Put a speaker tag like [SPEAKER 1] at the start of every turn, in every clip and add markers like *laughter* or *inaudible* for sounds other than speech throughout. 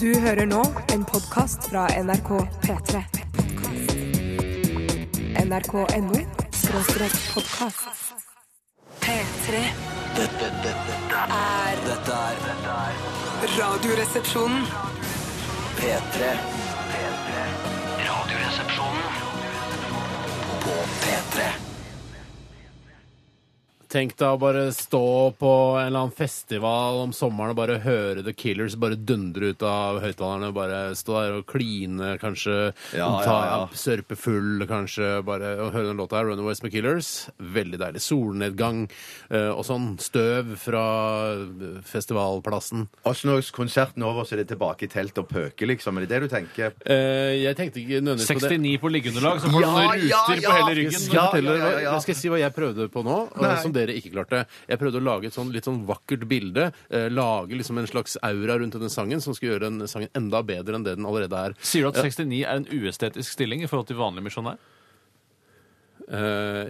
[SPEAKER 1] Du hører nå en podkast fra NRK P3. NRK.no skråstrek podkast. P3
[SPEAKER 2] Dette, dette, dette,
[SPEAKER 1] er
[SPEAKER 2] dette er dette er
[SPEAKER 1] Radioresepsjonen.
[SPEAKER 2] P3. P3. Radioresepsjonen på P3.
[SPEAKER 3] Tenk deg å bare stå på en eller annen festival om sommeren og bare høre The Killers bare dundre ut av høyttalerne. Bare stå der og kline, kanskje.
[SPEAKER 4] Ja,
[SPEAKER 3] ta,
[SPEAKER 4] ja, ja.
[SPEAKER 3] Sørpe full, kanskje. Bare og høre den låta her, 'Runaways med Killers'. Veldig deilig. Solnedgang eh, og sånn. Støv fra eh, festivalplassen.
[SPEAKER 4] Og så Altså, når konserten er over, så er det tilbake i teltet og pøke, liksom. Er det det du tenker?
[SPEAKER 3] Eh, jeg tenkte ikke nødvendigvis på det.
[SPEAKER 5] 69 på liggeunderlag, så får du
[SPEAKER 4] Ja,
[SPEAKER 5] noen
[SPEAKER 4] ja,
[SPEAKER 5] ruter
[SPEAKER 4] ja.
[SPEAKER 5] på hele
[SPEAKER 3] Jeg
[SPEAKER 5] ryggen.
[SPEAKER 3] skal,
[SPEAKER 4] Ja,
[SPEAKER 3] fortelle,
[SPEAKER 4] ja, ja, ja.
[SPEAKER 3] hva- jeg skal si hva jeg prøvde på nå, og
[SPEAKER 4] Nei.
[SPEAKER 3] som dere ikke klarte. Jeg prøvde å lage et sånn, litt sånn vakkert bilde. Eh, lage liksom en slags aura rundt denne sangen som skulle gjøre den sangen enda bedre enn det den allerede er.
[SPEAKER 5] Sier du at 69 er en uestetisk stilling i forhold til vanlig misjonær?
[SPEAKER 3] Eh,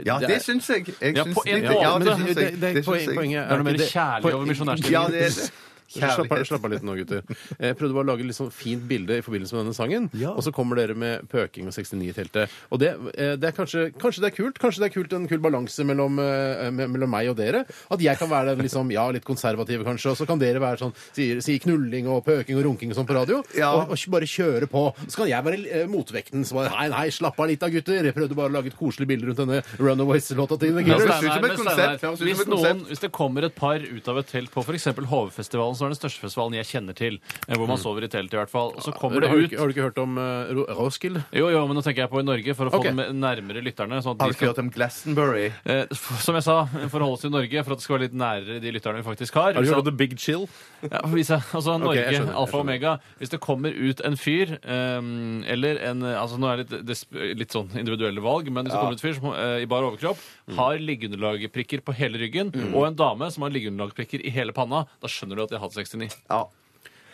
[SPEAKER 4] Ja, det
[SPEAKER 3] er-
[SPEAKER 4] syns jeg. jeg
[SPEAKER 5] Ja,
[SPEAKER 4] syns
[SPEAKER 5] på en
[SPEAKER 4] det-
[SPEAKER 3] Ja,
[SPEAKER 5] måte,
[SPEAKER 4] ja,
[SPEAKER 3] men
[SPEAKER 4] det
[SPEAKER 3] det,
[SPEAKER 4] syns
[SPEAKER 3] det,
[SPEAKER 4] jeg. Det syns
[SPEAKER 3] poen-
[SPEAKER 4] jeg.
[SPEAKER 3] poenget
[SPEAKER 5] Er det mer
[SPEAKER 3] det-
[SPEAKER 5] kjærlig over
[SPEAKER 3] poen-
[SPEAKER 4] Ja,
[SPEAKER 5] misjonærstillingen?
[SPEAKER 4] det er det.
[SPEAKER 3] Slapp av,
[SPEAKER 4] Kjærlighet.
[SPEAKER 3] slapp av litt nå, gutter. Jeg prøvde bare å lage et litt sånn fint bilde i forbindelse med denne sangen, og så kommer dere med pøking og 69 i teltet. Og det, eh, det er kanskje, kanskje det er kult. Kanskje det er kult en kul balanse mellom, eh, me- mellom meg og dere. At jeg kan være den liksom, ja, litt konservative, kanskje, og så kan dere være sånn sier, sier knulling og pøking og runking og sånn på radio,
[SPEAKER 4] Ja.
[SPEAKER 3] og, og bare kjøre på. Så kan jeg være eh, motvekten som bare Nei, nei, slapp av litt da, gutter. Jeg prøvde bare å lage et koselig bilde rundt denne Runaways-låta til The
[SPEAKER 5] Ja,
[SPEAKER 3] Killers.
[SPEAKER 4] det høres ut som et
[SPEAKER 5] Steinar, men
[SPEAKER 4] konsept. Det
[SPEAKER 5] Steinar,
[SPEAKER 4] høres ut som
[SPEAKER 5] Hvis,
[SPEAKER 4] et
[SPEAKER 5] noen,
[SPEAKER 4] konsept.
[SPEAKER 5] hvis det kommer et par ut av et telt på f.eks. Hovefestivalen, som er den største festivalen jeg kjenner til, eh, hvor man
[SPEAKER 4] Mm.
[SPEAKER 5] sover i telt i hvert fall, og så kommer det
[SPEAKER 3] Har du,
[SPEAKER 5] ut
[SPEAKER 3] ikke, har du ikke hørt om eh, Ro- Roskilde?
[SPEAKER 5] Jo, jo, men nå tenker jeg på i Norge, for å få
[SPEAKER 3] Ok.
[SPEAKER 5] dem nærmere lytterne. Sånn at
[SPEAKER 4] Har
[SPEAKER 5] de
[SPEAKER 4] du ikke
[SPEAKER 5] skal,
[SPEAKER 4] hørt om Glastonbury?
[SPEAKER 5] eh, f- som jeg sa, forholde oss til Norge for at det skal være litt nærere de lytterne vi faktisk har.
[SPEAKER 3] Har du
[SPEAKER 5] Hvis
[SPEAKER 3] hørt om sånn
[SPEAKER 5] jeg-
[SPEAKER 3] The Big Chill?
[SPEAKER 5] Ja, hvis jeg, altså Norge,
[SPEAKER 3] jeg skjønner, jeg
[SPEAKER 5] alfa og
[SPEAKER 3] skjønner.
[SPEAKER 5] omega. Hvis det kommer ut en fyr ehm, eller en eh, altså Nå er det litt, desp- litt sånn individuelle valg, men hvis det kommer ut en fyr som, eh, i bar overkropp
[SPEAKER 3] Mm.
[SPEAKER 5] har liggeunderlagprikker på hele ryggen, og en dame som har liggeunderlagprikker i hele panna, da skjønner du at de har hatt 69.
[SPEAKER 4] Ja.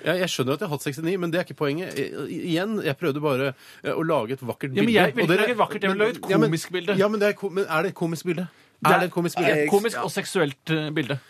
[SPEAKER 3] Ja, jeg skjønner at jeg har hatt 69, men det er ikke poenget. I- i- Igjen, jeg prøvde bare eh, å lage et vakkert bilde.
[SPEAKER 5] Ja, men jeg vil
[SPEAKER 3] og
[SPEAKER 5] ikke
[SPEAKER 3] dere-
[SPEAKER 5] lage et vakkert, jeg vil
[SPEAKER 3] men-
[SPEAKER 5] lage et
[SPEAKER 3] ja, men-
[SPEAKER 5] komisk bilde.
[SPEAKER 3] Ja, men, det er, ko- men er det et komisk bilde? Er det et komisk bilde?
[SPEAKER 5] et komisk og seksuelt eh, bilde.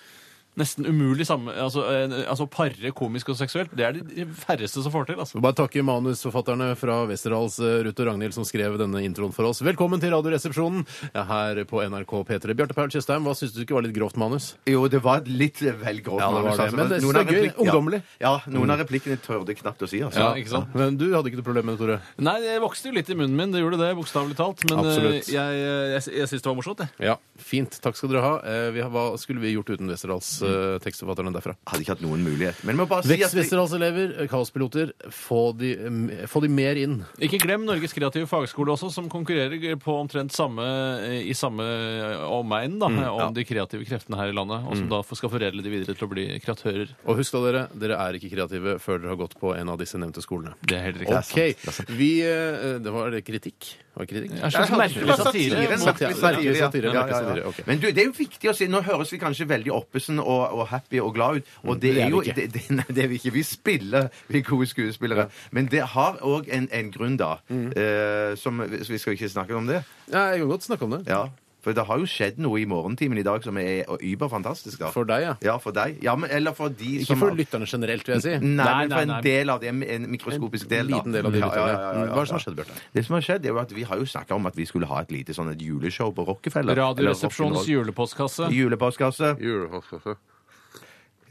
[SPEAKER 5] Nesten umulig sammen... Altså, eh, altså pare komisk og seksuelt. Det er de færreste som får til. altså.
[SPEAKER 3] Jeg vil bare takke manusforfatterne fra Westerdals, eh, Ruth og Ragnhild, som skrev denne introen for oss. Velkommen til Radioresepsjonen ja, her på NRK P3. Bjarte Paul Tjøstheim, hva syns du ikke var litt grovt manus?
[SPEAKER 4] Jo, det var et litt eh, vel grovt.
[SPEAKER 3] Ja, det var
[SPEAKER 4] manus,
[SPEAKER 3] det,
[SPEAKER 4] altså.
[SPEAKER 3] men det er
[SPEAKER 4] Noen
[SPEAKER 3] så
[SPEAKER 4] av
[SPEAKER 3] gøy,
[SPEAKER 4] replikk- ja.
[SPEAKER 3] ungdommelig. Mm.
[SPEAKER 4] Ja, noen av replikkene tørde jeg knapt å si. altså.
[SPEAKER 5] Ja, ikke sant?
[SPEAKER 3] Men du hadde ikke noe problem med det, Tore?
[SPEAKER 5] Nei, det vokste jo litt i munnen min, det gjorde det, bokstavelig talt. Men eh,
[SPEAKER 3] Absolutt.
[SPEAKER 5] jeg, jeg, jeg syns det var morsomt, jeg.
[SPEAKER 3] Ja, Fint. Takk skal dere ha. Eh, Vi, har- hva skulle vi gjort uten Westerdals, eh, tekstforfatterne derfra?
[SPEAKER 4] Hadde ikke hatt noen mulighet. Men jeg må bare si
[SPEAKER 3] Vekst
[SPEAKER 4] at jeg,
[SPEAKER 3] Westerdals-elever, eh, kaospiloter, få de, eh, få de mer inn.
[SPEAKER 5] Ikke glem Norges kreative fagskole også, som konkurrerer på omtrent samme eh, i samme omegn da, om de kreative kreftene her i landet, og som da skal foredle de videre til å bli kreatører.
[SPEAKER 3] Og husk da dere, dere er ikke kreative før dere har gått på en av disse nevnte skolene.
[SPEAKER 5] Det er helt riktig.
[SPEAKER 3] Ok, vi, eh, det var det kritikk? Var det kritikk?
[SPEAKER 5] Det er en slags
[SPEAKER 4] Det
[SPEAKER 5] merkelig
[SPEAKER 4] var satire,
[SPEAKER 5] satire.
[SPEAKER 4] en
[SPEAKER 5] mot-
[SPEAKER 4] merkelig
[SPEAKER 3] Merkelig
[SPEAKER 4] satire,
[SPEAKER 3] satire,
[SPEAKER 4] ja. Ja,
[SPEAKER 3] merkelig
[SPEAKER 4] ja, ja.
[SPEAKER 3] satire, ok.
[SPEAKER 4] Men du, det er jo viktig å si Nå høres vi kanskje veldig oppesen og, og happy og glad ut,
[SPEAKER 3] Mm,
[SPEAKER 4] og det
[SPEAKER 3] det er
[SPEAKER 4] er jo
[SPEAKER 3] vi ikke.
[SPEAKER 4] det, det, nei, det er vi ikke. Vi spiller, vi er gode skuespillere. Men det har òg en, en grunn, da.
[SPEAKER 3] Mm.
[SPEAKER 4] Eh, som, vi skal ikke snakke om det.
[SPEAKER 3] Ja, jeg kan godt snakke om det.
[SPEAKER 4] Ja. For det har jo skjedd noe i morgentimen i dag som er überfantastisk. da.
[SPEAKER 3] For deg, ja.
[SPEAKER 4] Ja, for deg. Ja, men, eller for de
[SPEAKER 3] Ikke
[SPEAKER 4] som
[SPEAKER 3] for
[SPEAKER 4] har-
[SPEAKER 3] lytterne generelt, vil jeg si.
[SPEAKER 4] Nei,
[SPEAKER 5] Nei,
[SPEAKER 4] men for
[SPEAKER 5] nei,
[SPEAKER 4] en
[SPEAKER 5] nei.
[SPEAKER 4] del av det. En, en mikroskopisk del. da.
[SPEAKER 3] liten del av de
[SPEAKER 4] Ja, ja, ja, ja,
[SPEAKER 3] lytterne. Hva
[SPEAKER 4] ja.
[SPEAKER 3] er det som har skjedd, Bjarte?
[SPEAKER 4] Det som har skjedd, er jo at vi har jo snakka om at vi skulle ha et lite sånn et juleshow på Rockefeller. eller
[SPEAKER 5] Radioresepsjonens
[SPEAKER 4] rock'n'roll.
[SPEAKER 5] julepostkasse.
[SPEAKER 4] julepostkasse.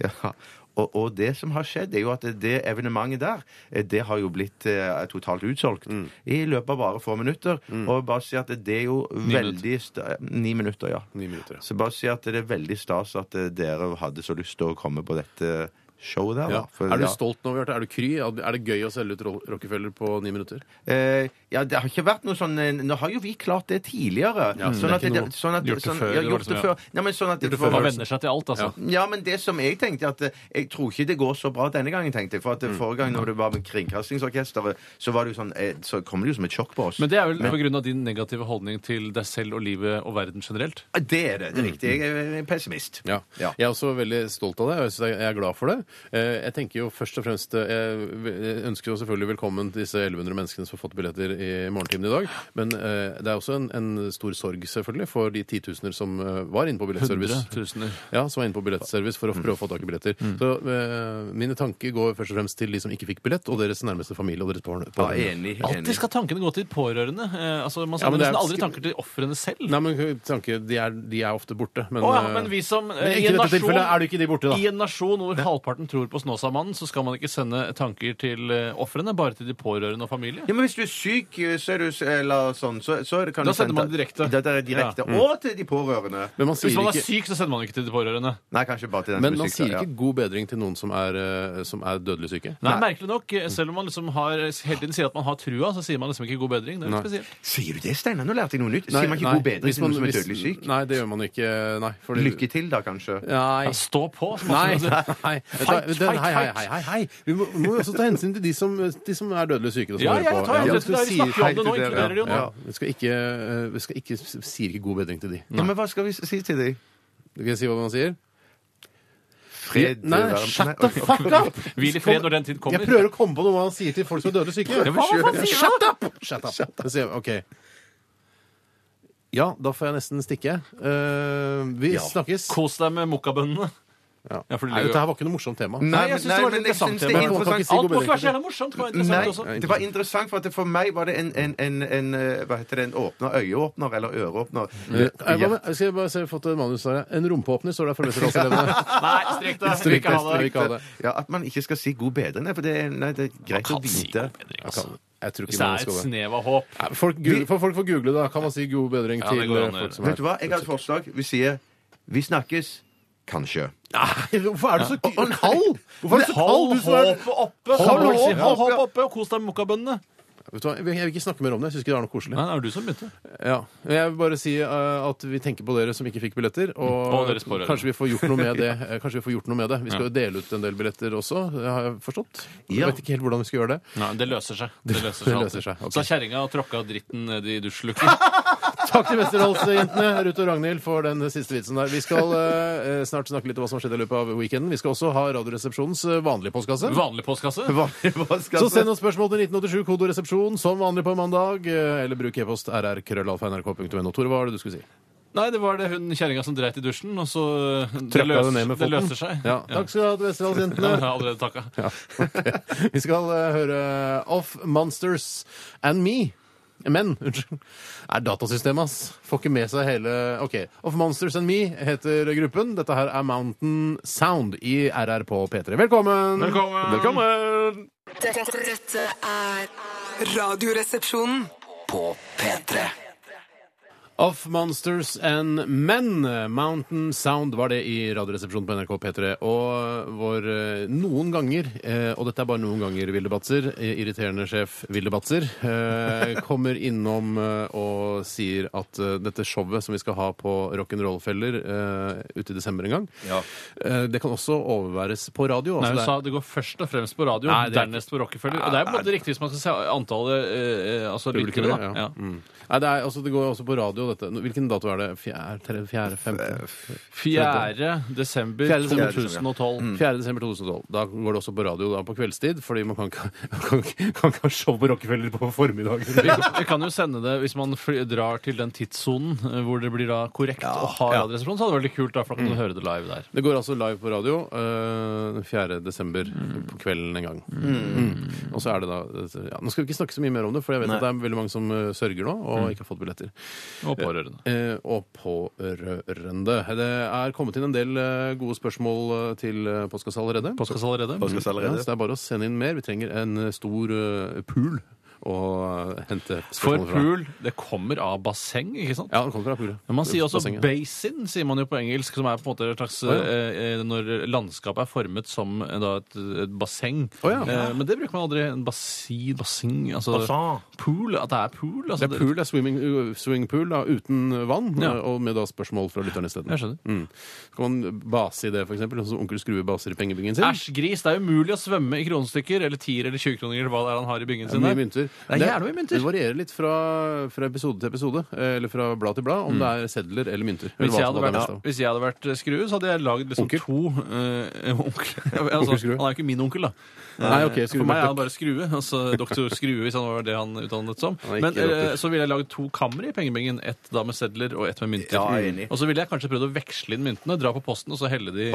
[SPEAKER 4] Ja. Og, og det som har skjedd, er jo at det evenementet der, eh, det har jo blitt eh, totalt utsolgt i løpet av bare få minutter. Og bare si at det er jo veldig sta- Ni minutter, ja.
[SPEAKER 3] Ni minutter, ja.
[SPEAKER 4] Så bare si at det er veldig stas at eh, dere hadde så lyst til å komme på dette showet der.
[SPEAKER 3] Ja.
[SPEAKER 4] Da. For-
[SPEAKER 3] Er du
[SPEAKER 4] ja.
[SPEAKER 3] stolt nå, Bjarte? Er du kry? Er det gøy å selge ut Ro- Rockefeller på ni minutter?
[SPEAKER 4] Eh, ja, det har ikke vært noe sånn eh, Nå har jo vi klart det tidligere.
[SPEAKER 3] Ja, så
[SPEAKER 4] sånn
[SPEAKER 3] det er
[SPEAKER 4] at
[SPEAKER 3] ikke
[SPEAKER 4] det- sånn at-
[SPEAKER 5] Gjort det
[SPEAKER 4] sånn-
[SPEAKER 5] før,
[SPEAKER 4] Ja,
[SPEAKER 5] det var
[SPEAKER 4] gjort det
[SPEAKER 5] liksom, ja.
[SPEAKER 4] før. Nei, men sånn at det
[SPEAKER 3] det
[SPEAKER 4] får-
[SPEAKER 3] før,
[SPEAKER 5] Man venner seg til alt, altså.
[SPEAKER 4] Ja, men det som jeg tenkte at eh, Jeg tror ikke det går så bra denne gangen, tenkte jeg. For at eh, forrige gang når det var med Kringkastingsorkesteret, så var det jo sånn eh, Så kom det jo som et sjokk på oss.
[SPEAKER 5] Men det er vel på grunn av din negative holdning til deg selv og livet og verden generelt?
[SPEAKER 4] det er det. Det er riktig. Jeg er pessimist.
[SPEAKER 3] Ja.
[SPEAKER 4] Ja.
[SPEAKER 3] Jeg er også veldig stolt av det. og Jeg, synes jeg er glad for det. Eh, Jeg tenker jo først og fremst eh, Jeg ønsker jo selvfølgelig velkommen til disse 1100 menneskene som har fått billetter i morgentimen i dag. Men eh, det er også en, en stor sorg, selvfølgelig, for de titusener som eh, var inne på billettservice.
[SPEAKER 5] Hundretusener.
[SPEAKER 3] Ja, som var inne på billettservice for å prøve å få tak i billetter.
[SPEAKER 5] Mm.
[SPEAKER 3] Så eh, mine tanker går først og fremst til de som ikke fikk billett, og deres nærmeste familie og deres barn.
[SPEAKER 4] Ja,
[SPEAKER 3] barn.
[SPEAKER 4] enig.
[SPEAKER 5] Alltid
[SPEAKER 4] enig.
[SPEAKER 5] skal tankene gå til pårørende. Eh, altså, man
[SPEAKER 3] Ja, men det er
[SPEAKER 5] sender nesten
[SPEAKER 3] jo
[SPEAKER 5] aldri
[SPEAKER 3] skri-
[SPEAKER 5] tanker til ofrene selv.
[SPEAKER 3] Nei, men tanke, de, er, de er ofte borte. Men,
[SPEAKER 5] Å ja,
[SPEAKER 3] eh,
[SPEAKER 5] men vi som eh,
[SPEAKER 3] men ikke i
[SPEAKER 5] i en
[SPEAKER 3] dette
[SPEAKER 5] nasjon-
[SPEAKER 3] tilfellet er du ikke de borte, da.
[SPEAKER 5] I en nasjon hvor halvparten tror på Snåsamannen, så skal man ikke sende tanker til eh, ofrene, bare til de pårørende og familie.
[SPEAKER 4] Ja, men hvis du er syk eh, så er du, eller sånn, så, så er det- kan
[SPEAKER 5] Da
[SPEAKER 4] du sende-
[SPEAKER 5] sender man direkte.
[SPEAKER 4] Da, da er det direkte. Og til de pårørende.
[SPEAKER 3] Men man
[SPEAKER 5] Hvis
[SPEAKER 3] sier
[SPEAKER 5] man er
[SPEAKER 3] ikke
[SPEAKER 5] syk, så sender man ikke til de pårørende.
[SPEAKER 4] Nei, kanskje bare til den
[SPEAKER 3] men man
[SPEAKER 4] musikken,
[SPEAKER 3] sier
[SPEAKER 4] ja.
[SPEAKER 3] ikke 'god bedring' til noen som er, eh, som er dødelig syke.
[SPEAKER 5] Nei, merkelig nok, eh, Selv om man liksom har, hele tiden sier at man har trua, så sier man liksom ikke god bedring. Det er litt spesielt.
[SPEAKER 4] Sier du det, Steinar? Nå lærte jeg noe nytt. Sier man ikke god bedring
[SPEAKER 3] hvis
[SPEAKER 4] til noen som er
[SPEAKER 3] hvis-
[SPEAKER 4] dødelig syk?
[SPEAKER 3] Nei, det gjør man ikke. Nei. fordi-
[SPEAKER 4] Lykke til, da, kanskje.
[SPEAKER 3] Nei.
[SPEAKER 5] Ja, stå på! som man
[SPEAKER 3] Nei,
[SPEAKER 5] sier.
[SPEAKER 3] nei.
[SPEAKER 5] Fight,
[SPEAKER 3] Vet du, den-
[SPEAKER 5] fight,
[SPEAKER 3] hei, hei,
[SPEAKER 5] fight.
[SPEAKER 3] hei, hei, hei. Vi må, må jo også ta hensyn til de som, de som er dødelig syke. og som
[SPEAKER 5] Ja,
[SPEAKER 3] hører
[SPEAKER 5] ja,
[SPEAKER 3] på.
[SPEAKER 5] jeg tar
[SPEAKER 3] Ja,
[SPEAKER 5] helt
[SPEAKER 3] vi
[SPEAKER 5] rett.
[SPEAKER 3] skal
[SPEAKER 5] Det er- vi
[SPEAKER 3] si-
[SPEAKER 5] snakker jo om det nå,
[SPEAKER 3] Ja,
[SPEAKER 5] inkluderer det jo nå.
[SPEAKER 3] ja. Vi skal ikke, eh, vi skal ikke sier ikke god bedring til de.
[SPEAKER 4] Ja, men hva skal vi si til de?
[SPEAKER 3] Du kan si hva man sier?
[SPEAKER 4] Fred
[SPEAKER 3] Nei,
[SPEAKER 4] være-
[SPEAKER 3] shut
[SPEAKER 4] Nei,
[SPEAKER 3] the fuck up!
[SPEAKER 5] Hvil i fred når den tid kommer.
[SPEAKER 3] Jeg prøver å komme på noe man sier til folk som er dødelig syke.
[SPEAKER 5] Ja, hva faen sier
[SPEAKER 3] Shut up! Shut up. Da sier jeg, ok. Ja, da får jeg nesten stikke. Eh, vi snakkes.
[SPEAKER 5] Kos deg med mokkabøndene.
[SPEAKER 3] Ja.
[SPEAKER 5] Ja, for det
[SPEAKER 3] Nei,
[SPEAKER 5] ligger-
[SPEAKER 3] dette her var ikke noe morsomt tema.
[SPEAKER 4] Nei,
[SPEAKER 5] Nei, jeg synes det var et
[SPEAKER 4] men jeg
[SPEAKER 5] interessant
[SPEAKER 4] synes det
[SPEAKER 5] tema.
[SPEAKER 4] er
[SPEAKER 3] Men folk kan ikke si
[SPEAKER 4] interessant.
[SPEAKER 3] god
[SPEAKER 5] Alt må ikke
[SPEAKER 3] bedring
[SPEAKER 5] være så jævla morsomt. Det var
[SPEAKER 4] Nei,
[SPEAKER 5] interessant også.
[SPEAKER 4] det var interessant, for at det for meg var det en, en, en, en eh, Hva heter det? En åpner, øyeåpner eller øreåpner.
[SPEAKER 3] Eh, hva med- Skal jeg bare se, jeg har fått et manus her. En rumpeåpner står der for mesterlandselevene.
[SPEAKER 5] *laughs* Nei, strekk deg.
[SPEAKER 3] Stryk
[SPEAKER 5] Ikke ha
[SPEAKER 3] deg,
[SPEAKER 5] det.
[SPEAKER 3] stryk. Ikke ha det.
[SPEAKER 4] Ja, At man ikke skal si god bedring, nei, for det er, nei, det er greit å
[SPEAKER 5] Kan si
[SPEAKER 4] vite.
[SPEAKER 5] god bedring,
[SPEAKER 3] Jeg
[SPEAKER 5] altså.
[SPEAKER 3] kan- Jeg tror
[SPEAKER 5] Hvis
[SPEAKER 3] ikke noen
[SPEAKER 5] det er et
[SPEAKER 3] skal det.
[SPEAKER 5] snev av håp.
[SPEAKER 3] Nei, Folk, googler, for folk får google, da. Kan man si god bedring
[SPEAKER 5] Ja, det
[SPEAKER 3] til
[SPEAKER 5] går an
[SPEAKER 3] eh,
[SPEAKER 5] å
[SPEAKER 3] folk
[SPEAKER 5] gjøre.
[SPEAKER 3] som er
[SPEAKER 4] Vet du hva? Jeg har et forslag. Vi sier Vi snakkes. Kanskje.
[SPEAKER 3] Nei, hvorfor er du så kald? Hvorfor er du så kald?
[SPEAKER 5] Hold
[SPEAKER 3] Du som er...
[SPEAKER 5] håpet oppe!
[SPEAKER 3] Hold
[SPEAKER 5] Hold
[SPEAKER 3] håpet
[SPEAKER 5] håpet
[SPEAKER 3] oppe.
[SPEAKER 5] oppe, og kos deg med mokkabøndene.
[SPEAKER 3] Vet du hva? Jeg vil ikke snakke mer om det. Jeg syns ikke det er noe koselig.
[SPEAKER 5] Nei, det var du som begynte.
[SPEAKER 3] Ja. Men Jeg vil bare si eh, at vi tenker på dere som ikke fikk billetter. Og,
[SPEAKER 5] Mm. Og deres pårørende.
[SPEAKER 3] kanskje vi får gjort noe
[SPEAKER 5] *laughs*
[SPEAKER 3] med det. Eh, Kanskje Vi får gjort noe med det. Vi skal jo dele ut en del billetter også, det har jeg forstått. Jeg
[SPEAKER 4] Ja.
[SPEAKER 3] vet ikke helt hvordan vi skal gjøre det.
[SPEAKER 5] Nei, det løser *laughs* seg. Det løser seg.
[SPEAKER 3] Det
[SPEAKER 5] alltid.
[SPEAKER 3] løser seg, ok.
[SPEAKER 5] Så kjerringa tråkka dritten ned i dusjlukken. *laughs*
[SPEAKER 3] Takk til Westerdals-jentene, Ruth og Ragnhild, for den siste vitsen der. Vi skal eh, snart snakke litt om hva som har skjedd i løpet av weekenden. Vi skal også ha Radioresepsjonens eh, vanlige postkasse.
[SPEAKER 5] Vanlig postkasse.
[SPEAKER 4] Hva, hva skal
[SPEAKER 3] Så send oss spørsmål til 1987, kode resepsjon, som vanlig på mandag. eh, Eller bruk e-post rrkrøllalfa.nrk.no. Tore, hva var det du skulle si?
[SPEAKER 5] Nei, det var det hun kjerringa som dreit i dusjen, og så det,
[SPEAKER 3] Trøkka
[SPEAKER 5] løs,
[SPEAKER 3] det ned med
[SPEAKER 5] det
[SPEAKER 3] foten.
[SPEAKER 5] løser seg.
[SPEAKER 3] Ja. Takk skal du ha til
[SPEAKER 5] Ja, jeg
[SPEAKER 3] Westerdals-jentene.
[SPEAKER 5] har allerede takka.
[SPEAKER 3] *laughs* Ja, ok. Vi skal eh, høre Off Monsters and Me. Men, unnskyld. Er datasystemet, ass. Får ikke med seg hele OK. Off Monsters and Me heter gruppen. Dette her er Mountain Sound i RR på P3. Velkommen!
[SPEAKER 5] Velkommen.
[SPEAKER 6] Dette, dette er Radioresepsjonen.
[SPEAKER 2] På P3.
[SPEAKER 3] Of Monsters and Men. Mountain Sound var det i Radioresepsjonen på NRK P3. Og vår eh, noen ganger, eh, og dette er bare noen ganger, Vilde Batzer, eh, irriterende sjef Vilde Batzer,
[SPEAKER 5] *laughs*
[SPEAKER 3] eh, kommer innom eh, og sier at eh, dette showet som vi skal ha på Rock'n'Roll-feller eh, ute i desember en gang, eh, det kan også overværes på radio. altså
[SPEAKER 5] Nei, hun
[SPEAKER 3] det er-
[SPEAKER 5] sa det går først og fremst på radio,
[SPEAKER 3] Nei, det er
[SPEAKER 5] dernest på Rockefeller. Og det er på en måte riktig hvis man skal se antallet eh, altså lyttere,
[SPEAKER 3] Publikummere,
[SPEAKER 5] da.
[SPEAKER 3] ja.
[SPEAKER 5] Ja.
[SPEAKER 3] Mm. Nei, det, er, altså, det går også på radio, dette. Hvilken dato er det? Fjerde, tre- fjerde femte?
[SPEAKER 5] 4. desember Mm.
[SPEAKER 3] Fjerde desember,
[SPEAKER 5] 2012.
[SPEAKER 3] 4. desember 2012. Da går det også på radio da, på kveldstid, fordi man kan ikke, *laughs* kan, ikke- kan ikke ha show på Rockefeller på formiddagen.
[SPEAKER 5] Vi, vi kan jo sende det hvis man fly, drar til den tidssonen eh, hvor det blir da korrekt å ha radioresepsjon. Så hadde det vært litt kult, da, for
[SPEAKER 3] Mm.
[SPEAKER 5] da kan du høre det live der.
[SPEAKER 3] Det går altså live på radio eh, den 4. desember på kvelden en gang. Mm. Og så er det da ja, Nå skal vi ikke snakke så mye mer om det, for jeg vet at det er veldig mange som eh, sørger nå og ikke har fått billetter.
[SPEAKER 5] Og pårørende.
[SPEAKER 3] Eh, og pårørende. Det er kommet inn en del eh, gode spørsmål eh, til eh, postkassa allerede.
[SPEAKER 5] Postkasse allerede.
[SPEAKER 4] Påskas
[SPEAKER 3] Ja, så det er bare å sende inn mer. Vi trenger en eh, stor eh, pool å eh, hente
[SPEAKER 5] For
[SPEAKER 3] spørsmål fra.
[SPEAKER 5] pool, det kommer av basseng, ikke sant?
[SPEAKER 3] Ja, det kommer fra poolet.
[SPEAKER 5] Men man sier også
[SPEAKER 3] Bassenget.
[SPEAKER 5] basin, sier man jo på engelsk, som er på en måte et slags
[SPEAKER 3] ja.
[SPEAKER 5] eh, eh, Når landskapet er formet som eh, da, et, et basseng.
[SPEAKER 3] Å ja.
[SPEAKER 5] Eh, men det bruker man aldri. En bassi, bassing altså,
[SPEAKER 4] Bassin.
[SPEAKER 5] Pool. At det er pool. Altså,
[SPEAKER 3] Det er pool, det er swimming, uh, swimming pool da, uten vann,
[SPEAKER 5] Ja.
[SPEAKER 3] uh, og med da spørsmål fra lytterne isteden.
[SPEAKER 5] Jeg skjønner.
[SPEAKER 3] Mm. Kan man base i det, for eksempel, sånn som onkel Skrue baser i pengebingen sin?
[SPEAKER 5] Æsj, gris! Det er umulig å svømme i kronestykker eller tier eller 20-kroninger eller hva det er han har i bingen
[SPEAKER 3] Det er
[SPEAKER 5] sin.
[SPEAKER 3] Mye
[SPEAKER 5] der.
[SPEAKER 3] mynter.
[SPEAKER 5] Det er jævla mye mynter.
[SPEAKER 3] Det varierer litt fra, fra episode til episode, eh, eller fra blad til blad, om det er sedler eller mynter. eller
[SPEAKER 5] Mm. Hvis
[SPEAKER 3] hva som
[SPEAKER 5] jeg, hadde
[SPEAKER 3] er
[SPEAKER 5] vært,
[SPEAKER 3] mest av.
[SPEAKER 5] hvis jeg hadde vært skrue, så hadde jeg lagd liksom
[SPEAKER 3] Onkel?
[SPEAKER 5] to eh, *laughs* onkel. altså,
[SPEAKER 3] Onkel Skrue?
[SPEAKER 5] Han er jo ikke min onkel, da.
[SPEAKER 3] Nei, ok,
[SPEAKER 5] Eh,
[SPEAKER 3] Skrue
[SPEAKER 5] For meg er
[SPEAKER 3] Bjørk.
[SPEAKER 5] han bare Skrue. Altså doktor Skrue, hvis han var det han utdannet som.
[SPEAKER 3] Han er ikke
[SPEAKER 5] Men eh,
[SPEAKER 3] doktor.
[SPEAKER 5] så ville jeg lagd to kamre i pengebengen. Ett da med sedler og ett med mynter.
[SPEAKER 4] Ja, jeg er enig.
[SPEAKER 5] og så ville jeg kanskje prøvd å veksle inn myntene, dra på posten og så helle de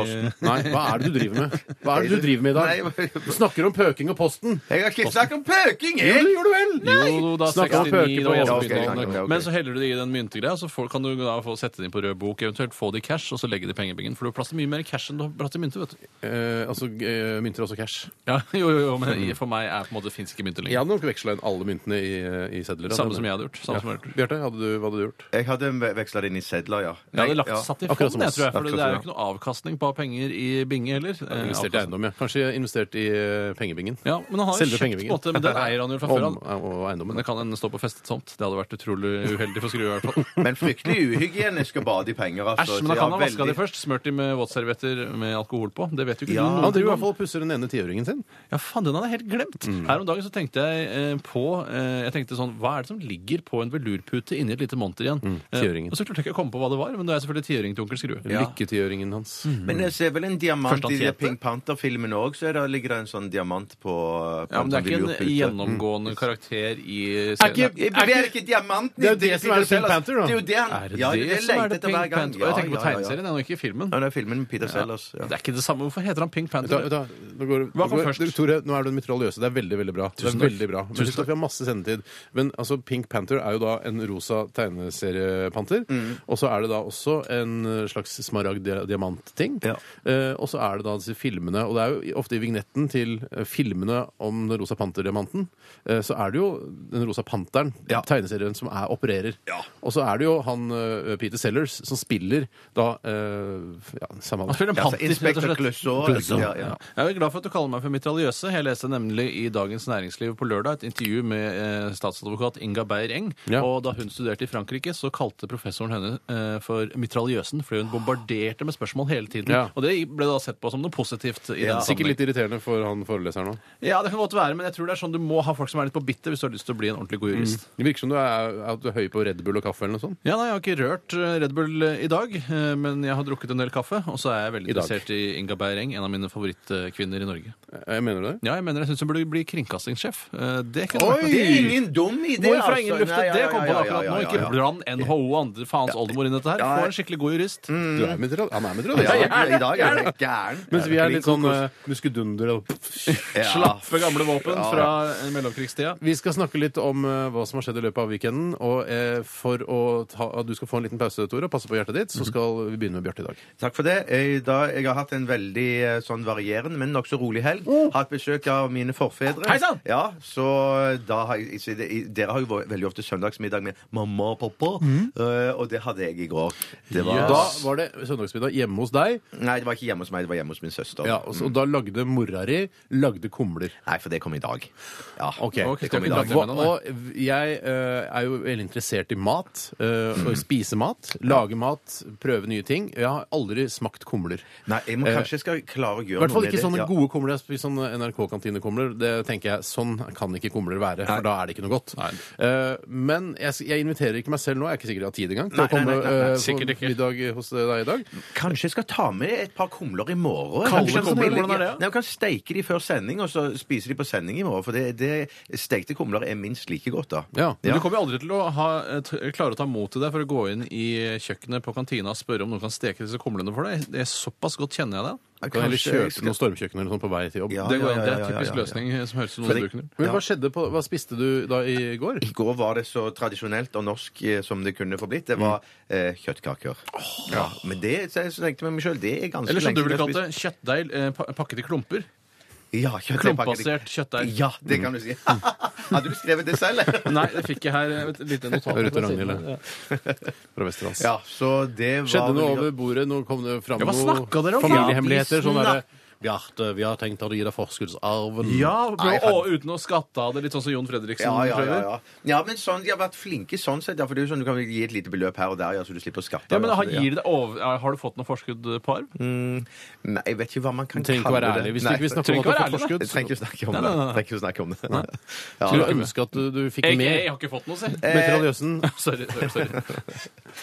[SPEAKER 3] Nei, hva er det du driver med? Hva er det du driver med i
[SPEAKER 4] Nei,
[SPEAKER 3] dag? Du snakker om pøking og posten.
[SPEAKER 4] Jeg har ikke snakket om pøking!
[SPEAKER 3] Jo,
[SPEAKER 4] Jeg.
[SPEAKER 3] det gjør du vel!
[SPEAKER 5] Jo, da
[SPEAKER 3] Snakk om
[SPEAKER 5] 69,
[SPEAKER 3] pøker
[SPEAKER 5] da
[SPEAKER 3] på
[SPEAKER 5] er
[SPEAKER 4] Ja,
[SPEAKER 5] det
[SPEAKER 4] ok,
[SPEAKER 5] begynner.
[SPEAKER 4] ok, ok, ok.
[SPEAKER 5] Men så heller du det i den myntegreia, så får, kan du da få sette det inn på rød bok, eventuelt få det i cash, og så legge det i pengebingen. For du har plass til mye mer cash enn du har plass til mynter, vet du.
[SPEAKER 3] Eh, altså, eh, mynter er også cash.
[SPEAKER 5] Ja, *laughs* jo, jo, jo, men i- for meg er på en måte finske mynter
[SPEAKER 3] Jeg
[SPEAKER 5] lenger.
[SPEAKER 3] hadde nok veksla inn alle myntene i, eh, i sedler. altså.
[SPEAKER 5] Samme som jeg hadde gjort. Samme
[SPEAKER 3] Ja.
[SPEAKER 5] Sånn som jeg hadde gjort.
[SPEAKER 3] Bjarte, hadde du, hva hadde du gjort?
[SPEAKER 4] Jeg hadde veksla det inn i sedler, ja.
[SPEAKER 5] Jeg hadde lagt,
[SPEAKER 4] Ja.
[SPEAKER 5] satt i
[SPEAKER 3] Akkurat
[SPEAKER 5] fond,
[SPEAKER 3] som
[SPEAKER 5] jeg,
[SPEAKER 3] oss.
[SPEAKER 5] tror jeg. For
[SPEAKER 4] Akkurat
[SPEAKER 5] det er jo
[SPEAKER 4] som-
[SPEAKER 5] ikke noe avkastning på penger i binge heller. Eh,
[SPEAKER 3] Investert i
[SPEAKER 5] avkastning.
[SPEAKER 3] eiendom, ja. Kanskje investert i eh, pengebingen.
[SPEAKER 5] Ja, men han har jo
[SPEAKER 3] Selve
[SPEAKER 5] kjøpt på en
[SPEAKER 3] pengebingen.
[SPEAKER 5] måte, men den eier han jo fra før
[SPEAKER 3] Om,
[SPEAKER 5] av.
[SPEAKER 3] og
[SPEAKER 5] Men
[SPEAKER 3] eiendommen.
[SPEAKER 5] det kan en stå på festet tomt. Det hadde vært utrolig uheldig for skrue, i hvert
[SPEAKER 3] *laughs*
[SPEAKER 5] fall.
[SPEAKER 4] Men fryktelig uhygienisk å bade i penger. Altså.
[SPEAKER 5] Æsj, men da
[SPEAKER 4] Så
[SPEAKER 5] kan
[SPEAKER 4] ja,
[SPEAKER 5] han vaske
[SPEAKER 4] veldig-
[SPEAKER 5] de først. Smørt de med våtservietter med alkohol på. Det vet jo ikke
[SPEAKER 4] Ja.
[SPEAKER 5] noen
[SPEAKER 3] Han driver i
[SPEAKER 5] om.
[SPEAKER 3] hvert fall og pusser den ene tiøringen sin.
[SPEAKER 5] Ja, faen, den hadde jeg helt glemt.
[SPEAKER 3] Mm.
[SPEAKER 5] Her om dagen så tenkte jeg eh, på eh, Jeg tenkte sånn, Hva er det som ligger på en velurpute inni et lite monter igjen? Eh,
[SPEAKER 3] Mm, tiøringen.
[SPEAKER 5] og så klarte jeg ikke å komme på hva det var, men det er selvfølgelig tiøring til onkel Skrue.
[SPEAKER 4] Ja.
[SPEAKER 3] Lykketiøringen hans.
[SPEAKER 4] Men jeg ser vel en
[SPEAKER 5] Først
[SPEAKER 4] diamant
[SPEAKER 5] han
[SPEAKER 4] i de
[SPEAKER 5] tjente.
[SPEAKER 4] Pink Panther-filmen òg, så er det, ligger det en sånn diamant på, på
[SPEAKER 5] Ja, men Det er
[SPEAKER 4] en sånn
[SPEAKER 5] ikke en
[SPEAKER 4] velurpute.
[SPEAKER 3] Mm.
[SPEAKER 5] gjennomgående karakter i
[SPEAKER 3] Er ikke-
[SPEAKER 5] serien.
[SPEAKER 4] Jeg beveger ikke diamanten i
[SPEAKER 3] Det er jo det som er
[SPEAKER 4] Peter
[SPEAKER 3] Pink
[SPEAKER 4] Sellers.
[SPEAKER 3] Panther, da.
[SPEAKER 4] Det er jo det han
[SPEAKER 5] Er det
[SPEAKER 4] ja,
[SPEAKER 5] det,
[SPEAKER 4] jeg
[SPEAKER 5] som
[SPEAKER 4] leter
[SPEAKER 5] er det
[SPEAKER 4] etter hver
[SPEAKER 5] Pink
[SPEAKER 4] gang.
[SPEAKER 5] Panther? jeg tenker på tegneserien, jeg, og ikke filmen.
[SPEAKER 4] Ja, det er filmen med Peter Sellers. Ja.
[SPEAKER 5] Det er ikke det samme. Hvorfor heter han Pink
[SPEAKER 3] Vet du hva,
[SPEAKER 5] Panther?
[SPEAKER 3] vet du hva, nå går,
[SPEAKER 5] Hva kom
[SPEAKER 3] nå går-
[SPEAKER 5] først?
[SPEAKER 3] du, Tore, nå er du en mitraljøse. Det er veldig veldig bra.
[SPEAKER 5] Tusen
[SPEAKER 3] det er
[SPEAKER 5] takk.
[SPEAKER 3] veldig bra. Men
[SPEAKER 5] Tusen
[SPEAKER 3] husk at vi har masse sendetid. Men altså, Pink Panther er jo da en rosa tegneseriepanter.
[SPEAKER 5] Mm.
[SPEAKER 3] Og så er det da også en eh, slags smaragd-diamant-ting.
[SPEAKER 4] Ja.
[SPEAKER 3] Eh, og så er det da disse filmene. Og det er jo i- ofte i vignetten til eh, filmene om den rosa panterdiamanten, eh, så er det jo den rosa panteren,
[SPEAKER 4] Ja.
[SPEAKER 3] tegneserien, som er opererer.
[SPEAKER 4] Ja.
[SPEAKER 3] Og så er det jo han eh, Peter Sellers som spiller da eh, ja, samme
[SPEAKER 5] Han spiller en
[SPEAKER 4] Ja, altså,
[SPEAKER 5] panter, rett og
[SPEAKER 4] Inspektør
[SPEAKER 5] slett.
[SPEAKER 4] Clouseau.
[SPEAKER 3] Clouseau,
[SPEAKER 4] Ja, ja.
[SPEAKER 5] Jeg er glad for at du kaller meg for mitraljøse. Jeg leste nemlig i Dagens Næringsliv på lørdag et intervju med eh, statsadvokat Inga Beyer-Eng.
[SPEAKER 3] Ja.
[SPEAKER 5] Og da hun studerte i Frankrike, så kalte professoren henne eh, for mitraljøsen fordi hun bombarderte med spørsmål hele tiden.
[SPEAKER 3] Ja.
[SPEAKER 5] Og det ble da sett på som noe positivt. i den
[SPEAKER 3] Sikkert
[SPEAKER 5] sammenheng.
[SPEAKER 3] litt irriterende for han foreleseren òg.
[SPEAKER 5] Ja, det kan godt være, men jeg tror det er sånn du må ha folk som er litt på bittet hvis du har lyst til å bli en ordentlig god jurist.
[SPEAKER 3] Det virker som du er, at du er høy på Red Bull og kaffe eller noe sånt.
[SPEAKER 5] Ja, nei, Jeg har ikke rørt eh, Red Bull eh, i dag, eh, men jeg har drukket en del kaffe. Og så er jeg veldig
[SPEAKER 3] I dag.
[SPEAKER 5] interessert i Inga Beyer-Eng, en av mine favorittkvinner i Norge.
[SPEAKER 3] Jeg Eh, mener det.
[SPEAKER 5] Ja, jeg mener jeg syns hun burde bli kringkastingssjef. Eh, Det kunne
[SPEAKER 3] Oi!
[SPEAKER 5] vært noe.
[SPEAKER 4] Det er ingen dum idé,
[SPEAKER 5] Hvorfor har ingen
[SPEAKER 4] altså.
[SPEAKER 5] luftet
[SPEAKER 4] Nei, ja,
[SPEAKER 5] det? Kom på det
[SPEAKER 4] ja, ja,
[SPEAKER 5] akkurat nå.
[SPEAKER 4] ja, ja,
[SPEAKER 5] Ikke
[SPEAKER 4] ja.
[SPEAKER 5] bland NHO og andre faens oldemor inn i dette her. Få en skikkelig god jurist.
[SPEAKER 4] Mm.
[SPEAKER 3] Du er med til, han er med til det.
[SPEAKER 4] Ja,
[SPEAKER 3] altså.
[SPEAKER 4] I dag er det gæren.
[SPEAKER 3] Mens vi er litt sånn eh, muskedunder og
[SPEAKER 4] Ja.
[SPEAKER 5] Slaffe gamle våpen fra eh, mellomkrigstida.
[SPEAKER 3] Vi skal snakke litt om eh, hva som har skjedd i løpet av weekenden. Og eh, for å ta, at du skal få en liten pause, Tore, og passe på hjertet ditt, så skal vi begynne med Bjarte i dag.
[SPEAKER 4] Takk for det. Jeg, da, jeg har hatt en veldig eh, sånn varierende, men nokså rolig helg.
[SPEAKER 3] Oh.
[SPEAKER 4] Hatt besøk av mine forfedre.
[SPEAKER 5] Hei sann!
[SPEAKER 4] Ja, så eh, da har jeg, så det, Dere har jo vært veldig ofte søndagsmiddag med mamma og pappa, eh, og det hadde jeg i går. Det var,
[SPEAKER 3] Mhm. Da var det søndagsmiddag hjemme hos deg,
[SPEAKER 4] Nei, det var ikke hjemme hos meg, det var hjemme hos min søster.
[SPEAKER 3] ja, og, så, og da lagde mora di lagde kumler.
[SPEAKER 4] Nei, for det kom i dag. Ja,
[SPEAKER 3] Ok,
[SPEAKER 4] det
[SPEAKER 5] skal
[SPEAKER 4] kom
[SPEAKER 5] ikke
[SPEAKER 4] i dag.
[SPEAKER 5] blande med noen,
[SPEAKER 3] Og jeg eh, er jo veldig interessert i mat. eh, å spise mat, lage mat, prøve nye ting. Jeg har aldri smakt kumler.
[SPEAKER 4] Nei, jeg må kanskje jeg skal klare å
[SPEAKER 3] Eh, I
[SPEAKER 4] gjøre
[SPEAKER 3] hvert
[SPEAKER 4] noe
[SPEAKER 3] fall
[SPEAKER 4] med
[SPEAKER 3] ikke
[SPEAKER 4] det.
[SPEAKER 3] sånne
[SPEAKER 4] Ja.
[SPEAKER 3] gode kumler. Jeg spiser sånne NRK-kantinekumler. Det tenker jeg, Sånn kan ikke kumler være, for da er det ikke noe godt. Eh, men jeg, s- jeg inviterer ikke meg selv nå. Jeg er ikke sikkert jeg har tid engang til
[SPEAKER 4] Nei,
[SPEAKER 3] å komme
[SPEAKER 4] nei, nei, nei, nei,
[SPEAKER 3] eh,
[SPEAKER 5] sikkert
[SPEAKER 3] på
[SPEAKER 5] ikke.
[SPEAKER 3] middag hos deg i dag.
[SPEAKER 4] Kanskje jeg skal ta med et par kumler i morgen?
[SPEAKER 5] Kalde
[SPEAKER 4] Kanskje jeg skal
[SPEAKER 5] kumler,
[SPEAKER 4] bli litt-
[SPEAKER 5] hvordan er det?
[SPEAKER 4] Nei, jeg kan steike de før sending, og så spiser de på sending i morgen. For det, det, stekte kumler er minst like godt da.
[SPEAKER 3] Ja.
[SPEAKER 5] Men Du kommer jo aldri til å ha, t klare å ta mot til deg for å gå inn i kjøkkenet på kantina og spørre om noen kan steke disse kumlene for deg. Det er Såpass godt kjenner jeg deg.
[SPEAKER 3] Du kan heller
[SPEAKER 4] Kanskje jeg
[SPEAKER 3] kjøpe
[SPEAKER 4] skal-
[SPEAKER 3] noe stormkjøkken eller sånn på vei til jobb.
[SPEAKER 4] Ja,
[SPEAKER 5] Det, går,
[SPEAKER 4] ja,
[SPEAKER 5] an.
[SPEAKER 4] ja,
[SPEAKER 5] det er
[SPEAKER 4] ja,
[SPEAKER 5] en
[SPEAKER 4] ja,
[SPEAKER 5] typisk
[SPEAKER 4] ja.
[SPEAKER 5] løsning eh, som høres ut som noen
[SPEAKER 4] det-
[SPEAKER 5] bruker.
[SPEAKER 3] Men
[SPEAKER 4] Ja.
[SPEAKER 3] hva skjedde på Hva spiste du da i går?
[SPEAKER 4] I går var det så tradisjonelt og norsk eh, som det kunne få blitt. Det var
[SPEAKER 5] Mm.
[SPEAKER 4] eh, kjøttkaker. Ja, men det så jeg så tenkte jeg med meg selv, det er ganske
[SPEAKER 5] Eller som du
[SPEAKER 4] siden
[SPEAKER 5] ville
[SPEAKER 4] jeg
[SPEAKER 5] kalt det, kjøttdeig eh, pa- pakket i klumper.
[SPEAKER 4] spiste- Ja, kjøttdeig pakket
[SPEAKER 5] Klumpbasert
[SPEAKER 4] i-
[SPEAKER 5] kjøttdeig.
[SPEAKER 4] Ja, det kan du si. *laughs* Hadde du skrevet det
[SPEAKER 5] *laughs*
[SPEAKER 4] selv?
[SPEAKER 5] Nei, det fikk jeg her. eh, Et lite notat.
[SPEAKER 3] Rødt og Ragnhild ja. *laughs* fra Vesterdals.
[SPEAKER 4] Ja, så det var
[SPEAKER 3] Skjedde noe
[SPEAKER 4] veldig godt.
[SPEAKER 3] over bordet? Nå kom det fram
[SPEAKER 5] Ja, hva
[SPEAKER 3] noen
[SPEAKER 5] snakket dere om?
[SPEAKER 3] familiehemmeligheter? Sånn
[SPEAKER 4] Ja,
[SPEAKER 3] derre
[SPEAKER 4] de
[SPEAKER 3] Bjarte, vi har tenkt å gi deg forskuddsarven.
[SPEAKER 5] Ja,
[SPEAKER 4] Nei,
[SPEAKER 5] bra. og uten å skatte av det, litt sånn som Jon Fredriksen
[SPEAKER 4] Ja, ja, ja,
[SPEAKER 5] prøver.
[SPEAKER 4] ja. ja, men sånn, De har vært flinke sånn sett. Ja, for det er jo sånn, Du kan gi et lite beløp her og der, ja, så du slipper å skatte.
[SPEAKER 5] Ja, men
[SPEAKER 4] ja, så
[SPEAKER 5] har,
[SPEAKER 4] det- ja.
[SPEAKER 5] gir det over, ja, har du fått noe forskudd på arv?
[SPEAKER 3] Mm.
[SPEAKER 4] Nei, jeg vet ikke hva man kan
[SPEAKER 3] Du trenger ikke
[SPEAKER 4] kalle
[SPEAKER 3] være
[SPEAKER 4] det.
[SPEAKER 3] ærlig hvis du
[SPEAKER 4] Nei,
[SPEAKER 3] ikke vil snakke
[SPEAKER 5] trenger
[SPEAKER 3] om at du har
[SPEAKER 5] ikke være
[SPEAKER 3] fått
[SPEAKER 5] ærlig,
[SPEAKER 3] forskudd.
[SPEAKER 4] Jeg trenger ikke snakke om
[SPEAKER 5] Nei,
[SPEAKER 4] det.
[SPEAKER 5] nei, nei.
[SPEAKER 4] Jeg Trenger ikke snakke om det. Ja,
[SPEAKER 3] Skulle du ønske at du, du fikk
[SPEAKER 5] Jeg,
[SPEAKER 3] mer?
[SPEAKER 5] jeg Eh, har ikke fått noe, si.
[SPEAKER 3] Petter Adjøsen,
[SPEAKER 5] Sorry. sorry, sorry.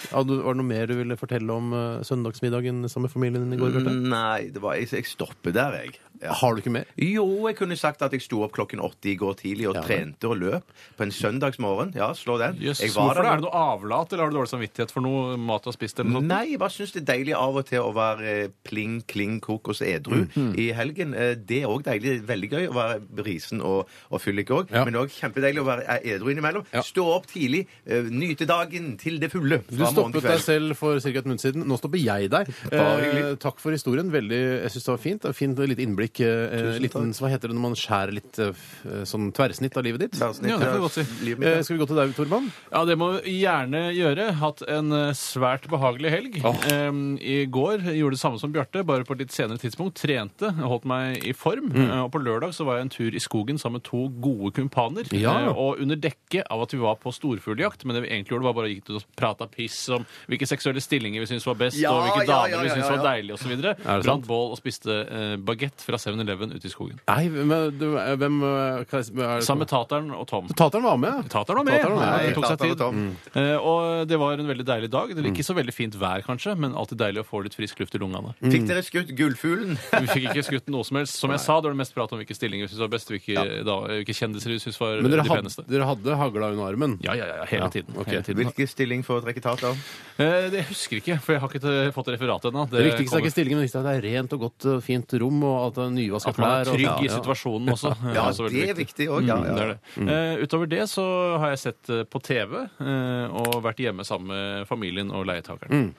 [SPEAKER 3] ja, du, var det noe mer du ville fortelle om eh, søndagsmiddagen sammen med familien din i går? Bjarte?
[SPEAKER 4] Nei, det var, jeg, jeg stopper der, jeg.
[SPEAKER 5] Mm,
[SPEAKER 4] Ja.
[SPEAKER 3] Har du ikke mer?
[SPEAKER 4] Jo, jeg kunne sagt at jeg sto opp klokken åtte i går tidlig og
[SPEAKER 3] Ja, men-
[SPEAKER 4] trente og løp på en søndagsmorgen. Ja, slå den.
[SPEAKER 5] Jøss,
[SPEAKER 4] Jeg var
[SPEAKER 5] hvorfor det?
[SPEAKER 4] der,
[SPEAKER 5] Er det noe avlat, eller har du dårlig samvittighet for noe mat du har spist? eller noe sånt?
[SPEAKER 4] Nei, jeg bare syns det er deilig av og til å være eh, pling, kling, kokos edru i helgen. Eh, Det er òg deilig. Veldig gøy å være brisen og, og fyllik òg.
[SPEAKER 3] Ja.
[SPEAKER 4] Men det er òg kjempedeilig å være eh, edru innimellom.
[SPEAKER 3] Ja.
[SPEAKER 4] Stå opp tidlig, eh, nyte dagen til det fulle.
[SPEAKER 3] Du
[SPEAKER 4] fra morgen til
[SPEAKER 3] stoppet deg
[SPEAKER 4] kveld.
[SPEAKER 3] selv for ca. et minutt siden. Nå stopper jeg
[SPEAKER 5] *laughs*
[SPEAKER 3] deg.
[SPEAKER 4] Bare hyggelig.
[SPEAKER 3] Eh, takk for historien. Veldig, jeg syns det var fint. Det er Fint litt innblikk. Eh, liten, hva heter det når man skjærer litt eh, sånn tverrsnitt av livet ditt?
[SPEAKER 4] Tverrsnitt,
[SPEAKER 5] Ja, det får vi
[SPEAKER 4] ja.
[SPEAKER 5] godt si.
[SPEAKER 4] Livet mitt,
[SPEAKER 3] Eh,
[SPEAKER 4] ja.
[SPEAKER 3] skal vi gå til deg, Tormann?
[SPEAKER 5] Ja, det må vi gjerne gjøre. Hatt en eh, svært behagelig helg. Em, I går gjorde det samme som Bjarte, bare på et litt senere tidspunkt. Trente, holdt meg i form.
[SPEAKER 4] Mm.
[SPEAKER 5] Eh, og på lørdag så var jeg en tur i skogen sammen med to gode kumpaner.
[SPEAKER 3] Ja.
[SPEAKER 5] Eh, og under dekke av at vi var på storfugljakt, men det vi egentlig gjorde, var bare å gikk ut og prata piss om hvilke seksuelle stillinger vi syntes var best,
[SPEAKER 4] Ja,
[SPEAKER 5] og hvilke
[SPEAKER 4] ja,
[SPEAKER 5] damer
[SPEAKER 4] ja, ja,
[SPEAKER 5] vi syntes var
[SPEAKER 4] ja.
[SPEAKER 5] deilige, osv.
[SPEAKER 3] sant?
[SPEAKER 5] Brant bål og spiste eh, bagett fra 7-Eleven ute i skogen.
[SPEAKER 3] Nei, hvem, er- du, eh, hvem eh, hva er det?
[SPEAKER 5] Sammen med Tateren og Tom.
[SPEAKER 3] Tateren var med.
[SPEAKER 5] Tateren var med.
[SPEAKER 3] Tateren var med.
[SPEAKER 5] Ja,
[SPEAKER 4] Nei,
[SPEAKER 5] det tok seg
[SPEAKER 4] Tateren og
[SPEAKER 5] tid.
[SPEAKER 4] Tom.
[SPEAKER 5] Eh, og det var en veldig deilig dag.
[SPEAKER 3] Mm.
[SPEAKER 5] Det er Ikke så veldig fint vær, kanskje, men alltid deilig å få litt frisk luft i
[SPEAKER 3] *laughs*
[SPEAKER 5] lungene.
[SPEAKER 4] Fikk dere skutt gullfuglen?
[SPEAKER 5] Vi fikk ikke skutt noe som helst. Som jeg sa, det var det mest prat om hvilke stillinger vi syntes var best, hvilke, da, hvilke kjendiser vi syntes var
[SPEAKER 3] Men dere
[SPEAKER 5] de
[SPEAKER 3] hadde,
[SPEAKER 5] peneste.
[SPEAKER 3] dere hadde hagla under armen?
[SPEAKER 5] Ja, ja, ja, hele
[SPEAKER 3] Ja,
[SPEAKER 5] tiden.
[SPEAKER 3] ok.
[SPEAKER 5] Hele tiden.
[SPEAKER 4] Hvilken stilling får dere tatt av?
[SPEAKER 5] Eh, det husker jeg ikke, for jeg har ikke eh, fått referatet ennå.
[SPEAKER 3] Det viktigste er ikke stillingen, men det viktigste er at det er rent og godt og fint rom, og at det er nyvaska
[SPEAKER 5] at man er
[SPEAKER 3] klær. og-
[SPEAKER 5] trygg i
[SPEAKER 3] Ja, ja.
[SPEAKER 5] situasjonen også. eh,
[SPEAKER 4] Ja,
[SPEAKER 5] også veldig
[SPEAKER 4] det
[SPEAKER 5] viktig. Mm,
[SPEAKER 4] er viktig òg. Ja,
[SPEAKER 5] Det er
[SPEAKER 4] ja.
[SPEAKER 5] det.
[SPEAKER 3] Mm.
[SPEAKER 5] Eh, utover det så har jeg sett eh, på TV eh, og vært hjemme sammen med familien og leietakeren.
[SPEAKER 3] Mm.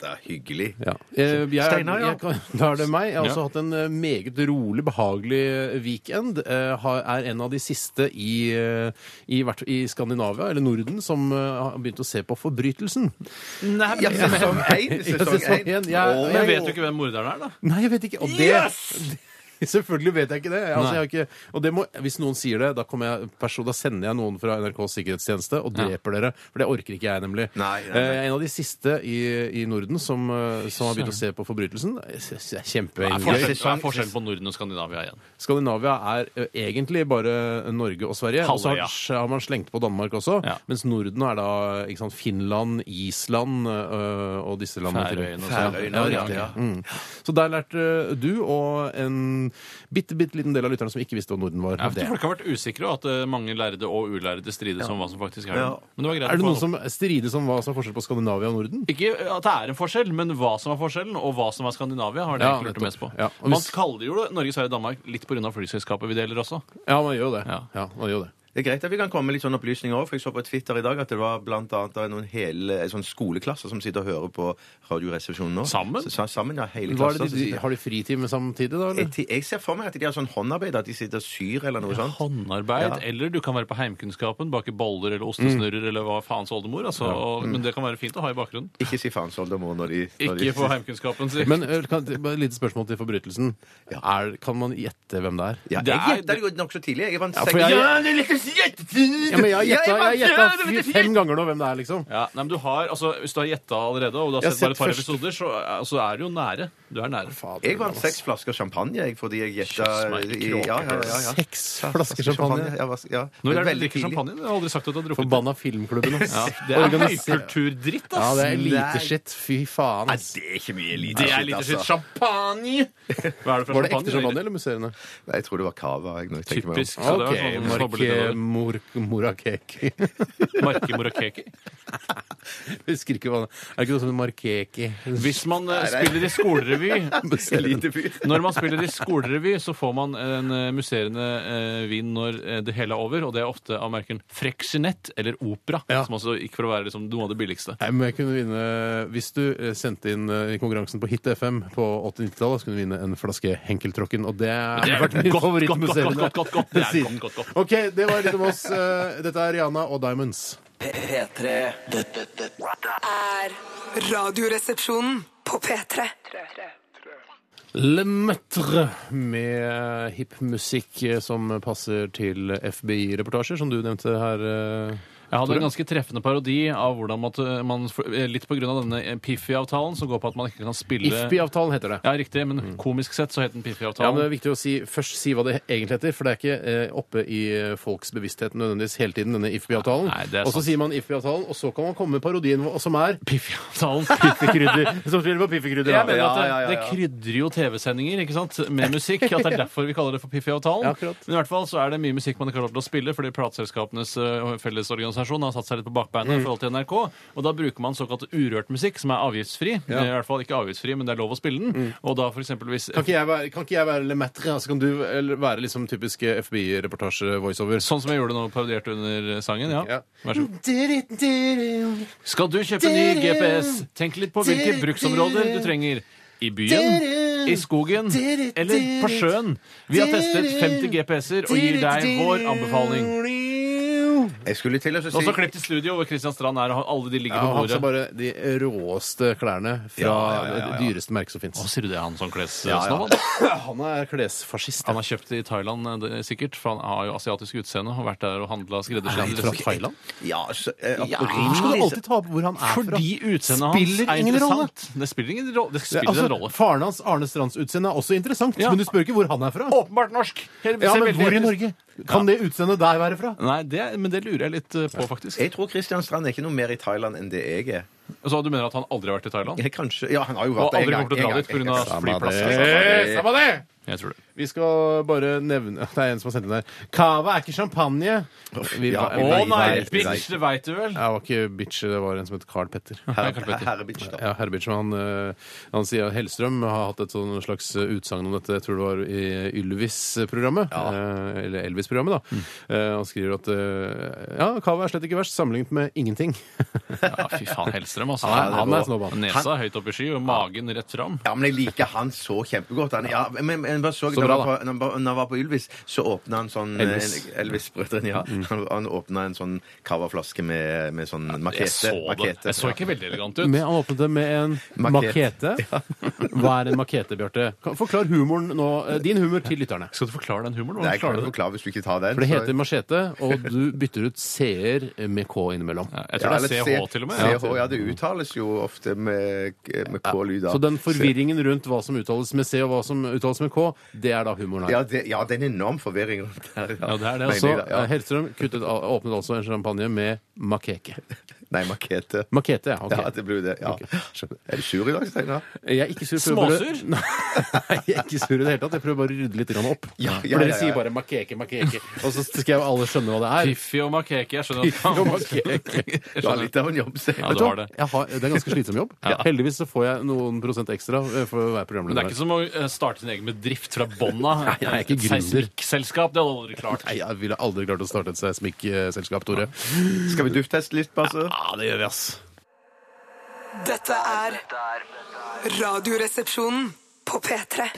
[SPEAKER 4] Det er hyggelig.
[SPEAKER 3] Ja. Eh, Jeg,
[SPEAKER 4] Steinar, ja.
[SPEAKER 3] jeg kan, *laughs* da er det meg. Jeg har
[SPEAKER 5] Ja.
[SPEAKER 3] også hatt en eh, meget rolig, behagelig eh, weekend. Eh, har- Er en av de siste i, eh, i, hvert- i Skandinavia, eller Norden, som eh, har begynt å se på Forbrytelsen.
[SPEAKER 5] Nei,
[SPEAKER 4] Ja, sesong én! Sesong
[SPEAKER 3] sesong
[SPEAKER 4] én.
[SPEAKER 3] én, ja.
[SPEAKER 4] Åh.
[SPEAKER 5] Men Eh, vet du ikke hvem morderen er, da?
[SPEAKER 3] Nei, jeg vet ikke. Og det, *laughs* Selvfølgelig vet jeg ikke det. Altså, jeg har ikke, og det må, hvis noen sier det, da, kommer jeg, perso- da sender jeg noen fra NRKs sikkerhetstjeneste og dreper dere. For det orker ikke jeg, nemlig.
[SPEAKER 4] Nei, nei, nei.
[SPEAKER 3] Eh, en av de siste i, i Norden som, eh, som har begynt å se på Forbrytelsen. Jeg synes det er
[SPEAKER 5] Hva er
[SPEAKER 3] Kjempegøy.
[SPEAKER 5] forskjellen- hva er forskjellen på Norden og Skandinavia igjen?
[SPEAKER 3] Skandinavia er ø, egentlig bare Norge og Sverige. Og så har,
[SPEAKER 5] Halvøya.
[SPEAKER 3] har man slengt på Danmark også.
[SPEAKER 5] Ja.
[SPEAKER 3] Mens Norden er da ikke sant, Finland, Island ø, og disse landene. til.
[SPEAKER 5] Færøyene og sånn.
[SPEAKER 4] Færøyene,
[SPEAKER 3] Ja,
[SPEAKER 4] ja,
[SPEAKER 3] riktig.
[SPEAKER 4] ja.
[SPEAKER 3] Mm. Så der lærte eh, du og en bitte, bitte liten del av lytterne som ikke visste hva Norden var.
[SPEAKER 5] Jeg vet
[SPEAKER 3] det.
[SPEAKER 5] ikke, Folk har vært usikre, og at eh, mange lærde og ulærde strides om hva som faktisk er det.
[SPEAKER 4] Ja.
[SPEAKER 5] Men det var greit.
[SPEAKER 3] Er det
[SPEAKER 5] å få
[SPEAKER 3] noen
[SPEAKER 5] det opp.
[SPEAKER 3] som strides om hva som er forskjell på Skandinavia og Norden?
[SPEAKER 5] Ikke at det er en forskjell, men hva som er forskjellen, og hva som er Skandinavia, har det
[SPEAKER 3] Ja,
[SPEAKER 5] jeg ikke lurt
[SPEAKER 3] nettopp.
[SPEAKER 5] mest på.
[SPEAKER 3] Ja, og
[SPEAKER 5] Man
[SPEAKER 3] hvis-
[SPEAKER 5] kaller jo det Norge, Sverige, Danmark litt pga. flyselskapet vi deler også.
[SPEAKER 3] Ja, man gjør jo det. Ja.
[SPEAKER 5] Ja.
[SPEAKER 3] man gjør jo det.
[SPEAKER 4] Det er greit at vi kan komme med litt sånne opplysninger òg, for jeg så på Twitter i dag at det var blant annet det er noen hele sånn skoleklasser som sitter og hører på Radioresepsjonen nå.
[SPEAKER 5] Sammen?
[SPEAKER 4] Så, sa- sammen, ja, hele
[SPEAKER 3] Hva er
[SPEAKER 4] klasser.
[SPEAKER 3] det de, har de fritid med samtidig, da? Eller?
[SPEAKER 4] jeg, jeg ser for meg at de har sånn håndarbeid, at de sitter og syr eller noe sånt.
[SPEAKER 5] Håndarbeid,
[SPEAKER 4] Ja.
[SPEAKER 5] eller du kan være på heimkunnskapen, bake boller eller ostesnurrer
[SPEAKER 3] Mm.
[SPEAKER 5] eller hva faens oldemor. Altså, og, men det kan være fint å ha i bakgrunnen.
[SPEAKER 4] Ikke si faens oldemor når de når de-
[SPEAKER 5] Ikke på heimkunnskapen, si.
[SPEAKER 3] Men ø, kan, bare et lite spørsmål til forbrytelsen. Er, kan man gjette hvem det er?
[SPEAKER 4] ja,
[SPEAKER 5] Det
[SPEAKER 4] Jeg
[SPEAKER 5] er-
[SPEAKER 4] gjetta det jo nokså tidlig. Jeg vant
[SPEAKER 3] Ja, for jeg-
[SPEAKER 4] det er litt gjettetid!
[SPEAKER 3] Ja, men jeg
[SPEAKER 4] Jeg
[SPEAKER 3] har
[SPEAKER 4] vant-
[SPEAKER 3] gjetta
[SPEAKER 4] Ja, det er litt
[SPEAKER 3] fem ganger nå hvem det er, liksom.
[SPEAKER 5] Ja, nei, men du har, altså, Hvis du har gjetta allerede, og du har
[SPEAKER 3] Jeg har
[SPEAKER 5] sett bare et par
[SPEAKER 3] sett først-
[SPEAKER 5] episoder, så altså, er du jo nære. Du er nære.
[SPEAKER 4] Jeg vant seks flasker champagne jeg, fordi jeg gjetta
[SPEAKER 5] Kjøss meg,
[SPEAKER 4] ja, ja, ja, ja.
[SPEAKER 3] Seks flasker
[SPEAKER 5] altså,
[SPEAKER 3] champagne.
[SPEAKER 4] Ja, hva- ja.
[SPEAKER 5] Når er
[SPEAKER 4] Veldig
[SPEAKER 5] det du drikker
[SPEAKER 4] tidlig.
[SPEAKER 5] champagne? Jeg har aldri sagt at du har drukket
[SPEAKER 3] Forbanna filmklubben, ass.
[SPEAKER 5] Ja, det er
[SPEAKER 3] Organisert.
[SPEAKER 5] høykulturdritt,
[SPEAKER 3] Ja,
[SPEAKER 5] ass!
[SPEAKER 3] det er eliteshit. Fy faen, ass.
[SPEAKER 4] Det er ikke mye elite.
[SPEAKER 5] det er litt
[SPEAKER 4] altså.
[SPEAKER 5] skitt. Champagne! Hva er det for
[SPEAKER 3] Var det ekte champagne eller musserende?
[SPEAKER 4] Nei, Jeg tror det var cava. jeg, når jeg tenker meg om.
[SPEAKER 5] Typisk. Så det var sånn
[SPEAKER 3] Mark
[SPEAKER 5] snobbelinje der.
[SPEAKER 3] mor, Morakeki. *laughs*
[SPEAKER 5] Marke Morakeki.
[SPEAKER 3] Husker ikke hva det er. det ikke noe som Markeki?
[SPEAKER 5] Hvis man eh, spiller i
[SPEAKER 3] *laughs*
[SPEAKER 5] skolerevy
[SPEAKER 4] Elitefyr.
[SPEAKER 5] Når man spiller i skolerevy, så får man en eh, musserende eh, vin når eh, det hele er over, og det er ofte av merken Frexinett eller Opera,
[SPEAKER 3] Ja.
[SPEAKER 5] som altså gikk for å være liksom, noe av det billigste.
[SPEAKER 3] Nei, men jeg kunne vinne, Hvis du eh, sendte inn eh, i konkurransen på Hit FM på 80-90-tallet, så kunne du vinne en flaske Henkeltråkken. Og det
[SPEAKER 5] Det
[SPEAKER 3] har
[SPEAKER 5] er
[SPEAKER 3] vært min
[SPEAKER 5] godt,
[SPEAKER 3] favorittmuseum.
[SPEAKER 5] godt, godt, godt, godt, godt. Det er
[SPEAKER 3] siden.
[SPEAKER 5] godt, godt,
[SPEAKER 3] OK, det var litt om oss. Eh, Dette er Rihanna og Diamonds.
[SPEAKER 2] P3. Dette, dette
[SPEAKER 6] Er Radioresepsjonen på P3.
[SPEAKER 3] Le Møtre med hipp musikk eh, som passer til FBI-reportasjer, som du nevnte her. eh.
[SPEAKER 5] Jeg hadde
[SPEAKER 3] Tore?
[SPEAKER 5] en ganske treffende parodi av hvordan måtte man eh, Litt pga. denne Piffi-avtalen, som går på at man ikke kan spille
[SPEAKER 3] IFBI-avtalen heter det.
[SPEAKER 5] Ja, riktig, men komisk sett så het den
[SPEAKER 3] Ja, men
[SPEAKER 5] Piffi-avtalen.
[SPEAKER 3] det er viktig å si, først si hva det egentlig heter, for det er ikke eh, oppe i eh, folks bevissthet nødvendigvis hele tiden, denne IFBI-avtalen.
[SPEAKER 5] Nei, det er
[SPEAKER 3] Og så
[SPEAKER 5] sant.
[SPEAKER 3] sier man IFBI-avtalen, og så kan man komme med parodien vår, som er *laughs*
[SPEAKER 5] Piffi-avtalen.
[SPEAKER 3] Piffikrydder.
[SPEAKER 5] *laughs*
[SPEAKER 3] Som spiller på piffikrydder. da.
[SPEAKER 5] Jeg mener at
[SPEAKER 4] ja,
[SPEAKER 5] det,
[SPEAKER 4] ja, ja.
[SPEAKER 5] det krydrer jo TV-sendinger ikke sant? med musikk. At det er derfor vi kaller det for Piffi-avtalen.
[SPEAKER 3] Ja, akkurat.
[SPEAKER 5] Men i hvert fall så er det mye musikk man ikke har lov til å spille, fordi plateselskapenes eh, fellesorganisasjon har satt seg litt på bakbeina i forhold til NRK. Og da bruker man såkalt urørt musikk, som er avgiftsfri. I hvert fall ikke avgiftsfri, men det er lov å spille den. Og da for eksempel hvis
[SPEAKER 3] Kan ikke jeg være, kan ikke jeg være Le Matre, altså kan du eller være liksom typisk FBI-reportasje-voiceover?
[SPEAKER 5] Sånn som jeg gjorde nå, parodiert under sangen. ja.
[SPEAKER 3] Ja.
[SPEAKER 5] Vær så god. Skal du kjøpe ny GPS, tenk litt på hvilke bruksområder du trenger. I byen, i skogen eller på sjøen. Vi har testet 50 GPS-er og gir deg vår anbefaling.
[SPEAKER 4] Jeg skulle til å si
[SPEAKER 5] Og så klipp til studio hvor Kristian Strand er, og alle de
[SPEAKER 3] Ja,
[SPEAKER 5] ligger
[SPEAKER 3] han
[SPEAKER 5] på
[SPEAKER 3] har seg
[SPEAKER 5] bordet.
[SPEAKER 3] bare de råeste klærne fra
[SPEAKER 4] Ja, ja, ja, ja, ja.
[SPEAKER 3] det dyreste merket som fins.
[SPEAKER 5] Å, sier du det, han som kles
[SPEAKER 4] Ja, ja.
[SPEAKER 5] snabbt?
[SPEAKER 3] *coughs* Han er klesfascist.
[SPEAKER 5] Han har kjøpt det i Thailand eh, det- sikkert, for han har jo asiatisk utseende og vært der og handla skreddersydd. dress.
[SPEAKER 4] Ja, så, eh,
[SPEAKER 3] Hvorfor skal du
[SPEAKER 4] opprinnelig så-
[SPEAKER 3] alltid ta opp hvor han er
[SPEAKER 5] Fordi utseendet hans
[SPEAKER 3] Spiller
[SPEAKER 5] er
[SPEAKER 3] ingen rolle.
[SPEAKER 5] interessant. Det spiller ingen rolle. Det
[SPEAKER 3] fra?
[SPEAKER 5] spiller en rolle.
[SPEAKER 3] Altså, faren hans, Arne Strands utseende, er også interessant,
[SPEAKER 5] Ja.
[SPEAKER 3] men du spør ikke hvor han er fra.
[SPEAKER 5] Åpenbart norsk.
[SPEAKER 3] Ja, men hvor i Norge? Kan det utseendet der være fra?
[SPEAKER 5] Nei, det, men det lurer jeg litt eh, på, faktisk.
[SPEAKER 4] Jeg tror Christian Strand er ikke noe mer i Thailand enn det jeg er.
[SPEAKER 5] Så Altså, du mener at han aldri har vært i Thailand?
[SPEAKER 4] Jeg, kanskje, ja, han har jo vært
[SPEAKER 5] Og
[SPEAKER 4] der en
[SPEAKER 5] aldri
[SPEAKER 4] gang.
[SPEAKER 5] kommer til å
[SPEAKER 4] en
[SPEAKER 5] dra
[SPEAKER 4] gang,
[SPEAKER 5] dit på grunn
[SPEAKER 4] en gang.
[SPEAKER 5] av
[SPEAKER 4] Eh,
[SPEAKER 5] flyplasser?
[SPEAKER 4] Samme det.
[SPEAKER 5] Jeg tror det.
[SPEAKER 3] Vi skal bare nevne *laughs* Det er en som har sendt inn her. Cava er ikke champagne. Vi,
[SPEAKER 4] Ja,
[SPEAKER 5] Å
[SPEAKER 4] vi
[SPEAKER 3] Å,
[SPEAKER 4] var-
[SPEAKER 5] nei,
[SPEAKER 4] nei,
[SPEAKER 5] bitch, det veit du vel?
[SPEAKER 3] Jeg var ikke bitch, det var en som het Carl Petter.
[SPEAKER 4] Herre- Herre bitch, da.
[SPEAKER 3] Ja, Herbitsch, han, eh, han sier at Hellstrøm har hatt et sånn slags eh, utsagn om dette, jeg tror det var i Ylvis-programmet, eh, eller Elvis-programmet da. Eh, Han skriver at eh, ja, kava er slett ikke verst, sammenlignet med ingenting.
[SPEAKER 5] Ja, fy faen, Hellstrøm, altså.
[SPEAKER 3] Han er- han er snobb, han.
[SPEAKER 5] Nesa er høyt opp i sky og magen rett fram.
[SPEAKER 4] Ja, men jeg liker han så kjempegodt. Han, ja, men, men bare så,
[SPEAKER 3] Så
[SPEAKER 4] når,
[SPEAKER 3] bra,
[SPEAKER 4] han var, når han var- når han var på Ylvis, så åpna han sånn
[SPEAKER 3] Elvis.
[SPEAKER 4] en- Elvis-brødrene, ja. Han, han åpna en sånn cava-flaske med, med sånn makete.
[SPEAKER 5] Mm. Jeg så det.
[SPEAKER 4] makete.
[SPEAKER 5] Jeg så ikke veldig elegant ut.
[SPEAKER 3] Men han åpnet det *laughs* med en
[SPEAKER 4] Maket.
[SPEAKER 3] makete. *laughs* Hva er en makete, Bjarte? Kan- Forklar humoren nå, eh, din humor til lytterne.
[SPEAKER 5] Skal du forklare den humoren?
[SPEAKER 4] Nei, jeg
[SPEAKER 5] Hvordan
[SPEAKER 4] klarer ikke å
[SPEAKER 5] klarer du det?
[SPEAKER 4] forklare hvis du ikke tar den.
[SPEAKER 3] For det
[SPEAKER 4] så-
[SPEAKER 3] heter machete, og du bytter ut C-er med K innimellom.
[SPEAKER 5] Ja, Jeg
[SPEAKER 4] Ja,
[SPEAKER 5] tror det
[SPEAKER 4] eller
[SPEAKER 5] er CH til og med.
[SPEAKER 4] CH, ja, det uttales jo ofte med, med K-lyd. da.
[SPEAKER 3] Så den forvirringen rundt hva som uttales med C og hva som uttales med K, det er da humoren her.
[SPEAKER 4] Ja, det, ja, det er en enorm forvirring rundt her.
[SPEAKER 5] Ja, det er det,
[SPEAKER 4] Mener
[SPEAKER 3] Så
[SPEAKER 4] jeg,
[SPEAKER 3] eh,
[SPEAKER 4] ja.
[SPEAKER 3] Hellstrøm kuttet, åpnet altså en champagne med makeke.
[SPEAKER 4] Nei, makete.
[SPEAKER 3] Makete, ja. ok.
[SPEAKER 4] Ja, det blir jo det. Ja.
[SPEAKER 3] Ok,
[SPEAKER 4] Er du sur i dag, Steinar?
[SPEAKER 3] Jeg er ikke sur. for å bare-
[SPEAKER 5] Småsur?
[SPEAKER 3] *laughs* Nei, jeg er ikke sur i det hele tatt. Jeg prøver bare å rydde litt grann opp.
[SPEAKER 4] Ja, ja,
[SPEAKER 3] For dere
[SPEAKER 4] ja, ja.
[SPEAKER 3] sier bare makeke, makeke, og så skal jo alle skjønne hva det er.
[SPEAKER 5] Piffi og makeke. Jeg skjønner at
[SPEAKER 3] Og makeke.
[SPEAKER 5] Jeg
[SPEAKER 4] Du har
[SPEAKER 5] skjønner.
[SPEAKER 4] litt av en jobb,
[SPEAKER 5] Ja,
[SPEAKER 4] Steinar.
[SPEAKER 5] du har det.
[SPEAKER 3] Jeg har, det er en ganske slitsom
[SPEAKER 5] *laughs*
[SPEAKER 3] jobb. Heldigvis så får jeg noen prosent ekstra eh, for å være
[SPEAKER 5] Men det er
[SPEAKER 3] programleder.
[SPEAKER 5] ikke som å eh, starte sin egen bedrift fra bånn av.
[SPEAKER 3] *laughs* Nei, jeg er ikke
[SPEAKER 5] Et
[SPEAKER 3] gründer.
[SPEAKER 5] Seismikkselskap, det hadde du aldri klart.
[SPEAKER 3] Nei, jeg ville aldri klart å starte et seismikkselskap, Tore.
[SPEAKER 4] Skal vi duftteste litt, Basse?
[SPEAKER 3] Ja, det gjør vi, ass.
[SPEAKER 6] Dette er Radioresepsjonen på P3.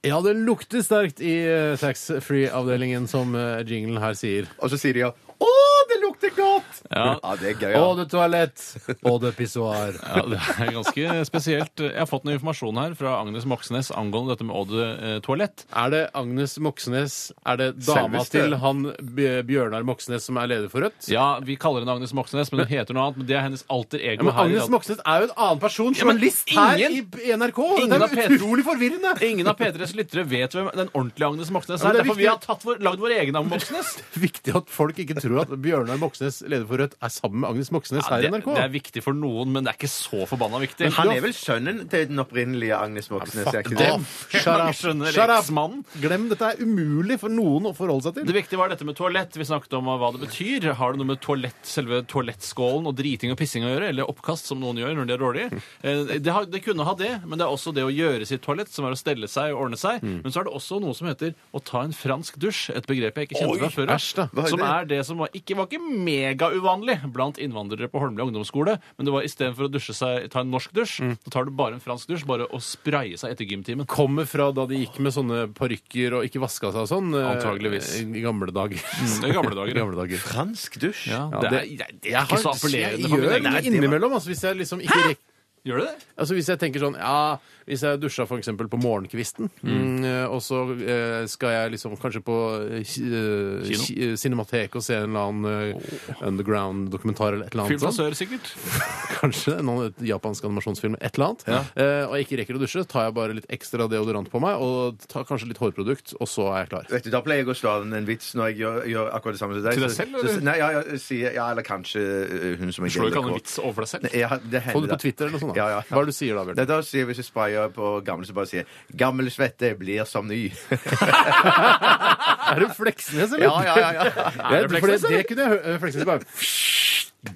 [SPEAKER 3] Ja, det lukter sterkt i eh, tax-free-avdelingen, som eh, jinglen her sier.
[SPEAKER 4] Og så sier de ja. Å, det lukter godt! Ja, det er gøy. Ja.
[SPEAKER 3] Og det toalett! Og det pissoar.
[SPEAKER 5] Ja, det er ganske spesielt. Jeg har fått noe informasjon her fra Agnes Moxnes angående dette med Odd eh, toalett.
[SPEAKER 3] Er det Agnes Moxnes? Er det dama
[SPEAKER 4] Selveste.
[SPEAKER 3] til han Bj- Bjørnar Moxnes som er leder for Rødt?
[SPEAKER 5] Ja, vi kaller henne Agnes Moxnes, men hun heter noe annet. Men det er hennes alter
[SPEAKER 3] Ja,
[SPEAKER 5] ego.
[SPEAKER 3] men
[SPEAKER 5] her i
[SPEAKER 3] Agnes
[SPEAKER 5] radio.
[SPEAKER 3] Moxnes er jo en annen person,
[SPEAKER 5] Ja, men
[SPEAKER 3] journalist her i
[SPEAKER 5] ingen-
[SPEAKER 3] i NRK!
[SPEAKER 5] ingen av
[SPEAKER 3] *laughs* det er
[SPEAKER 5] P3
[SPEAKER 3] jo utrolig forvirrende!
[SPEAKER 5] Ingen av P3s lyttere vet hvem den ordentlige Agnes Moxnes
[SPEAKER 3] Ja, men
[SPEAKER 5] er.
[SPEAKER 3] det er
[SPEAKER 5] Derfor
[SPEAKER 3] viktig
[SPEAKER 5] vi har
[SPEAKER 3] at-
[SPEAKER 5] tatt vår, lagd vår egen Agnes
[SPEAKER 3] *laughs*
[SPEAKER 5] Moxnes.
[SPEAKER 3] Det er viktig at folk ikke tror at Bjørnar Moxnes, leder for Rødt, er sammen med Agnes Moxnes
[SPEAKER 5] Ja,
[SPEAKER 3] her
[SPEAKER 5] det,
[SPEAKER 3] i NRK.
[SPEAKER 5] det er viktig for noen, men det er ikke så forbanna viktig.
[SPEAKER 4] Han
[SPEAKER 5] *laughs*
[SPEAKER 4] er vel sønnen til den opprinnelige Agnes Moxnes? er ikke
[SPEAKER 3] dem.
[SPEAKER 4] det?
[SPEAKER 3] Shut
[SPEAKER 5] Mange
[SPEAKER 3] up.
[SPEAKER 5] skjønner
[SPEAKER 3] Shut up.
[SPEAKER 5] eksmannen.
[SPEAKER 3] Glem dette er umulig for noen å forholde seg
[SPEAKER 5] Det
[SPEAKER 3] til.
[SPEAKER 5] viktige var dette med toalett. Vi snakket om hva det betyr. Har det noe med toalett, selve toalettskålen og driting og pissing å gjøre? Eller oppkast, som noen gjør når de er dårlige? Eh, Det, har, det kunne ha det, men det er også det å gjøre sitt toalett, som er å stelle seg og ordne seg. Men så er det også noe som heter å ta en fransk dusj. Et begrep jeg ikke kjente fra før.
[SPEAKER 3] æsj da.
[SPEAKER 4] Hva er
[SPEAKER 5] Som
[SPEAKER 4] det?
[SPEAKER 5] er det som var ikke, var ikke megauvanlig blant innvandrere på Holmlia ungdomsskole. Men det var istedenfor å dusje seg, ta en norsk dusj, så tar du bare en fransk dusj. Bare å spraye seg etter gymtimen.
[SPEAKER 3] Kommer fra da de gikk med sånne parykker og ikke vaska seg og sånn. eh,
[SPEAKER 5] Antageligvis.
[SPEAKER 3] I gamle dager.
[SPEAKER 5] det er gamle
[SPEAKER 3] *laughs*
[SPEAKER 5] dager, ja.
[SPEAKER 3] Mm. gamle dager.
[SPEAKER 4] Fransk dusj?
[SPEAKER 5] Ja,
[SPEAKER 3] Ja,
[SPEAKER 5] det,
[SPEAKER 3] det-
[SPEAKER 5] er, det er ikke så appellerende.
[SPEAKER 3] Jeg
[SPEAKER 5] for min
[SPEAKER 3] gjør det
[SPEAKER 5] egen
[SPEAKER 4] Nei, det var-
[SPEAKER 3] innimellom, altså, hvis jeg liksom ikke rekker
[SPEAKER 5] Gjør det det?
[SPEAKER 3] Altså Hvis jeg tenker sånn ja, Hvis jeg dusja for eksempel på morgenkvisten, mm, og så eh, skal jeg liksom kanskje på eh, ki- eh,
[SPEAKER 5] Kino?
[SPEAKER 3] ki- eh, Cinemateket og se en eller annen eh, underground-dokumentar eller et eller
[SPEAKER 5] Film fra
[SPEAKER 3] annet sånt.
[SPEAKER 5] sør, sikkert.
[SPEAKER 3] Kanskje en annen japansk animasjonsfilm, et eller annet. Eh, og jeg ikke rekker å dusje, tar jeg bare litt ekstra deodorant på meg og tar kanskje litt hårprodukt, og så er jeg klar.
[SPEAKER 4] Vet du, Da pleier jeg å slå an en vits når jeg gjør, gjør akkurat det samme som deg.
[SPEAKER 5] Til deg
[SPEAKER 4] Så-
[SPEAKER 5] selv,
[SPEAKER 4] så-
[SPEAKER 5] eller?
[SPEAKER 4] Nei, ja, ja, sier, ja, eller kanskje eh, hun som jeg
[SPEAKER 5] Slår ikke
[SPEAKER 4] gjelder
[SPEAKER 5] an en
[SPEAKER 4] kort.
[SPEAKER 5] vits overfor deg selv.
[SPEAKER 4] Ja, det hender
[SPEAKER 3] Få det
[SPEAKER 4] da.
[SPEAKER 3] på Twitter eller noe sånt. da.
[SPEAKER 4] Ja, ja.
[SPEAKER 3] Hva er det du sier da, Bjørn?
[SPEAKER 4] Nei, da sier jeg Hvis jeg speier på gamle, så bare sier jeg, 'Gammel svette blir som ny'. *laughs*
[SPEAKER 3] Er du Fleksnes, eller?
[SPEAKER 4] ja, ja, ja, ja.
[SPEAKER 3] Ja,
[SPEAKER 5] Er det
[SPEAKER 3] for det,
[SPEAKER 5] Fleksnes, eller?
[SPEAKER 3] det kunne jeg hørt. Fleksnes bare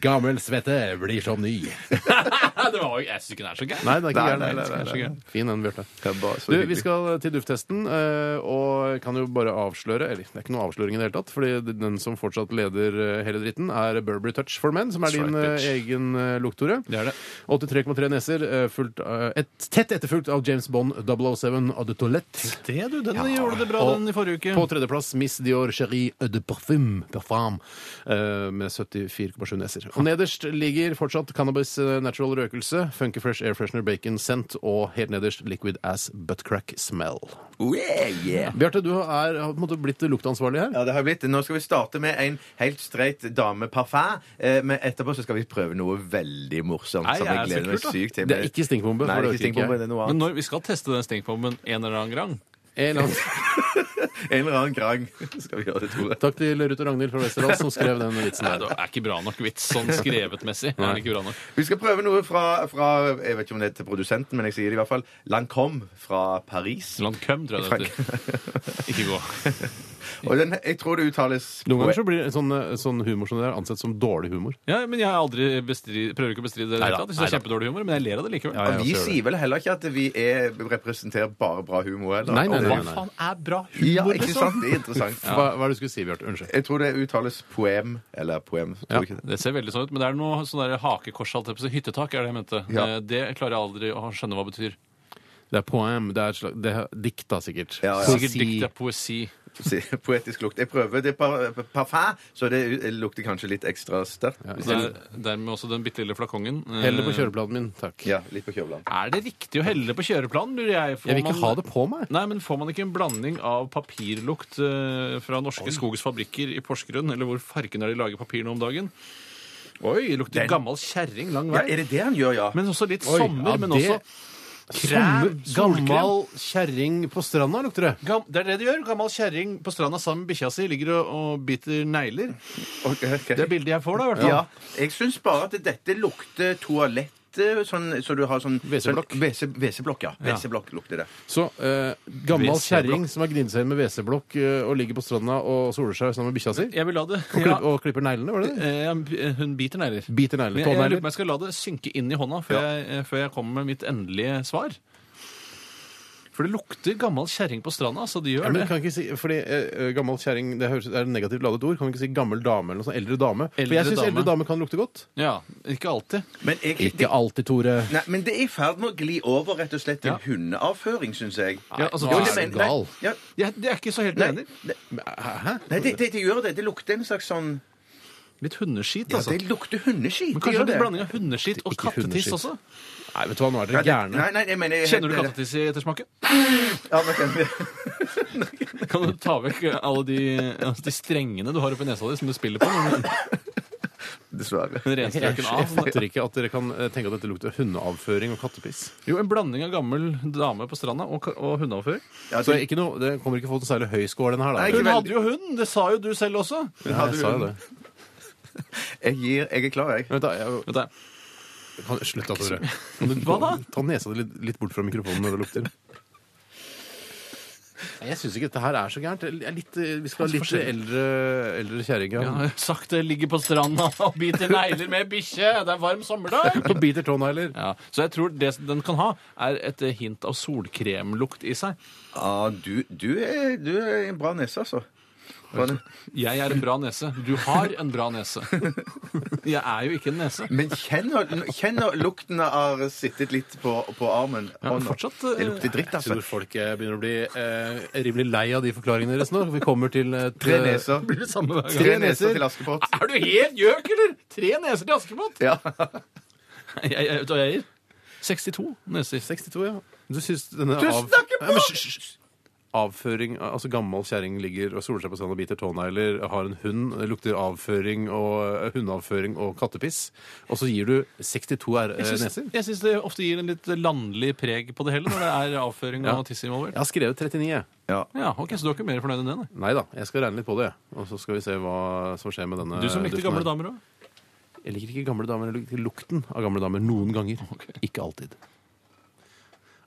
[SPEAKER 3] Gammel svette blir som ny.
[SPEAKER 5] det var jo, jeg syns ikke den er så gæren.
[SPEAKER 3] Nei, den er ikke
[SPEAKER 4] Nei,
[SPEAKER 3] gæren.
[SPEAKER 4] nei,
[SPEAKER 3] den er
[SPEAKER 4] nei, nei,
[SPEAKER 3] ikke
[SPEAKER 4] nei.
[SPEAKER 3] gæren. Fin den, Bjørte.
[SPEAKER 4] Det er bare så
[SPEAKER 3] Du, vi
[SPEAKER 4] hyggelig.
[SPEAKER 3] skal til dufttesten, eh, og kan jo bare avsløre Eller det er ikke noe avsløring i det hele tatt, fordi den som fortsatt leder eh, hele dritten, er Burberry Touch for Men, som er din
[SPEAKER 5] Right,
[SPEAKER 3] eh,
[SPEAKER 5] bitch.
[SPEAKER 3] egen eh, luktore.
[SPEAKER 5] Det er det.
[SPEAKER 3] 83,3 neser, eh, fulgt, eh, et, tett etterfulgt av James Bond 007 Eau de Toilette.
[SPEAKER 5] Det, du, den gjorde det bra
[SPEAKER 3] Og
[SPEAKER 5] den i forrige uke.
[SPEAKER 3] På tredjeplass Miss Dior Cherie Eau de Parfum, parfum eh, med 74,7 neser. Og nederst ligger fortsatt Cannabis eh, Natural Røkelse, Funky Fresh Air Freshener Bacon Scent og helt nederst Liquid Ass Buttcrack Smell. Bjarte, du er, har på en måte blitt luktansvarlig her.
[SPEAKER 4] Ja, det har jeg blitt. Nå skal vi starte med en helt streit dame parfum. eh, Men etterpå så skal vi prøve noe veldig morsomt.
[SPEAKER 5] Nei,
[SPEAKER 4] som
[SPEAKER 5] jeg
[SPEAKER 4] jeg
[SPEAKER 5] er så
[SPEAKER 4] gleder meg
[SPEAKER 5] kult, da.
[SPEAKER 4] sykt til.
[SPEAKER 3] Det er ikke stinkbombe.
[SPEAKER 4] Nei,
[SPEAKER 3] for
[SPEAKER 4] det er
[SPEAKER 3] det
[SPEAKER 4] ikke stinkbombe,
[SPEAKER 3] orker
[SPEAKER 4] det er noe
[SPEAKER 5] Men
[SPEAKER 4] annet.
[SPEAKER 5] når, vi skal teste den stinkbomben en eller annen gang.
[SPEAKER 3] jeg. En eller annen- *laughs*
[SPEAKER 4] En eller annen krang *laughs* skal vi gjøre det, Tore.
[SPEAKER 3] Takk til Ruth og Ragnhild fra Westerdals som skrev den vitsen
[SPEAKER 5] Nei,
[SPEAKER 3] der.
[SPEAKER 5] det Sånn er ikke bra nok vits sånn skrevetmessig. Det er ikke bra nok.
[SPEAKER 4] Vi skal prøve noe fra, fra Jeg vet ikke om det er til produsenten, men jeg sier det i hvert fall. Lancôme fra Paris.
[SPEAKER 5] Lancôme, tror jeg det heter. Ikke gå.
[SPEAKER 4] Og den, jeg tror det uttales
[SPEAKER 3] Noen ganger så blir sånn, sånn humor som det er ansett som dårlig humor.
[SPEAKER 5] *laughs* Ja, men jeg har aldri bestri, prøver ikke å bestride det. i det hele tatt. Jeg synes det er kjempedårlig humor, men jeg ler av det likevel.
[SPEAKER 3] Ja, ja.
[SPEAKER 4] Og vi
[SPEAKER 3] så gjør det.
[SPEAKER 4] sier vel heller ikke at vi er, representerer bare bra humor, heller.
[SPEAKER 3] Nei, nei, nei,
[SPEAKER 5] Hva
[SPEAKER 3] nei.
[SPEAKER 5] faen er bra
[SPEAKER 4] Ja,
[SPEAKER 5] humor,
[SPEAKER 4] ikke
[SPEAKER 5] liksom?
[SPEAKER 4] sant? Det er *laughs* interessant.
[SPEAKER 3] Hva, hva er det du skulle si, Bjarte? Unnskyld.
[SPEAKER 4] Jeg tror det uttales poem, eller poem. Tror
[SPEAKER 3] Ja.
[SPEAKER 4] jeg ikke det.
[SPEAKER 5] Det ser veldig sånn ut, men det er noe sånn der hakekors, holdt jeg på å si. Hyttetak er det jeg mente.
[SPEAKER 4] Ja.
[SPEAKER 5] Eh, Det klarer jeg aldri å skjønne hva betyr.
[SPEAKER 3] Det er poem. Det er, et slags- det er dikt, da, sikkert.
[SPEAKER 4] Ja, ja.
[SPEAKER 5] Sikkert dikt det er poesi.
[SPEAKER 4] Si- *laughs* Poetisk lukt. Jeg prøver. Det er par- parfum, så det lukter kansi kanskje litt ekstra sterkt.
[SPEAKER 5] Så det er dermed også den bitte lille flakongen. Eh,
[SPEAKER 3] Heller på kjøreplanen min, takk.
[SPEAKER 4] Ja, litt på kjøvland.
[SPEAKER 5] Er det riktig å helle på kjøreplanen, lurer jeg? Får
[SPEAKER 3] Jeg vil ikke
[SPEAKER 5] man-
[SPEAKER 3] ha det på meg.
[SPEAKER 5] Nei, men Får man ikke en blanding av papirlukt eh, fra Norske Skogs fabrikker i Porsgrunn, eller hvor farken er de lager papir nå om dagen? Oi, det lukter
[SPEAKER 4] Den-
[SPEAKER 5] gammel kjerring lang
[SPEAKER 4] Ja,
[SPEAKER 5] vei.
[SPEAKER 4] er det det han gjør, ja?
[SPEAKER 5] Men også litt
[SPEAKER 3] Oi,
[SPEAKER 5] sommer.
[SPEAKER 3] ja,
[SPEAKER 5] men
[SPEAKER 3] det-
[SPEAKER 5] også krem. solkrem.
[SPEAKER 3] Gammal kjerring på stranda, lukter det.
[SPEAKER 5] Gam, det er det de gjør. Gammel kjerring på stranda sammen med bikkja si ligger og, og biter negler.
[SPEAKER 4] Ok, ok.
[SPEAKER 5] Det er bildet jeg får, da. i hvert fall.
[SPEAKER 4] ja. Jeg syns bare at dette lukter toalett. Sånn, så du har sånn
[SPEAKER 3] WC-blokk.
[SPEAKER 4] sånn WC WC-blokk, ja.
[SPEAKER 5] Ja.
[SPEAKER 4] WC-blokk lukter det.
[SPEAKER 3] Så eh, gammal
[SPEAKER 5] WC-blokk.
[SPEAKER 3] kjerring som har gnidd seg inn med WC-blokk eh, og ligger på stranda og soler seg sammen med bikkja si.
[SPEAKER 5] Jeg vil la det.
[SPEAKER 3] Og,
[SPEAKER 5] Ja.
[SPEAKER 3] klipp, og klipper neglene, var det det?
[SPEAKER 5] Eh, ja, Hun biter negler.
[SPEAKER 3] Biter
[SPEAKER 5] Men
[SPEAKER 3] neglene.
[SPEAKER 5] jeg, jeg lurer på om
[SPEAKER 3] Tånegler.
[SPEAKER 5] jeg skal la det synke inn i hånda før, jeg, eh, før jeg kommer med mitt endelige svar. For det lukter gammel kjerring på stranda. altså det
[SPEAKER 3] Ja,
[SPEAKER 5] gjør
[SPEAKER 3] men
[SPEAKER 5] det.
[SPEAKER 3] kan ikke si, fordi eh, Gammal kjerring det høres, er et negativt ladet ord. Kan du ikke si gammel dame eller noe sånt? Eldre dame. For
[SPEAKER 5] Eldre
[SPEAKER 3] jeg syns
[SPEAKER 5] dame.
[SPEAKER 3] eldre dame kan lukte godt.
[SPEAKER 5] Ja, Ikke alltid.
[SPEAKER 4] Men, jeg,
[SPEAKER 3] Ikke alltid, Tore.
[SPEAKER 4] nei, men det er i ferd med å gli over rett og slett til
[SPEAKER 5] Ja.
[SPEAKER 4] hundeavføring, syns jeg.
[SPEAKER 5] Ja, altså,
[SPEAKER 4] Jo,
[SPEAKER 5] hva
[SPEAKER 4] det
[SPEAKER 5] er
[SPEAKER 4] men-
[SPEAKER 3] du gal?
[SPEAKER 4] Nei, ja,
[SPEAKER 5] Jeg, jeg er ikke så helt
[SPEAKER 4] nei,
[SPEAKER 5] enig.
[SPEAKER 4] nei, nei det, det, det gjør det. Det lukter en slags sånn
[SPEAKER 5] Litt hundeskit,
[SPEAKER 4] Ja,
[SPEAKER 5] altså.
[SPEAKER 4] det lukter hundeskit.
[SPEAKER 5] Men
[SPEAKER 4] det gjør
[SPEAKER 5] kanskje det er
[SPEAKER 4] det.
[SPEAKER 5] en blanding av hundeskit og
[SPEAKER 3] Ikke
[SPEAKER 5] kattetiss
[SPEAKER 3] hundeskit.
[SPEAKER 5] også?
[SPEAKER 3] Nei, vet du hva, nå er
[SPEAKER 4] Ja,
[SPEAKER 3] dere
[SPEAKER 4] det-
[SPEAKER 3] gærne.
[SPEAKER 4] Nei, nei, jeg mener, jeg-
[SPEAKER 5] Kjenner du kattetiss i ettersmaken?
[SPEAKER 4] Ja, men *laughs* kan-
[SPEAKER 5] Kan du ta vekk alle de, altså de strengene du har oppi nesa di som du spiller på? når du-
[SPEAKER 4] Dessverre.
[SPEAKER 5] Den
[SPEAKER 3] Jeg,
[SPEAKER 5] renstrøken
[SPEAKER 3] jeg
[SPEAKER 5] av.
[SPEAKER 3] fatter ikke at dere kan eh, tenke at dette lukter hundeavføring og kattepiss.
[SPEAKER 5] Jo, en blanding av gammel dame på stranda og, ka- og hundeavfører.
[SPEAKER 4] Ja,
[SPEAKER 3] Så
[SPEAKER 4] det-
[SPEAKER 3] ikke noe, det kommer ikke få til særlig høy score, den her.
[SPEAKER 4] Nei,
[SPEAKER 3] Da.
[SPEAKER 4] ikke
[SPEAKER 5] Hun
[SPEAKER 4] veldig.
[SPEAKER 5] hadde jo hund! Det sa jo du selv også.
[SPEAKER 3] Nei,
[SPEAKER 4] hadde
[SPEAKER 3] jeg sa jo
[SPEAKER 4] hun.
[SPEAKER 3] det.
[SPEAKER 4] jeg, gir, jeg er klar, jeg.
[SPEAKER 3] Vent, da. Jeg,
[SPEAKER 5] Vet du,
[SPEAKER 3] kan, slutt, da, Tore. Kan du
[SPEAKER 5] Hva da?
[SPEAKER 3] Ta nesa di litt, litt bort fra mikrofonen når det lukter. Nei, Jeg syns ikke dette her er så gærent. Jeg er litt, eh, vi skal ha litt eldre, eldre kjerring.
[SPEAKER 5] Jeg
[SPEAKER 3] Ja.
[SPEAKER 5] har sagt det ligger på stranda og biter negler med bikkje. Det er varm sommerdag.
[SPEAKER 3] Som biter tånegler.
[SPEAKER 5] Ja, så jeg tror det den kan ha, er et hint av solkremlukt i seg.
[SPEAKER 4] Ja, du, du, er, du er en bra nese, altså. Bra ne-
[SPEAKER 5] Jeg er en bra nese. Du har en bra nese. Jeg er jo ikke en nese.
[SPEAKER 4] Men kjenner, kjenner lukten av sittet litt på, på armen.
[SPEAKER 5] Ja,
[SPEAKER 4] hånda.
[SPEAKER 5] fortsatt, eh,
[SPEAKER 4] det lukter dritt,
[SPEAKER 3] Jeg
[SPEAKER 4] altså.
[SPEAKER 3] tror folk eh, begynner å bli eh, rimelig lei av de forklaringene deres nå. Vi kommer til et,
[SPEAKER 4] Tre
[SPEAKER 3] eh,
[SPEAKER 4] neser.
[SPEAKER 5] Blir det samme hver gang. Ah,
[SPEAKER 4] Tre
[SPEAKER 3] Tre neser.
[SPEAKER 4] neser til Askepott.
[SPEAKER 5] Er du helt gjøk, eller? Tre neser til Askepott?
[SPEAKER 4] Ja.
[SPEAKER 5] Jeg, jeg, vet du hva jeg gir? 62 neser.
[SPEAKER 3] 62, ja. Du syns denne
[SPEAKER 4] Du snakker
[SPEAKER 3] Nei, men hysj, hysj, hysj. Avføring Altså gammel kjerring ligger og soler seg på stranda og biter tånegler, har en hund, lukter avføring og eh, hundeavføring og kattepiss, og så gir du 62 er, eh,
[SPEAKER 5] Jeg syns-
[SPEAKER 3] neser?
[SPEAKER 5] Jeg syns det ofte gir en litt landlig preg på det hele når det er avføring
[SPEAKER 3] Ja.
[SPEAKER 5] og tiss involvert.
[SPEAKER 3] Jeg har skrevet 39, jeg.
[SPEAKER 5] Ja, ok, Så du er ikke mer fornøyd enn det? Nei.
[SPEAKER 3] Nei da, jeg skal regne litt på det. Og så skal vi se hva som skjer med denne
[SPEAKER 5] Du som
[SPEAKER 3] duften
[SPEAKER 5] likte gamle
[SPEAKER 3] her.
[SPEAKER 5] damer òg?
[SPEAKER 3] Jeg liker ikke gamle damer, jeg liker lukten av gamle damer noen ganger. Ikke alltid.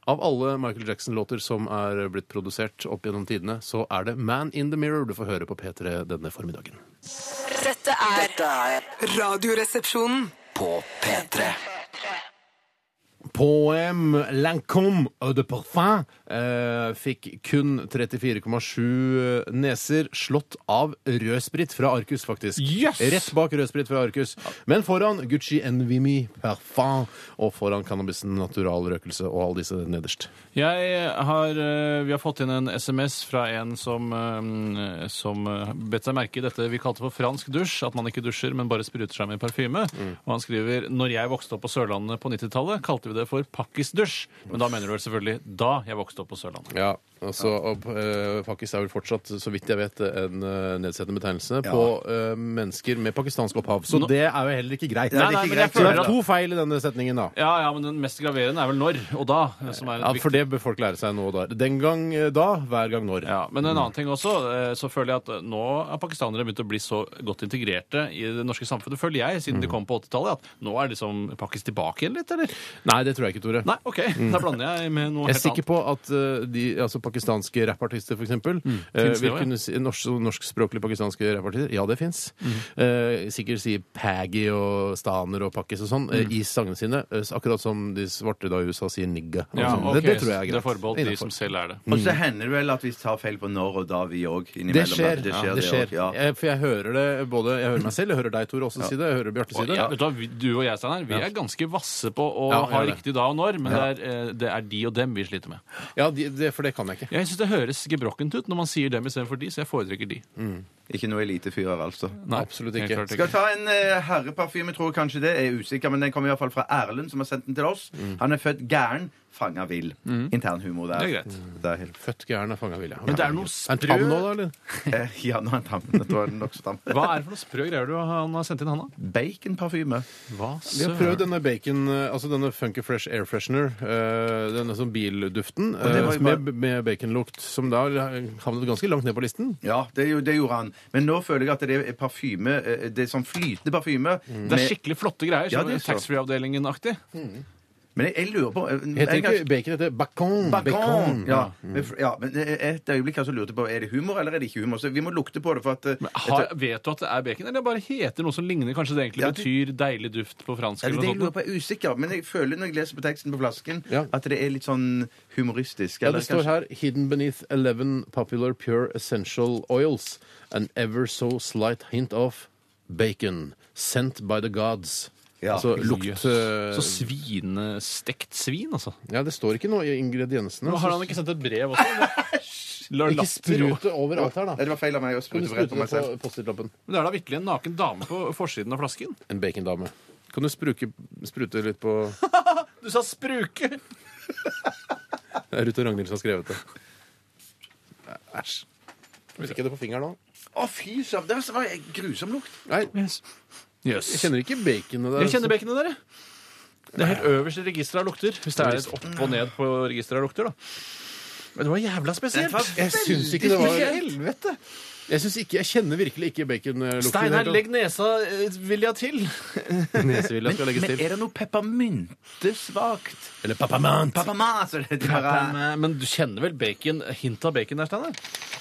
[SPEAKER 3] Av alle Michael Jackson-låter som er blitt produsert opp gjennom tidene, så er det Man in the Mirror du får høre på P3 denne formiddagen.
[SPEAKER 6] Dette er
[SPEAKER 2] Dette er
[SPEAKER 6] Radioresepsjonen.
[SPEAKER 2] på P3.
[SPEAKER 3] Poem Lancôme eau de parfum eh, fikk kun 34,7 neser, slått av rødsprit fra Arcus, faktisk.
[SPEAKER 5] Yes!
[SPEAKER 3] Rett bak rødsprit fra Arcus. Men foran Gucci Envimi Parfum, og foran cannabisen Natural Røkelse og alle disse nederst.
[SPEAKER 5] Jeg har, eh, vi har fått inn en SMS fra en som, eh, som eh, bet seg merke i dette vi kalte for fransk dusj. At man ikke dusjer, men bare spruter seg med parfyme.
[SPEAKER 3] Mm.
[SPEAKER 5] Og han skriver når jeg vokste opp på Sørlandet på 90-tallet, kalte vi det for pakkisdusj. Men da mener du vel selvfølgelig da jeg vokste opp på Sørlandet.
[SPEAKER 3] Ja, altså, og eh, Pakkis er vel fortsatt, så vidt jeg vet, en eh, nedsettende betegnelse på eh, mennesker med pakistansk opphav. Så det er jo heller ikke greit.
[SPEAKER 5] Nei, nei, men jeg
[SPEAKER 3] så det
[SPEAKER 5] føler
[SPEAKER 3] er
[SPEAKER 5] at
[SPEAKER 3] to feil i denne setningen, da.
[SPEAKER 5] ja, ja, men Den mest graverende er vel når og da. eh, Som er
[SPEAKER 3] Ja,
[SPEAKER 5] viktig-
[SPEAKER 3] For det bør folk lære seg nå og da. Den gang eh, da, hver gang når.
[SPEAKER 5] Ja, Men en annen ting også, eh, så føler jeg at eh, nå er pakistanere begynt å bli så godt integrerte i det norske samfunnet, føler jeg, siden
[SPEAKER 3] Mm.
[SPEAKER 5] de kom på 80-tallet, at nå er liksom Pakis tilbake igjen litt, eller?
[SPEAKER 3] Nei, det tror jeg ikke, Tore.
[SPEAKER 5] Nei, OK, da blander jeg med noe
[SPEAKER 3] Mm. Jeg er
[SPEAKER 5] helt
[SPEAKER 3] sikker
[SPEAKER 5] annet.
[SPEAKER 3] på at eh, de altså pakistanske rappartister, f.eks. Mm.
[SPEAKER 5] Finnes det
[SPEAKER 3] vil
[SPEAKER 5] også, ja?
[SPEAKER 3] kunne si norsk, norskspråklige pakistanske rappartister. Ja, det fins.
[SPEAKER 5] Mm.
[SPEAKER 3] sikkert sier Paggy og Staner og Pakkis og sånn eh,
[SPEAKER 5] Mm.
[SPEAKER 3] i sangene sine. eh, akkurat som de svarte da i USA sier nigga. og
[SPEAKER 5] Ja,
[SPEAKER 3] sånn.
[SPEAKER 5] ok,
[SPEAKER 3] det, det tror jeg er greit.
[SPEAKER 5] Det er forbeholdt de
[SPEAKER 3] Innenfor.
[SPEAKER 5] som selv er det.
[SPEAKER 4] Og så hender det vel at vi tar feil på når og da, vi òg.
[SPEAKER 3] Det skjer.
[SPEAKER 4] Det skjer.
[SPEAKER 3] det skjer.
[SPEAKER 4] også, ja.
[SPEAKER 3] Eh, For jeg hører det både Jeg hører meg selv, jeg hører deg, Tore, også si det. Jeg hører Bjarte si
[SPEAKER 5] Og,
[SPEAKER 3] det.
[SPEAKER 5] ja, vet du, hva, vi- du og jeg, Steinar, vi er ganske vasse på å
[SPEAKER 3] Ja, vi
[SPEAKER 5] ha
[SPEAKER 3] er det.
[SPEAKER 5] riktig da og når, men det, er, eh, det er de og dem vi sliter med.
[SPEAKER 3] Ja, de, det, for det kan jeg ikke.
[SPEAKER 5] Jeg syns det høres gebrokkent ut når man sier dem istedenfor de, så jeg foretrekker de.
[SPEAKER 4] Ikke noe elitefyrer, altså.
[SPEAKER 5] Nei,
[SPEAKER 3] Mm, Absolutt
[SPEAKER 5] helt
[SPEAKER 3] ikke.
[SPEAKER 5] klart
[SPEAKER 4] Skal ta en eh, herreparfyme, tror jeg kanskje det. Jeg er usikker, men den kommer i hvert fall fra Erlend, som har sendt den til oss. Han er født gæren, fanga vill. Internhumor der.
[SPEAKER 5] Mm. Det er greit.
[SPEAKER 4] Det er helt...
[SPEAKER 3] Født gæren er fanga vilja.
[SPEAKER 5] Men det er noe
[SPEAKER 3] Er den tam nå, da, eller?
[SPEAKER 4] Eh, ja, nå er han tam. Nå er han nokså tam.
[SPEAKER 5] Hva er det for noe sprø greier du han har sendt inn, Hanna?
[SPEAKER 4] Baconparfyme.
[SPEAKER 5] Hva
[SPEAKER 3] Vi har prøvd denne bacon, eh, altså denne Funky Fresh Air Freshener, eh, denne som bilduften,
[SPEAKER 4] det var
[SPEAKER 3] eh,
[SPEAKER 4] jo
[SPEAKER 3] med, med baconlukt, som da havnet ganske langt ned på listen.
[SPEAKER 4] Ja, det, er jo- det gjorde han. Men nå føler jeg at det er parfyme eh, Det er sånn flytende parfyme.
[SPEAKER 5] Mm. Det er
[SPEAKER 4] med-
[SPEAKER 5] skikkelig flotte greier.
[SPEAKER 4] Ja,
[SPEAKER 5] som
[SPEAKER 4] det er så.
[SPEAKER 5] Taxfree-avdelingen-aktig.
[SPEAKER 4] Men jeg, jeg lurer på eh, en
[SPEAKER 3] Heter
[SPEAKER 4] gang-
[SPEAKER 3] ikke bacon, heter bacon.
[SPEAKER 4] Bacon! Ja.
[SPEAKER 5] Mm.
[SPEAKER 4] Men f- ja, men eh, et øyeblikk her så lurte jeg på er det humor eller er det ikke humor. Så vi må lukte på det. for at... eh,
[SPEAKER 5] Har,
[SPEAKER 4] etter-
[SPEAKER 5] vet du at det er bacon, eller bare heter noe som ligner? Kanskje det egentlig
[SPEAKER 4] Ja, det-
[SPEAKER 5] betyr deilig duft på fransk?
[SPEAKER 4] Ja, det er det jeg
[SPEAKER 5] Eller
[SPEAKER 4] lurer
[SPEAKER 5] noe sånt.
[SPEAKER 4] på, jeg er usikker, men jeg føler når jeg leser på teksten på flasken,
[SPEAKER 3] Ja.
[SPEAKER 4] at det er litt sånn humoristisk.
[SPEAKER 3] Ja,
[SPEAKER 4] eller
[SPEAKER 3] det står
[SPEAKER 4] kanskje-
[SPEAKER 3] her 'Hidden beneath 11 popular pure essential oils'. An ever so slight hint of bacon. Sent by the gods.
[SPEAKER 4] Ja.
[SPEAKER 3] Altså
[SPEAKER 5] Jøss.
[SPEAKER 3] lukt
[SPEAKER 5] Så
[SPEAKER 3] eh,
[SPEAKER 5] svine, stekt svin, altså.
[SPEAKER 3] Ja, det står ikke noe i ingrediensene.
[SPEAKER 5] har han ikke sendt et brev *laughs* også? La
[SPEAKER 3] Ikke
[SPEAKER 5] latter og-
[SPEAKER 3] sprute overalt her,
[SPEAKER 4] Nei,
[SPEAKER 3] da.
[SPEAKER 4] det var feil av meg å
[SPEAKER 3] Kan du
[SPEAKER 4] sprute
[SPEAKER 3] sprute
[SPEAKER 4] rett på meg selv.
[SPEAKER 3] på Post-It-lappen?
[SPEAKER 5] Men Det er da vitterlig en naken dame på forsiden av flasken.
[SPEAKER 3] En bacondame. Kan du spruke, sprute litt på *laughs*
[SPEAKER 5] Du sa spruke!
[SPEAKER 3] Det er Ruth og Ragnhild som har skrevet det. Æsj. Hvis ikke det på fingeren nå.
[SPEAKER 4] Å, fy søren! Det var en grusom lukt.
[SPEAKER 3] Nei,
[SPEAKER 5] Jøs.
[SPEAKER 3] jeg
[SPEAKER 5] Yes.
[SPEAKER 3] kjenner ikke baconet der.
[SPEAKER 5] Dere kjenner baconet, dere? Det er helt øverst i registeret av lukter. Hvis det er et opp og ned på registeret av lukter, da. Men det var jævla spesielt.
[SPEAKER 3] Jeg syns ikke det var Jeg syns ikke, jeg kjenner virkelig ikke eh, baconlukten.
[SPEAKER 5] Steinar, legg nesa eh, vilja til.
[SPEAKER 3] nesevilla skal legges
[SPEAKER 4] Men
[SPEAKER 3] til.
[SPEAKER 4] er det noe peppermyntesvakt?
[SPEAKER 3] Eller papamant.
[SPEAKER 4] Papama, så det det bare...
[SPEAKER 5] eh, Men, men du kjenner vel bacon, hint av bacon der, Steinar?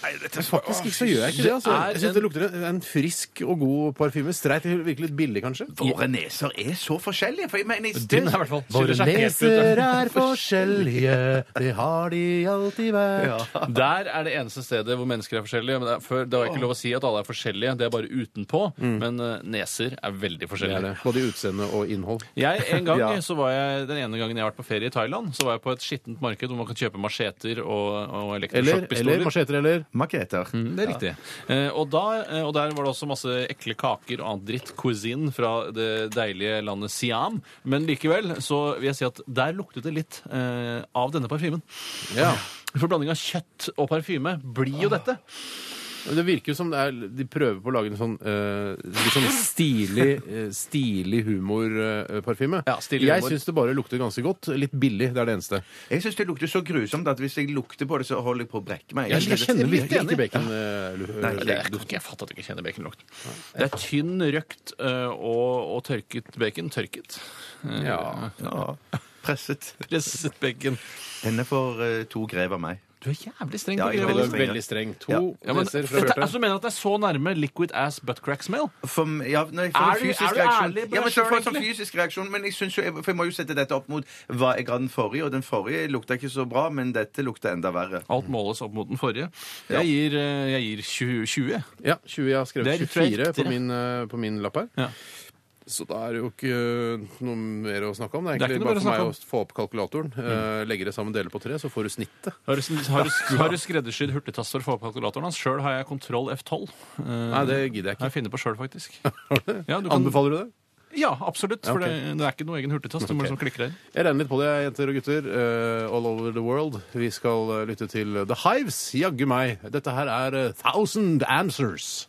[SPEAKER 3] Faktisk ikke så gjør jeg ikke det. altså.
[SPEAKER 5] Det er
[SPEAKER 3] Jeg syns det lukter en- en frisk og god parfyme. Streit, virkelig litt billig, kanskje.
[SPEAKER 4] Våre neser er så forskjellige, for jeg mener i
[SPEAKER 5] Din er i hvert fall skiller seg helt ut.
[SPEAKER 3] er forskjellige, det har de alltid vært.
[SPEAKER 5] Der er det eneste stedet hvor mennesker er forskjellige. Men det, er, før, det var ikke lov å si at alle er forskjellige, det er bare utenpå. Men eh, neser er
[SPEAKER 3] Mm.
[SPEAKER 5] veldig
[SPEAKER 3] Det er det.
[SPEAKER 5] forskjellige.
[SPEAKER 3] Både i utseende og innhold.
[SPEAKER 5] Jeg,
[SPEAKER 3] *laughs*
[SPEAKER 5] en gang,
[SPEAKER 4] Ja.
[SPEAKER 5] så var jeg, Den ene gangen jeg har vært på ferie i Thailand, så var jeg på et skittent marked hvor man kan kjøpe macheter og, og
[SPEAKER 3] Eller, eller
[SPEAKER 5] elektrosjokkpistoler.
[SPEAKER 3] macheter eller
[SPEAKER 4] Maketer.
[SPEAKER 5] Mm, Det er riktig. Eh, og, da, eh, og der var det også masse ekle kaker og annet dritt cuisine fra det deilige landet Siam. Men likevel så vil jeg si at der luktet det litt eh, av denne parfymen.
[SPEAKER 3] Ja.
[SPEAKER 5] For blanding av kjøtt og parfyme blir jo dette.
[SPEAKER 3] Men Det virker jo som det er, de prøver på å lage en sånn, eh, litt sånn stilig, eh, stilig humorparfyme.
[SPEAKER 5] Ja, stilig
[SPEAKER 3] jeg
[SPEAKER 5] humor.
[SPEAKER 3] syns det bare lukter ganske godt. Litt billig, det er det eneste.
[SPEAKER 4] Jeg syns det lukter så grusomt at hvis jeg lukter på det, så holder jeg på å brekke meg.
[SPEAKER 3] Jeg, jeg kjenner virkelig ikke bacon. eh,
[SPEAKER 4] Nei, det er
[SPEAKER 5] Jeg kan ikke jeg fatte at du ikke kjenner baconlukt. Det er tynn, røkt eh, og, og tørket bacon. Tørket. Eh,
[SPEAKER 3] Ja.
[SPEAKER 4] Ja, presset.
[SPEAKER 5] Presset bacon.
[SPEAKER 4] Denne får eh, to grev av meg.
[SPEAKER 5] Du er jævlig streng.
[SPEAKER 4] Ja,
[SPEAKER 5] på
[SPEAKER 4] jeg er
[SPEAKER 5] det,
[SPEAKER 3] Du
[SPEAKER 5] Valen.
[SPEAKER 3] er veldig streng. To
[SPEAKER 4] Ja.
[SPEAKER 5] ja, men,
[SPEAKER 3] neser fra
[SPEAKER 5] dette,
[SPEAKER 3] Bjarte.
[SPEAKER 5] altså, du mener at det er så nærme liquid ass buttcrack smell?
[SPEAKER 4] For, m- ja, når jeg får
[SPEAKER 5] Er
[SPEAKER 4] en
[SPEAKER 5] du-
[SPEAKER 4] fysisk
[SPEAKER 5] er du
[SPEAKER 4] reaksjon-
[SPEAKER 5] ærlig på
[SPEAKER 4] ja,
[SPEAKER 5] deg
[SPEAKER 4] men så
[SPEAKER 5] selv,
[SPEAKER 4] får jeg sånn
[SPEAKER 5] egentlig?
[SPEAKER 4] fysisk reaksjon, men jeg, synes jo, jeg, for jeg må jo sette dette opp mot hva jeg ga den forrige, og den forrige lukta ikke så bra, men dette lukta enda verre.
[SPEAKER 5] Alt måles opp mot den forrige. Jeg gir, eh, jeg gir 20. 20.
[SPEAKER 3] Ja, 20. Jeg har skrevet
[SPEAKER 5] Det er tror jeg
[SPEAKER 3] 24 på
[SPEAKER 5] riktigere.
[SPEAKER 3] min, eh, på min lapp her.
[SPEAKER 5] Ja.
[SPEAKER 3] Så da er det jo ikke eh, noe mer å snakke om. Det er
[SPEAKER 5] Det er
[SPEAKER 3] egentlig bare for
[SPEAKER 5] ikke noe mer å
[SPEAKER 3] meg
[SPEAKER 5] snakke
[SPEAKER 3] å få opp kalkulatoren. eh, Legge det sammen, dele på tre, så får du snittet.
[SPEAKER 5] Har du, har du, har du skreddersydd hurtigtaster for kalkulatoren hans? Sjøl har jeg kontroll F12. Eh,
[SPEAKER 3] Nei, det gidder jeg
[SPEAKER 5] har
[SPEAKER 3] ikke.
[SPEAKER 5] jeg funnet på sjøl, faktisk. Ja, du kan-
[SPEAKER 3] Anbefaler du det?
[SPEAKER 5] Ja, absolutt. For
[SPEAKER 3] Ja, ok.
[SPEAKER 5] det, det er ikke noe egen hurtigtast. Du må
[SPEAKER 3] Ok.
[SPEAKER 5] liksom klikke deg inn.
[SPEAKER 3] Jeg regner litt på det, jenter og gutter. eh, all over the world. Vi skal eh, lytte til The Hives. Jaggu meg. Dette her er eh, Thousand Answers.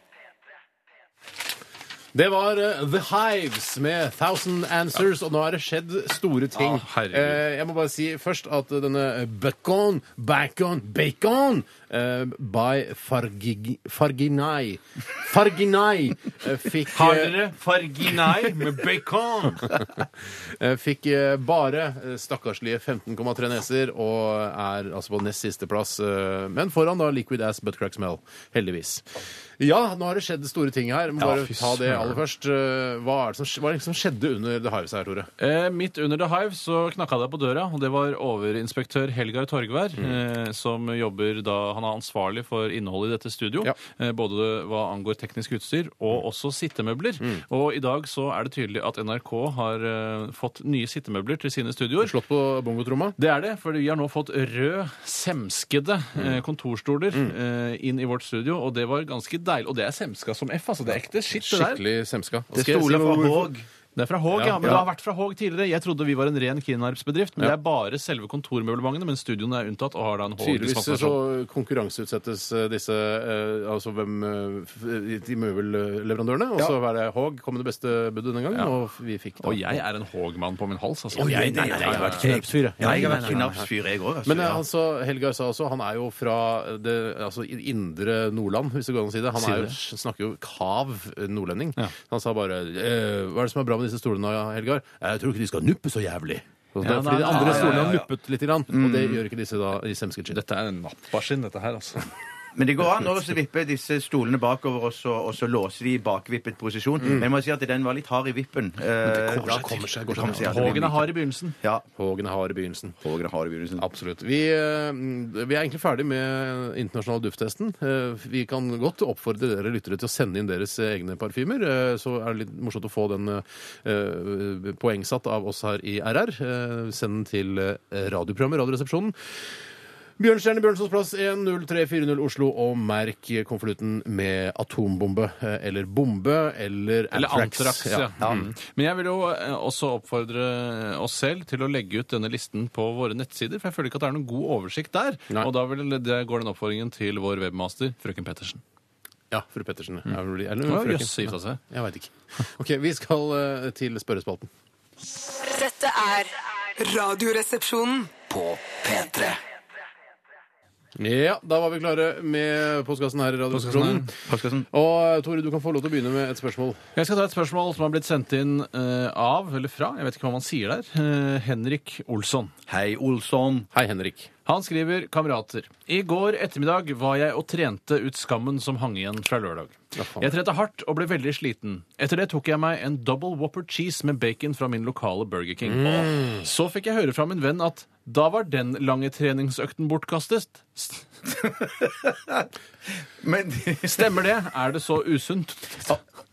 [SPEAKER 3] Det var eh, The Hives med Thousand Answers, og nå er det skjedd store ting.
[SPEAKER 5] Ja, herregud.
[SPEAKER 3] Eh, jeg må bare si først at denne eh, Bacon, Bacon, Bacon eh, by Fargig, Farginai Farginai eh, fikk eh,
[SPEAKER 5] farginai med bacon!
[SPEAKER 3] Eh, Fikk eh, bare eh, stakkarslige 15,3 neser og er altså på nest siste plass. eh, Men foran da Liquid Ass Butt Crack Smell, heldigvis. Ja, nå har det skjedd store ting her. Må
[SPEAKER 5] Ja,
[SPEAKER 3] bare
[SPEAKER 5] fy
[SPEAKER 3] ta det
[SPEAKER 5] søren.
[SPEAKER 3] aller først. Eh, Hva er det som, sk- hva er det som skjedde under The Hives her, Tore?
[SPEAKER 5] Eh, midt under The Hive så knakka det på døra, og det var overinspektør Helgar Torgvær,
[SPEAKER 3] Mm.
[SPEAKER 5] eh, som jobber da han er ansvarlig for innholdet i dette studio,
[SPEAKER 3] Ja. Mm.
[SPEAKER 5] eh, både hva angår teknisk utstyr og også sittemøbler. Og i dag så er det tydelig at NRK har eh, fått nye sittemøbler til sine studioer.
[SPEAKER 3] Slått på bongotromma?
[SPEAKER 5] Det er det, for vi har nå fått rød, semskede
[SPEAKER 3] Mm.
[SPEAKER 5] eh, kontorstoler eh, inn i vårt studio, og det var ganske deilig. Og det er semska som F, altså. Det er ekte shit, det der.
[SPEAKER 3] Skikkelig semska.
[SPEAKER 4] Det
[SPEAKER 3] Skal jeg si
[SPEAKER 4] stoler fra
[SPEAKER 3] hvorfor-
[SPEAKER 4] Håg.
[SPEAKER 5] Det er fra Håg, ja.
[SPEAKER 3] Ja,
[SPEAKER 5] Men
[SPEAKER 3] ja.
[SPEAKER 5] det har vært fra Håg tidligere. Jeg trodde vi var en ren Kinarps-bedrift, men
[SPEAKER 3] Ja.
[SPEAKER 5] det er bare selve kontormøblementene, men studioene er unntatt og har da en
[SPEAKER 3] Tydeligvis så
[SPEAKER 5] Håg-dispensasjon.
[SPEAKER 3] konkurranseutsettes eh, disse eh, altså hvem eh, f- de møbelleverandørene. Og så var det Haag kom med det beste budet den gangen,
[SPEAKER 5] Ja.
[SPEAKER 3] og vi fikk da
[SPEAKER 5] Og jeg er en Håg-mann på min hals, altså.
[SPEAKER 4] nei, nei, jeg har vært
[SPEAKER 3] knepsfyr, jeg.
[SPEAKER 4] Nei, jeg har vært knappsfyr, jeg òg.
[SPEAKER 3] Men eh, altså, Helgar sa også, han er jo fra det altså, i- indre Nordland, hvis det går an å si det. Han
[SPEAKER 5] Si
[SPEAKER 3] er jo,
[SPEAKER 5] det.
[SPEAKER 3] snakker jo kav eh, nordlending.
[SPEAKER 5] Ja.
[SPEAKER 3] Han sa bare eh, Hva er det som er bra med disse stolene, Helgar? Jeg tror ikke de skal nuppe så jævlig. Så det er
[SPEAKER 5] Ja,
[SPEAKER 3] fordi
[SPEAKER 5] nei,
[SPEAKER 3] de
[SPEAKER 5] nei,
[SPEAKER 3] andre
[SPEAKER 5] ja, ja,
[SPEAKER 3] stolene
[SPEAKER 5] ja,
[SPEAKER 3] har
[SPEAKER 5] ja.
[SPEAKER 3] nuppet litt, grann, og det gjør ikke disse da i semske chili.
[SPEAKER 5] Dette er en nappaskinn, dette her,
[SPEAKER 3] *laughs*
[SPEAKER 5] altså.
[SPEAKER 4] Men det går an å også vippe disse stolene bakover, og så, og så låse de i bakvippet posisjon. Men jeg må si at den var litt hard i vippen. Eh,
[SPEAKER 3] Mm. kommer seg,
[SPEAKER 4] ja,
[SPEAKER 3] kommer seg, går
[SPEAKER 4] det kommer
[SPEAKER 3] seg.
[SPEAKER 4] seg.
[SPEAKER 5] Hågen er hard i begynnelsen.
[SPEAKER 4] Ja.
[SPEAKER 3] Hågen er hard i begynnelsen.
[SPEAKER 4] Hågen er hard i begynnelsen.
[SPEAKER 3] Absolutt. Vi, eh, vi er egentlig ferdig med internasjonal dufttesten. Eh, Vi kan godt oppfordre dere lyttere til å sende inn deres eh, egne parfymer. eh, Så er det litt morsomt å få den eh, eh, poengsatt av oss her i RR. Eh, Send den til eh, radioprogrammet Radioresepsjonen. Bjørnstjerne Bjørnsons plass 10340 Oslo, og merk konvolutten med atombombe eh, eller bombe eller
[SPEAKER 5] Eller
[SPEAKER 3] anthrax.
[SPEAKER 5] Antrax, ja. Mm. Men jeg vil jo eh, også oppfordre oss selv til å legge ut denne listen på våre nettsider, for jeg føler ikke at det er noen god oversikt der.
[SPEAKER 3] Nei.
[SPEAKER 5] Og da vil, det går den oppfordringen til vår webmaster, frøken Pettersen.
[SPEAKER 3] Ja, fru Pettersen. Er det- Eller
[SPEAKER 5] Ja,
[SPEAKER 3] frøken.
[SPEAKER 5] jøss, gifta seg.
[SPEAKER 3] Jeg veit ikke. Ok, Vi skal eh, til spørrespalten.
[SPEAKER 6] Dette er Radioresepsjonen.
[SPEAKER 2] På P3.
[SPEAKER 3] Ja, da var vi klare med postkassen her i Radioresepsjonen.
[SPEAKER 4] Postkassen.
[SPEAKER 3] Og eh, Tore, du kan få lov til å begynne med et spørsmål.
[SPEAKER 5] Jeg skal ta et spørsmål som har blitt sendt inn eh, av, eller fra, jeg vet ikke hva man sier der, eh, Henrik Olsson.
[SPEAKER 4] Hei, Olsson.
[SPEAKER 3] Hei, Henrik.
[SPEAKER 5] Han skriver, kamerater, i går ettermiddag var jeg og trente ut skammen som hang igjen fra lørdag.
[SPEAKER 3] faen.
[SPEAKER 5] Jeg trente hardt og ble veldig sliten. Etter det tok jeg meg en double whopper cheese med bacon fra min lokale Burger King. Så fikk jeg høre fra min venn at da var den lange treningsøkten bortkastet. St-
[SPEAKER 4] Men
[SPEAKER 5] Stemmer det? Er det så usunt?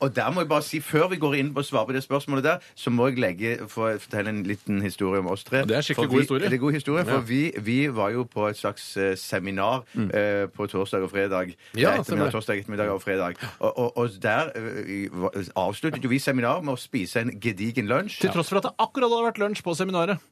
[SPEAKER 4] Og der må jeg bare si, Før vi går inn på å svare på det spørsmålet der, så må jeg legge, få fortelle en liten historie om oss tre.
[SPEAKER 5] Det er skikkelig
[SPEAKER 4] For
[SPEAKER 5] god
[SPEAKER 4] vi-
[SPEAKER 5] historie.
[SPEAKER 4] Det er god historie, For
[SPEAKER 5] Ja. Mm.
[SPEAKER 4] vi, vi var jo på et slags eh, seminar eh, på torsdag og fredag.
[SPEAKER 3] Ja,
[SPEAKER 4] Nei,
[SPEAKER 3] stemmer.
[SPEAKER 4] ettermiddag, torsdag ettermiddag og fredag. Og, og, og der eh, var- avsluttet jo vi seminar med å spise en gedigen lunsj.
[SPEAKER 5] Til tross for at det akkurat hadde vært lunsj på seminaret.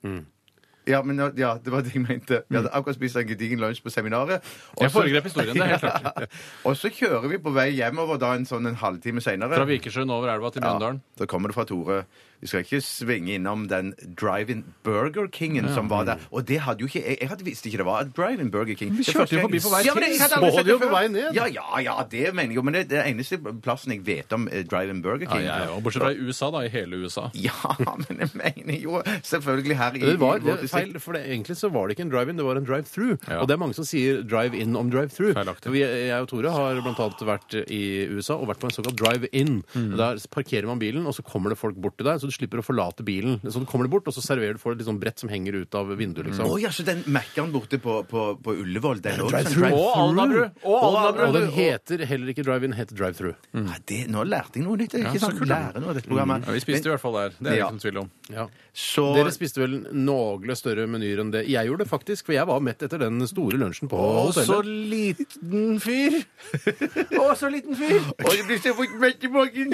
[SPEAKER 4] Ja, men, ja, det var det jeg mente. Vi hadde akkurat spist en gedigen lunsj på seminaret. og
[SPEAKER 5] Mm. Jeg
[SPEAKER 4] så-
[SPEAKER 5] foregrep historien, det er helt klart.
[SPEAKER 4] Ja. *laughs* Og så kjører vi på vei hjemover da en sånn en halvtime seinere.
[SPEAKER 5] Fra Vikersjøen over elva til Mjøndalen.
[SPEAKER 4] Da kommer det fra Tore. Vi skal ikke svinge innom den drive-in Burger Kingen som var der. Og det hadde jo ikke Jeg, jeg hadde visste ikke det var et drive-in Burger King.
[SPEAKER 5] Mm. Vi
[SPEAKER 4] Det
[SPEAKER 5] kjørte
[SPEAKER 4] første
[SPEAKER 5] jo
[SPEAKER 4] jeg-
[SPEAKER 5] forbi på vei
[SPEAKER 4] ja, men
[SPEAKER 5] til.
[SPEAKER 4] jeg hadde aldri
[SPEAKER 3] Så
[SPEAKER 4] sett
[SPEAKER 3] det jo
[SPEAKER 4] før.
[SPEAKER 3] på vei ned.
[SPEAKER 4] Ja, ja, ja, det mener jeg jo. Men det det er den eneste plassen jeg vet om eh, drive-in Burger
[SPEAKER 5] Ja,
[SPEAKER 4] King.
[SPEAKER 5] ja, ja. og Bortsett fra i USA, da. I hele USA.
[SPEAKER 4] *laughs* Ja, men jeg mener jo selvfølgelig her i
[SPEAKER 3] Det var
[SPEAKER 4] i vårt
[SPEAKER 3] det er
[SPEAKER 4] distrikt.
[SPEAKER 3] feil, for det, egentlig så var det ikke en drive-in, det var en drive-through.
[SPEAKER 5] Ja.
[SPEAKER 3] Og det er mange som sier drive-in om drive-through.
[SPEAKER 5] Feilaktig.
[SPEAKER 3] Vi- Jeg og Tore har blant annet vært i USA og vært på en såkalt drive-in. Der parkerer man bilen, og så kommer det folk bort til deg, så du slipper å forlate bilen. Så du kommer de bort, og så serverer du for et litt sånn brett som henger ut av vinduet, liksom.
[SPEAKER 4] Å ja, så den Mækkern borte på, på, på Ullevål, den også,
[SPEAKER 3] drive-thru.
[SPEAKER 4] sånn drive-
[SPEAKER 5] Og Alnabru! Og
[SPEAKER 3] Og
[SPEAKER 5] Alnabru!
[SPEAKER 3] den heter heller ikke drive-in, den heter drive-through.
[SPEAKER 4] Ja, det- Nå lærte jeg noe nytt. Ikke
[SPEAKER 5] Mm. Ja, så
[SPEAKER 4] sant?
[SPEAKER 5] kult, da. Mm.
[SPEAKER 4] Lære noe av dette programmet.
[SPEAKER 5] Ja, vi spiste i hvert fall der. Det er det
[SPEAKER 4] Ja.
[SPEAKER 5] ikke noen tvil om.
[SPEAKER 3] Ja.
[SPEAKER 4] Så
[SPEAKER 3] Dere spiste vel noe større menyer enn det jeg gjorde, faktisk, for jeg var mett etter den store lunsjen på hotellet.
[SPEAKER 5] liten fyr! Å, så liten fyr!
[SPEAKER 4] Å, det blir så fort mett i magen!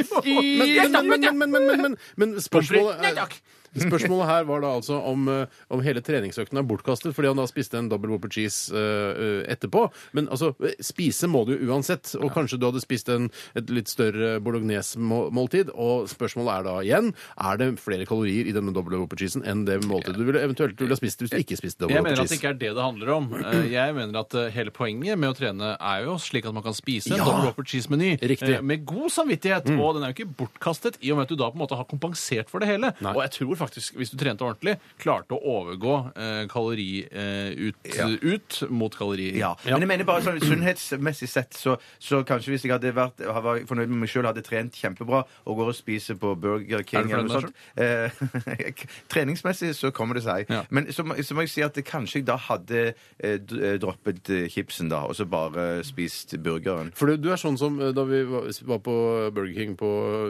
[SPEAKER 3] Men, men, men, men, men, men, men, men, men spørsmålet
[SPEAKER 5] Nei, takk.
[SPEAKER 3] Spørsmålet her var da altså om, eh, om hele treningsøkten er bortkastet fordi han da spiste en double whopper cheese eh, eh, etterpå. Men altså, eh, spise må du jo uansett, og kanskje du hadde spist en, et litt større bolognese-måltid. Og spørsmålet er da igjen er det flere kalorier i denne double whopper cheesen enn det måltidet du ville eventuelt ville ha spist hvis du ikke spiste double
[SPEAKER 5] Jeg mener
[SPEAKER 3] whopper
[SPEAKER 5] at det
[SPEAKER 3] cheese?
[SPEAKER 5] ikke er det det handler om. Eh, Jeg mener at eh, hele poenget med å trene er jo slik at man kan spise en
[SPEAKER 3] Ja.
[SPEAKER 5] double whopper cheese-meny
[SPEAKER 3] Riktig.
[SPEAKER 5] eh, med god samvittighet. Og den er jo ikke bortkastet i og med at du da på en måte har kompensert for det hele. Og jeg tror faktisk, hvis du trente ordentlig, klarte å overgå eh, kalori eh, ut,
[SPEAKER 4] Ja.
[SPEAKER 5] ut mot kalori
[SPEAKER 4] Ja. Men jeg mener bare sånn sunnhetsmessig sett, så, så kanskje hvis jeg hadde vært har- var fornøyd med meg sjøl, hadde trent kjempebra og går og spiser på Burger King
[SPEAKER 5] Er du
[SPEAKER 4] eller noe sånt eh, *laughs* Treningsmessig så kommer det seg.
[SPEAKER 5] Ja.
[SPEAKER 4] Men så, må- så må jeg si at det, kanskje jeg da hadde eh, d- eh, droppet eh, chipsen, da, og så bare spist burgeren.
[SPEAKER 3] For du, du er sånn som eh, da vi var var på Burger King på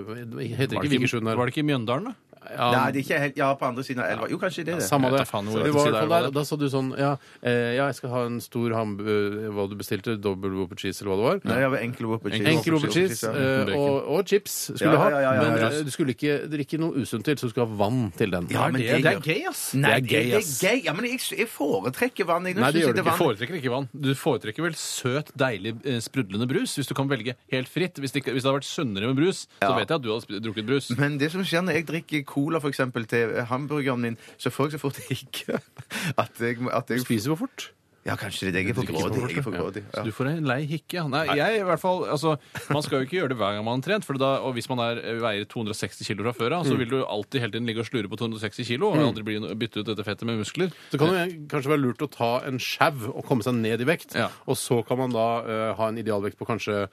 [SPEAKER 3] det Heter
[SPEAKER 5] Var
[SPEAKER 3] ikke
[SPEAKER 5] det ikke,
[SPEAKER 3] Vikersund her?
[SPEAKER 5] var det ikke i Mjøndalen, da?
[SPEAKER 4] Nei, det er ikke helt Ja, på andre siden av elva. Jo, kanskje det er det.
[SPEAKER 3] Samme
[SPEAKER 5] Jeg vet
[SPEAKER 3] det.
[SPEAKER 5] da faen hvor
[SPEAKER 3] Så
[SPEAKER 5] jeg
[SPEAKER 3] vi
[SPEAKER 5] skal
[SPEAKER 3] var
[SPEAKER 5] si
[SPEAKER 3] i hvert
[SPEAKER 5] det
[SPEAKER 3] fall
[SPEAKER 5] var
[SPEAKER 3] der,
[SPEAKER 5] det.
[SPEAKER 3] og da sa du sånn ja, eh, ja, jeg skal ha en stor ham... eh, Hva du bestilte? Dobbel whopper cheese, eller hva det
[SPEAKER 4] Nei,
[SPEAKER 3] var?
[SPEAKER 4] jeg var enkel whopper cheese.
[SPEAKER 3] Enkel whopper cheese
[SPEAKER 4] ja.
[SPEAKER 3] eh,
[SPEAKER 5] Bacon.
[SPEAKER 3] og, og chips skulle du ha,
[SPEAKER 4] Ja, ja, ja, ja, ja,
[SPEAKER 3] men
[SPEAKER 4] ja.
[SPEAKER 3] eh, du skulle ikke drikke noe usunt til, så du skulle ha vann til den.
[SPEAKER 4] Ja, men det,
[SPEAKER 5] det er
[SPEAKER 4] gjør-
[SPEAKER 5] gøy, ass.
[SPEAKER 4] Nei,
[SPEAKER 3] Det er gøy, ass.
[SPEAKER 4] Det er gøy. Ja, men jeg, jeg foretrekker vann. Jeg,
[SPEAKER 3] Nei, det
[SPEAKER 4] synes
[SPEAKER 3] gjør
[SPEAKER 4] jeg
[SPEAKER 3] du ikke.
[SPEAKER 5] Du foretrekker ikke vann. Du foretrekker vel søt, deilig, eh, sprudlende brus hvis du kan velge helt fritt. Hvis det, ikke, hvis det hadde vært sunnere med brus, så
[SPEAKER 4] Ja.
[SPEAKER 5] vet jeg at du hadde sp- drukket brus.
[SPEAKER 4] Men det som skjer når jeg drikker cola for eksempel, til hamburgeren min, så får jeg så fort ikke *laughs* at jeg, må- at jeg
[SPEAKER 3] Spiser for fort.
[SPEAKER 4] Ja, kanskje det er det. Jeg er for
[SPEAKER 5] Drikker
[SPEAKER 4] grådig.
[SPEAKER 5] for
[SPEAKER 4] Jeg er for
[SPEAKER 5] fort,
[SPEAKER 4] grådig.
[SPEAKER 5] Så
[SPEAKER 4] Ja.
[SPEAKER 5] du får en lei hikke, ja. Nei, jeg i hvert fall, altså, Man skal jo ikke gjøre det hver gang man har trent. For da, og hvis man er, eh, veier 260 kilo fra før av,
[SPEAKER 3] Mm.
[SPEAKER 5] så vil du alltid hele tiden ligge og slure på 260 kilo og aldri bli, bytte ut dette fettet med muskler.
[SPEAKER 3] Så kan det kanskje være lurt å ta en sjau og komme seg ned i vekt.
[SPEAKER 5] Eh. Ja.
[SPEAKER 3] Og så kan man da eh, ha en idealvekt på kanskje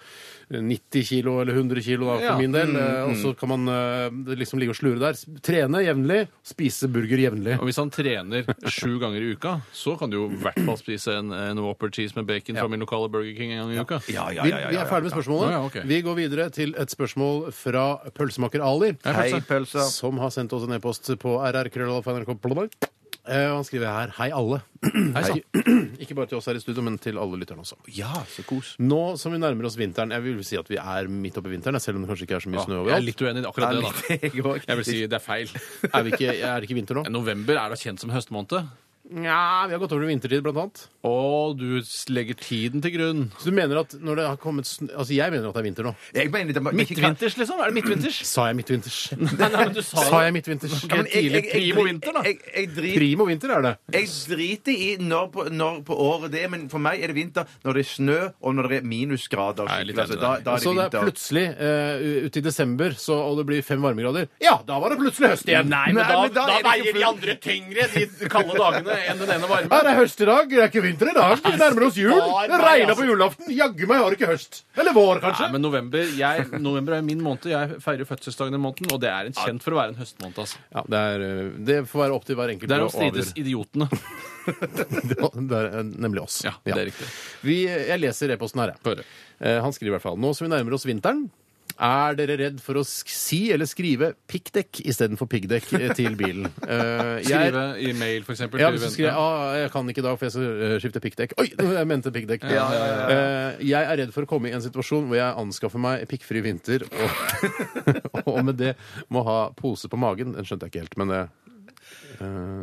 [SPEAKER 3] 90 kilo eller 100 kilo da, for
[SPEAKER 5] Ja. Mm.
[SPEAKER 3] min del. eh, og så kan man eh, liksom ligge og slure der. S- Trene jevnlig, spise burger jevnlig.
[SPEAKER 5] Og hvis han trener sju ganger i uka, så kan du jo i hvert fall spise en, en Whopper cheese med bacon fra min lokale Burger King en gang i uka.
[SPEAKER 4] Ja, ja,
[SPEAKER 3] Vi,
[SPEAKER 4] ja, ja,
[SPEAKER 3] vi
[SPEAKER 4] ja,
[SPEAKER 3] er ferdig med spørsmålet.
[SPEAKER 5] Å, ja, ok.
[SPEAKER 3] Vi går videre til et spørsmål fra pølsemaker Ali,
[SPEAKER 4] ja. Hei, pølsa.
[SPEAKER 3] som har sendt oss en e-post på rrkrøllalfa.nrk. Eh, og Han skriver her 'Hei, alle'. *clears throat*
[SPEAKER 5] sann.
[SPEAKER 3] Ikke bare til oss her i studio, men til alle lytterne også.
[SPEAKER 4] Ja, så kos.
[SPEAKER 3] Nå som vi nærmer oss vinteren Jeg vil si at vi er midt oppe i vinteren, selv om det kanskje ikke er så mye snø
[SPEAKER 5] Ja, jeg er
[SPEAKER 3] overalt.
[SPEAKER 5] litt uenig
[SPEAKER 4] *laughs*
[SPEAKER 5] i akkurat det, da.
[SPEAKER 4] Jeg òg.
[SPEAKER 5] Jeg vil si det er feil.
[SPEAKER 3] Er, vi ikke, er det ikke vinter nå?
[SPEAKER 5] *laughs* November er da kjent som høstmåned,
[SPEAKER 3] Nja, vi har gått over til vintertid, blant annet.
[SPEAKER 5] og du s- legger tiden til grunn.
[SPEAKER 3] Så du mener at når det har kommet snø Altså, jeg mener at det er vinter nå.
[SPEAKER 4] Jeg mener det må- det er ikke-
[SPEAKER 5] Midtvinters, liksom? Er det *clears throat* midtvinters?
[SPEAKER 3] Sa jeg midtvinters?
[SPEAKER 5] Nei, nei, men du sa
[SPEAKER 3] Sa jeg midtvinters?
[SPEAKER 4] Ja, men jeg- jeg- jeg-
[SPEAKER 5] primo vinter, da.
[SPEAKER 4] Jeg, jeg, driter-
[SPEAKER 3] Primo vinter er det.
[SPEAKER 4] jeg driter i når på, når på året det er, men for meg er det vinter når det er snø og når det er minusgrader.
[SPEAKER 5] Jeg er litt
[SPEAKER 4] skikkelig. Altså,
[SPEAKER 5] enig
[SPEAKER 4] da, da
[SPEAKER 5] der.
[SPEAKER 4] er
[SPEAKER 3] Så det
[SPEAKER 4] det
[SPEAKER 3] er
[SPEAKER 4] vinter.
[SPEAKER 3] plutselig uh, ute i desember, så, og det blir fem varmegrader Ja, da var det plutselig høst igjen!
[SPEAKER 5] Nei, men
[SPEAKER 4] Nei,
[SPEAKER 5] da,
[SPEAKER 4] men da
[SPEAKER 5] da
[SPEAKER 4] er det ikke
[SPEAKER 5] veier de andre tyngre de kalde dagene enn den ene varme.
[SPEAKER 3] Her er høst i dag, det er ikke vinter i dag. Vi nærmer oss jul.
[SPEAKER 5] Spar
[SPEAKER 3] Det
[SPEAKER 5] meg,
[SPEAKER 3] regna
[SPEAKER 5] altså.
[SPEAKER 3] på julaften. Jaggu meg har det ikke høst. Eller vår, kanskje.
[SPEAKER 5] Nei, men november, jeg, november er min måned. Jeg feirer fødselsdagen den måneden, og det er en kjent for å være en høstmåned. Altså.
[SPEAKER 3] Ja, det, er, eh, det får være opp til hver enkelt
[SPEAKER 5] Der
[SPEAKER 3] å
[SPEAKER 5] strides
[SPEAKER 3] avgjøre.
[SPEAKER 5] idiotene.
[SPEAKER 3] *laughs* Det er eh, nemlig oss.
[SPEAKER 5] Ja, det er riktig.
[SPEAKER 3] Vi, jeg leser e-posten her, jeg.
[SPEAKER 5] Høre.
[SPEAKER 3] Eh, Han skriver i hvert fall Nå som vi nærmer oss vinteren Er dere redd for å sk si eller skrive pikkdekk istedenfor piggdekk eh, til
[SPEAKER 5] *laughs*
[SPEAKER 3] bilen? Eh, jeg-
[SPEAKER 5] Skrive i mail, for eksempel.
[SPEAKER 3] Ja,
[SPEAKER 5] til
[SPEAKER 3] hvis du
[SPEAKER 5] venner.
[SPEAKER 3] skriver ah, 'Jeg kan ikke i dag, for jeg skal eh, skifte pikkdekk'. Oi, *laughs* jeg mente piggdekk. Eh, jeg er redd for å komme i en situasjon hvor jeg anskaffer meg pikkfri vinter og, *laughs* og med det må ha pose på magen. Den skjønte jeg ikke helt, men det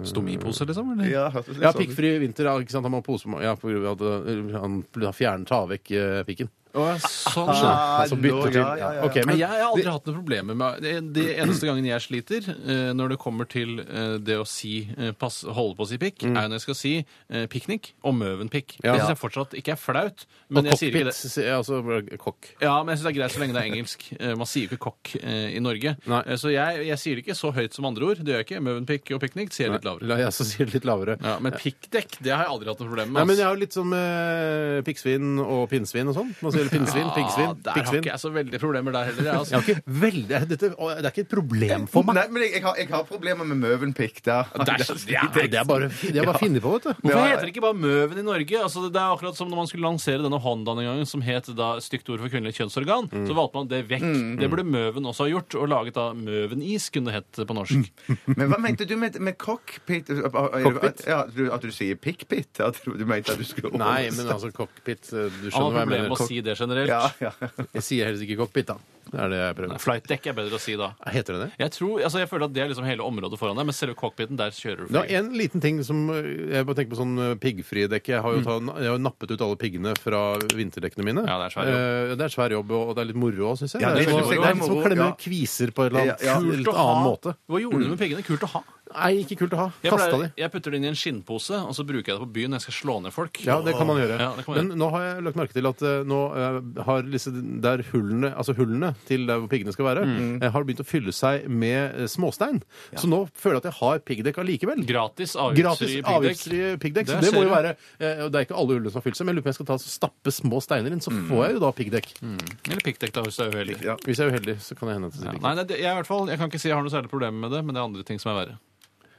[SPEAKER 5] Stomipose, liksom? Eller?
[SPEAKER 4] Ja, hørtes litt
[SPEAKER 3] Ja,
[SPEAKER 4] sånn ut.
[SPEAKER 3] pikkfri vinter, ja, ikke sant? Han må pose på magen. Ja, på grunn av at eh, han fjerner, tar vekk eh, pikken.
[SPEAKER 5] Å, ja, sånn.
[SPEAKER 4] Ah,
[SPEAKER 3] Altså bytter
[SPEAKER 4] nå,
[SPEAKER 3] til.
[SPEAKER 4] ja, ja, ja.
[SPEAKER 3] Ok,
[SPEAKER 5] Men
[SPEAKER 3] men
[SPEAKER 5] jeg har aldri hatt noen problemer med det, det eneste gangen jeg sliter eh, når det kommer til eh, det å si eh, pass, holde på å si pikk, er jo når jeg skal si eh, piknik og møvenpikk.
[SPEAKER 3] Mm. Ja.
[SPEAKER 5] Det syns jeg fortsatt ikke er flaut,
[SPEAKER 3] Og
[SPEAKER 5] men jeg sier
[SPEAKER 3] cockpit,
[SPEAKER 5] ikke det.
[SPEAKER 3] s- altså kokk.
[SPEAKER 5] Ja, men jeg synes det er greit så lenge det er engelsk.
[SPEAKER 3] *laughs*
[SPEAKER 5] Eh, Man sier jo ikke kokk eh, i Norge.
[SPEAKER 3] Nei.
[SPEAKER 5] Eh, Så jeg, jeg sier det ikke så høyt som andre ord. Det gjør jeg ikke. Møvenpikk og piknik sier jeg litt lavere.
[SPEAKER 3] La jeg også si det litt lavere.
[SPEAKER 5] Ja, men pikkdekk, det har jeg aldri hatt noe problem med.
[SPEAKER 3] Nei, men
[SPEAKER 5] ass.
[SPEAKER 3] jeg har jo litt sånn med piggsvin og pinnsvin og sånn. Man sier pinnsvin, piggsvin,
[SPEAKER 5] Ah, der har
[SPEAKER 3] piggsvin.
[SPEAKER 5] ikke jeg så veldig problemer der heller. Jeg,
[SPEAKER 3] Jeg
[SPEAKER 5] altså.
[SPEAKER 3] har ikke veldig, dette, å, det er ikke et problem for meg.
[SPEAKER 4] Nei, men jeg, jeg, har, jeg har problemer med møvenpikk der.
[SPEAKER 5] Der, så, ja,
[SPEAKER 3] Nei,
[SPEAKER 4] *laughs*
[SPEAKER 3] det er bare det er bare å finne på, vet du.
[SPEAKER 5] Hvorfor heter det ikke bare Møven i Norge? Altså, det er akkurat som når man skulle lansere denne Hondaen en gang, som het da stygt ord for kvinnelig kjønnsorgan. Så valgte man det vekk. Det burde Møven også ha gjort, og laget da Møvenis, kunne det hett på norsk.
[SPEAKER 4] Men hva mente du med, med cockpit?
[SPEAKER 3] Cockpit?
[SPEAKER 4] Ja, at, du, at du sier pickpit? At du, du mente at du skulle
[SPEAKER 3] Nei, men altså cockpit eh, Du skjønner
[SPEAKER 5] Han har
[SPEAKER 3] hva jeg
[SPEAKER 5] problemer med
[SPEAKER 3] mener.
[SPEAKER 5] å si det generelt.
[SPEAKER 4] ja, ja.
[SPEAKER 3] Jeg sier helst ikke cockpit, da. Det er det jeg prøver.
[SPEAKER 5] Flightdekk er bedre å si da.
[SPEAKER 3] Heter det det?
[SPEAKER 5] Jeg, tror, altså, jeg føler at det er liksom hele området foran deg, men selve cockpiten, der kjører du
[SPEAKER 3] Det var
[SPEAKER 5] fly.
[SPEAKER 3] en liten ting som eh, Jeg bare tenker på sånn eh, piggfrie dekk. Jeg har jo ta, jeg har jo nappet ut alle piggene fra vinterdekkene mine.
[SPEAKER 5] Mm. Ja, det er svær
[SPEAKER 3] Eh, det er svær jobb, og det er litt moro òg, syns jeg.
[SPEAKER 4] Ja,
[SPEAKER 3] det
[SPEAKER 4] det
[SPEAKER 3] er
[SPEAKER 4] synes
[SPEAKER 3] så-
[SPEAKER 4] jeg
[SPEAKER 3] det er
[SPEAKER 4] er
[SPEAKER 3] litt som å
[SPEAKER 4] moro,
[SPEAKER 3] klemme
[SPEAKER 4] ja.
[SPEAKER 3] kviser på en eller annen
[SPEAKER 4] Ja, ja.
[SPEAKER 3] kult
[SPEAKER 5] Kult å ha.
[SPEAKER 3] annen måte.
[SPEAKER 5] Hva gjorde du med pengene? Kult å ha.
[SPEAKER 3] Nei, ikke kult å ha.
[SPEAKER 5] Jeg,
[SPEAKER 3] Kasta de.
[SPEAKER 5] pleier, jeg putter det inn i en skinnpose, og så bruker jeg det på byen når jeg skal slå ned folk.
[SPEAKER 3] Ja, det kan man gjøre.
[SPEAKER 5] Ja, det kan man
[SPEAKER 3] Men nå har jeg lagt merke til at eh, nå eh, har disse der hullene, altså hullene til der hvor piggene skal være,
[SPEAKER 5] Mm.
[SPEAKER 3] eh, har begynt å fylle seg med eh, småstein. Så nå føler jeg at jeg har piggdekk allikevel.
[SPEAKER 5] Gratis
[SPEAKER 3] Gratis
[SPEAKER 5] avgiftsfri piggdekk.
[SPEAKER 3] avgiftsfrie piggdekk. Så
[SPEAKER 5] Der
[SPEAKER 3] det må
[SPEAKER 5] ser
[SPEAKER 3] jo
[SPEAKER 5] du.
[SPEAKER 3] være eh, og Det er ikke alle hullene som har fylt seg, men jeg lurer på om jeg skal ta og stappe små steiner inn, så
[SPEAKER 5] Mm.
[SPEAKER 3] får jeg jo da piggdekk.
[SPEAKER 5] Eller pikkdekk, da, hvis du er uheldig.
[SPEAKER 4] Ja.
[SPEAKER 3] Hvis jeg er uheldig, så kan jeg hende at det
[SPEAKER 5] Mm.
[SPEAKER 3] sier
[SPEAKER 5] Ja, nei,
[SPEAKER 3] piggdekk.
[SPEAKER 5] nei, det, jeg, i hvert fall, jeg kan ikke si jeg har noe særlig problem med det, men det er andre ting som er verre.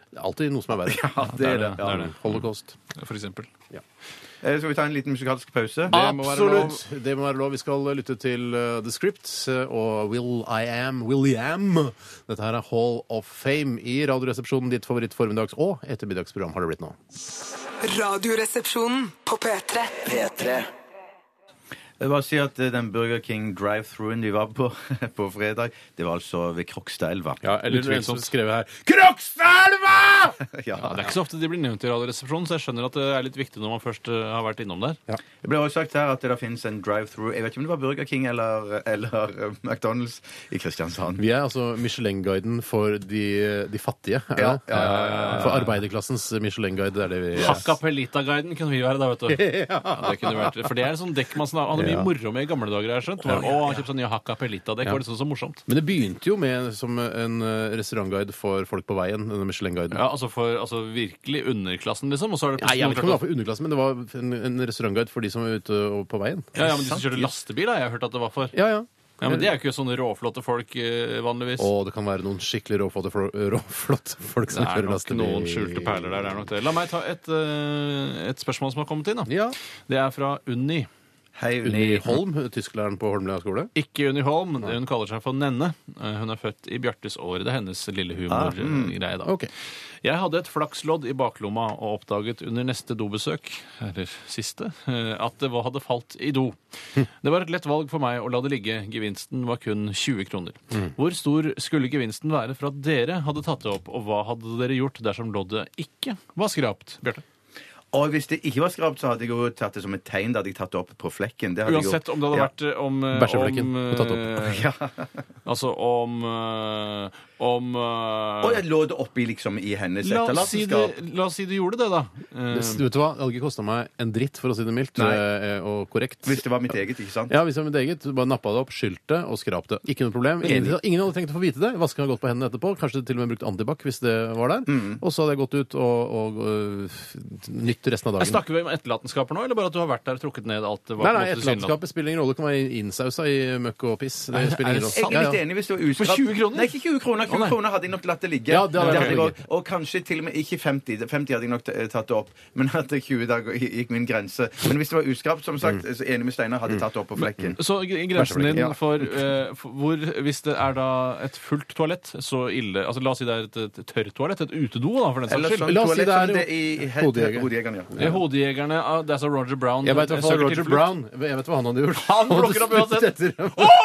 [SPEAKER 3] Det er alltid noe som er verre.
[SPEAKER 4] ja, det er det.
[SPEAKER 5] det er det.
[SPEAKER 3] Holocaust.
[SPEAKER 5] For eksempel.
[SPEAKER 4] Eh, Skal vi ta en liten musikalsk pause?
[SPEAKER 5] Ja. må være lov.
[SPEAKER 3] Absolutt! Det må være lov. Vi skal lytte til eh, The Script eh, og Will I Am William. Dette her er Hall of Fame i Radioresepsjonen, ditt favoritt formiddags- og ettermiddagsprogram har det blitt nå.
[SPEAKER 6] Radioresepsjonen på P3.
[SPEAKER 2] P3
[SPEAKER 4] Jeg bare si at eh, Den Burger King drive-throughen de var på *laughs* på fredag, det var altså ved Krokstadelva.
[SPEAKER 3] som skrev her Krokstadelva!
[SPEAKER 4] Ja.
[SPEAKER 5] Ja, det er ikke så ofte de blir nevnt i Radioresepsjonen, så jeg skjønner at det er litt viktig når man først eh, har vært innom der.
[SPEAKER 4] Det ble også sagt her at det der finnes en drive-through Jeg vet ikke om det var Burger King eller, eller eh, McDonald's i Kristiansand.
[SPEAKER 3] Vi er altså Michelin-guiden for de, de fattige. Er det?
[SPEAKER 4] Ja,
[SPEAKER 3] det?
[SPEAKER 4] ja, ja,
[SPEAKER 3] For arbeiderklassens Michelin-guide. Det er det vi
[SPEAKER 5] Hakkapellita-guiden kunne vi være da, vet du.
[SPEAKER 3] *laughs* Ja.
[SPEAKER 5] Ja, det kunne vært, for det er en sånn dekk man snak- hadde mye moro med i gamle dager. har Jeg skjønt. Var, Å, han kjøpte sånn seg nye Hakkapellita-dekk. Var det sånn så morsomt?
[SPEAKER 3] Men det begynte jo med som en eh, restaurantguide for folk på veien. denne Michelin-guiden.
[SPEAKER 5] Ja, altså for altså virkelig underklassen, liksom. Og så er det
[SPEAKER 3] Nei,
[SPEAKER 5] plutselig
[SPEAKER 3] jeg vet ikke om det
[SPEAKER 5] noen
[SPEAKER 3] var for underklassen, men det var en, en restaurantguide for de som var ute og på veien.
[SPEAKER 5] ja, ja, men de som kjørte lastebil, har jeg hørt at det var for.
[SPEAKER 3] Ja, ja.
[SPEAKER 5] Ja, Men de er jo ikke sånne råflotte folk eh, vanligvis.
[SPEAKER 3] Og det kan være noen skikkelig råflotte, fro- råflotte folk
[SPEAKER 5] Det
[SPEAKER 3] som
[SPEAKER 5] er
[SPEAKER 3] kjører
[SPEAKER 5] nok
[SPEAKER 3] lastebil.
[SPEAKER 5] noen skjulte perler der. det er nok det. La meg ta et, eh, et spørsmål som har kommet inn. da.
[SPEAKER 3] Ja.
[SPEAKER 5] Det er fra Unni.
[SPEAKER 4] Hei,
[SPEAKER 3] Unni Holm, tysklæreren på Holmlia skole.
[SPEAKER 5] Ikke Unni Holm. Hun kaller seg for Nenne. Eh, Hun er født i Bjartes år. Det er hennes lille humorgreie, da.
[SPEAKER 3] Ah, mm. Ok.
[SPEAKER 5] Jeg hadde et flakslodd i baklomma og oppdaget under neste dobesøk, eller siste, eh, at det var- hadde falt i
[SPEAKER 3] *laughs*
[SPEAKER 5] do. Det var et lett valg for meg å la det ligge. Gevinsten var kun 20 kroner.
[SPEAKER 3] Mm.
[SPEAKER 5] Hvor stor skulle gevinsten være for at dere hadde tatt det opp, og hva hadde dere gjort dersom loddet ikke var skrapt? Bjarte?
[SPEAKER 4] Og hvis det ikke var skrapt, så hadde jeg jo tatt det som et tegn. Da hadde jeg tatt det opp på flekken. Det hadde jeg
[SPEAKER 5] Uansett
[SPEAKER 4] gjort.
[SPEAKER 5] om det hadde
[SPEAKER 4] Ja.
[SPEAKER 5] vært eh, om eh,
[SPEAKER 3] Bæsjeflekken
[SPEAKER 5] om,
[SPEAKER 3] og tatt
[SPEAKER 5] eh, Altså om eh, om eh,
[SPEAKER 4] Og jeg lå det oppi liksom i hennes
[SPEAKER 5] la, oss si det,
[SPEAKER 4] etterlatenskap.
[SPEAKER 5] la oss si du gjorde det, da. Eh,
[SPEAKER 3] Vet du hva, Det hadde ikke kosta meg en dritt, for å si det mildt,
[SPEAKER 4] Nei.
[SPEAKER 3] eh, og korrekt.
[SPEAKER 4] Hvis det var mitt eget, ikke sant?
[SPEAKER 3] Ja, hvis jeg var mitt eget, så bare nappa det opp, skylte og skrapte. Ikke noe problem. Ingen, ingen hadde trengt å få vite det. Vasket meg godt på hendene
[SPEAKER 5] Mm.
[SPEAKER 3] etterpå. Kanskje til og med brukt antibac hvis det var der. Og så hadde jeg gått ut og, og øh, nytt resten av
[SPEAKER 5] Jeg
[SPEAKER 3] dagen.
[SPEAKER 5] snakker vi om etterlatenskaper nå, eller bare at du har vært der og trukket ned alt det var
[SPEAKER 3] Nei, nei,
[SPEAKER 5] på en måte tilsynelatende?
[SPEAKER 3] etterlatenskapet spiller ingen rolle. Det kan være innsausa i møkk og piss. Det spiller ingen
[SPEAKER 4] Jeg
[SPEAKER 3] rolle.
[SPEAKER 4] er
[SPEAKER 3] Ja,
[SPEAKER 4] litt
[SPEAKER 3] ja.
[SPEAKER 4] enig hvis det var uskrapt.
[SPEAKER 5] For 20 kroner?
[SPEAKER 4] Nei, ikke 20 kroner. 20
[SPEAKER 5] Å, nei.
[SPEAKER 4] kroner hadde jeg nok latt det ligge.
[SPEAKER 3] Ja, det hadde jeg
[SPEAKER 4] jeg
[SPEAKER 3] nok
[SPEAKER 4] også. Og kanskje til og med ikke 50. 50 hadde jeg nok eh, tatt det opp. Men at det 20 dager gikk min grense. Men hvis det var uskrapt, som sagt,
[SPEAKER 3] Mm.
[SPEAKER 4] så er jeg enig med Steinar, hadde jeg tatt det opp på flekken.
[SPEAKER 5] Så gr- grensen din
[SPEAKER 4] Ja.
[SPEAKER 5] for, eh, for hvor Hvis det er da et fullt toalett, så ille altså La oss si det er et, et tørrtoalett, et utedo, da, for den
[SPEAKER 4] Eller
[SPEAKER 5] saks
[SPEAKER 4] sånn
[SPEAKER 5] skyld.
[SPEAKER 3] la oss si
[SPEAKER 4] toalett
[SPEAKER 3] det er
[SPEAKER 4] som
[SPEAKER 3] jo-
[SPEAKER 4] det i i-
[SPEAKER 3] Hodejeger.
[SPEAKER 4] Hodejegeren, ja.
[SPEAKER 5] Eh, Hodejegerne ah, Det er så Roger Brown.
[SPEAKER 3] Jeg vet i
[SPEAKER 5] eh,
[SPEAKER 3] hvert fall
[SPEAKER 5] søker
[SPEAKER 3] Roger
[SPEAKER 5] tilflukt.
[SPEAKER 3] Brown. Jeg vet hva han hadde gjort.
[SPEAKER 5] Han
[SPEAKER 3] hadde
[SPEAKER 5] plukker opp uansett.
[SPEAKER 3] spyttet etter ham. *laughs*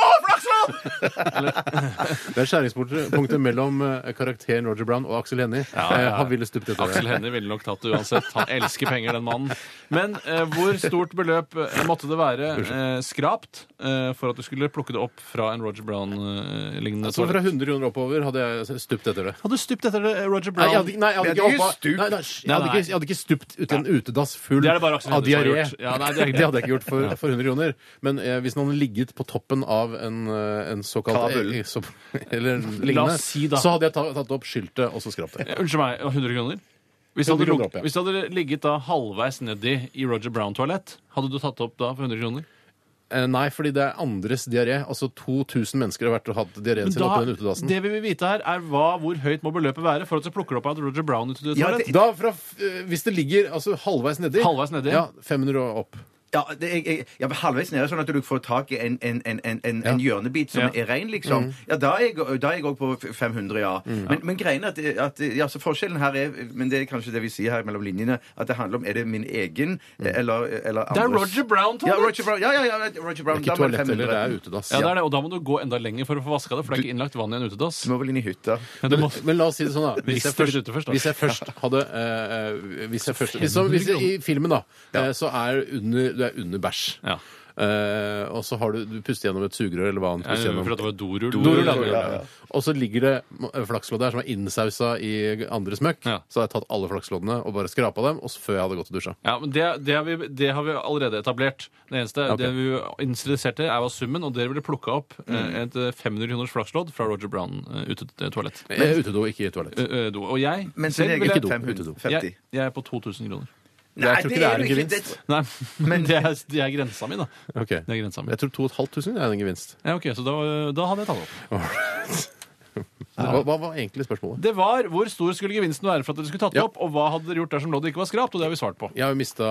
[SPEAKER 3] Det er skjæringspunktet mellom eh, karakteren Roger Brown og Aksel Hennie.
[SPEAKER 5] Ja, ja, ja.
[SPEAKER 3] Eh, Han ville stupt etter
[SPEAKER 5] Aksel
[SPEAKER 3] det.
[SPEAKER 5] Hennie ville nok tatt det uansett. Han elsker penger, den mannen. Men eh, hvor stort beløp eh, måtte det være eh, skrapt eh, for at du skulle plukke det opp fra en Roger Brown-lignende
[SPEAKER 3] Så Altså, fra 100 kroner oppover hadde jeg stupt etter det.
[SPEAKER 5] Hadde du stupt etter det, eh, Roger
[SPEAKER 3] Nei,
[SPEAKER 5] Brown?
[SPEAKER 3] jeg hadde, ikke- nei, jeg hadde
[SPEAKER 4] Men
[SPEAKER 3] ikke
[SPEAKER 4] det er ikke
[SPEAKER 3] hoppa-
[SPEAKER 4] stup.
[SPEAKER 3] Nei, nei, hysj, jeg hadde ikke- jeg hadde ikke stupt uti en utedass full
[SPEAKER 5] Det er det bare Aksel
[SPEAKER 3] av
[SPEAKER 5] Hennie som har
[SPEAKER 3] diaré. *laughs*
[SPEAKER 5] gjort. Ja, nei, det er
[SPEAKER 3] det,
[SPEAKER 5] greit.
[SPEAKER 3] hadde jeg ikke gjort for, for 100 kroner. Men eh, hvis den hadde ligget på toppen av en, eh, en såkalt
[SPEAKER 4] Kabel.
[SPEAKER 3] eh, så, *laughs* Eller
[SPEAKER 5] La
[SPEAKER 3] lignende,
[SPEAKER 5] oss si da.
[SPEAKER 3] så hadde jeg ta, tatt opp skiltet og så skrapt det.
[SPEAKER 5] Eh, Unnskyld meg, 100 kroner? Hvis det
[SPEAKER 3] 100
[SPEAKER 5] hadde,
[SPEAKER 3] kroner
[SPEAKER 5] log-
[SPEAKER 3] opp, ja.
[SPEAKER 5] hvis det hadde ligget da halvveis nedi i Roger Brown-toalett, hadde du tatt det opp da for 100 kroner?
[SPEAKER 3] Eh, Nei, fordi det er andres diaré. Altså 2000 mennesker har vært og hatt diareen sin oppi den utedassen.
[SPEAKER 5] det vi vil vite her, er hva, hvor høyt må beløpet være for at du plukker opp av et Roger Brown-utedo-toalett?
[SPEAKER 4] Ja, det-
[SPEAKER 3] Da fra, f- eh, hvis det ligger altså, halvveis nedi
[SPEAKER 5] Halvveis nedi?
[SPEAKER 3] Ja, 500 og opp.
[SPEAKER 4] Ja, det, jeg, jeg, ja, men halvveis nede, sånn at du får tak i en, en, en, en, en, en hjørnebit som
[SPEAKER 5] Ja.
[SPEAKER 4] er rein,
[SPEAKER 3] Mm.
[SPEAKER 4] liksom. Ja, da er jeg- da er jeg òg på f- 500, ja. Men, men greien er at, at ja, så Forskjellen her er Men det er kanskje det vi sier her mellom linjene, at det handler om er det min egen
[SPEAKER 3] Mm.
[SPEAKER 4] eller, eller
[SPEAKER 5] Det er
[SPEAKER 4] andres.
[SPEAKER 5] Roger Brown,
[SPEAKER 4] Ja,
[SPEAKER 5] Thomas!
[SPEAKER 4] Roger Brown. Ja, ja, ja, Roger Brown.
[SPEAKER 3] Ikke
[SPEAKER 4] da var
[SPEAKER 3] toalett heller, det er
[SPEAKER 4] 500.
[SPEAKER 3] utedass.
[SPEAKER 5] Ja, det er det, og da må du gå enda lenger for å få vaska det, for det er ikke innlagt vann i en utedass.
[SPEAKER 4] Du må vel inn i hytta.
[SPEAKER 5] Men du må...
[SPEAKER 3] Men la oss si det sånn, da. Hvis
[SPEAKER 5] Hvis
[SPEAKER 3] jeg
[SPEAKER 5] det
[SPEAKER 3] først,
[SPEAKER 5] slutter først, da.
[SPEAKER 3] hvis jeg først hadde eh, Hvis jeg først hvis, så, hvis jeg, I filmen, da, eh, så er under, du er under bæsj.
[SPEAKER 5] Ja.
[SPEAKER 3] Eh, og så har du, du puster gjennom et sugerør, eller hva annet
[SPEAKER 5] Jeg
[SPEAKER 3] puster
[SPEAKER 5] lurer
[SPEAKER 3] gjennom.
[SPEAKER 5] for at det var dorull.
[SPEAKER 3] Dorull,
[SPEAKER 5] ja,
[SPEAKER 3] ja,
[SPEAKER 5] dorull, ja.
[SPEAKER 3] ja. Og så ligger det eh, flakslodd der som er innsausa i andres møkk.
[SPEAKER 5] Ja.
[SPEAKER 3] Så har jeg tatt alle flaksloddene og bare skrapa dem og så før jeg hadde gått og dusja.
[SPEAKER 5] Ja, men det, det, har vi, det har vi allerede etablert. Det eneste
[SPEAKER 3] Ok.
[SPEAKER 5] det vi interesserte, er hva summen, og dere ville plukka opp eh, et eh, 500 kroners flakslodd fra Roger Brown eh, ute til toalett. Eh,
[SPEAKER 3] Eh, Utedo, ikke i toalett.
[SPEAKER 5] eh, do. Og jeg
[SPEAKER 4] Men sin
[SPEAKER 5] selv
[SPEAKER 4] egen
[SPEAKER 5] ville
[SPEAKER 4] ikke do, utedo.
[SPEAKER 5] jeg,
[SPEAKER 4] 50.
[SPEAKER 5] jeg er på 2000 kroner.
[SPEAKER 4] Nei,
[SPEAKER 3] tror ikke det er
[SPEAKER 4] du
[SPEAKER 3] en
[SPEAKER 4] ikke.
[SPEAKER 3] gevinst.
[SPEAKER 5] Nei, *laughs* men det er, det er grensa mi, da.
[SPEAKER 3] Ok.
[SPEAKER 5] Det er grensa mi.
[SPEAKER 3] Jeg tror 2500 er en gevinst.
[SPEAKER 5] Ja, ok, Så da, da hadde jeg tatt det opp.
[SPEAKER 3] Hva, hva var egentlig spørsmålet?
[SPEAKER 5] Det var hvor stor skulle gevinsten være for at dere skulle tatt det
[SPEAKER 3] Ja.
[SPEAKER 5] opp, og hva hadde dere gjort dersom loddet ikke var skrapt? Og det har vi svart på.
[SPEAKER 3] Jeg har jo mista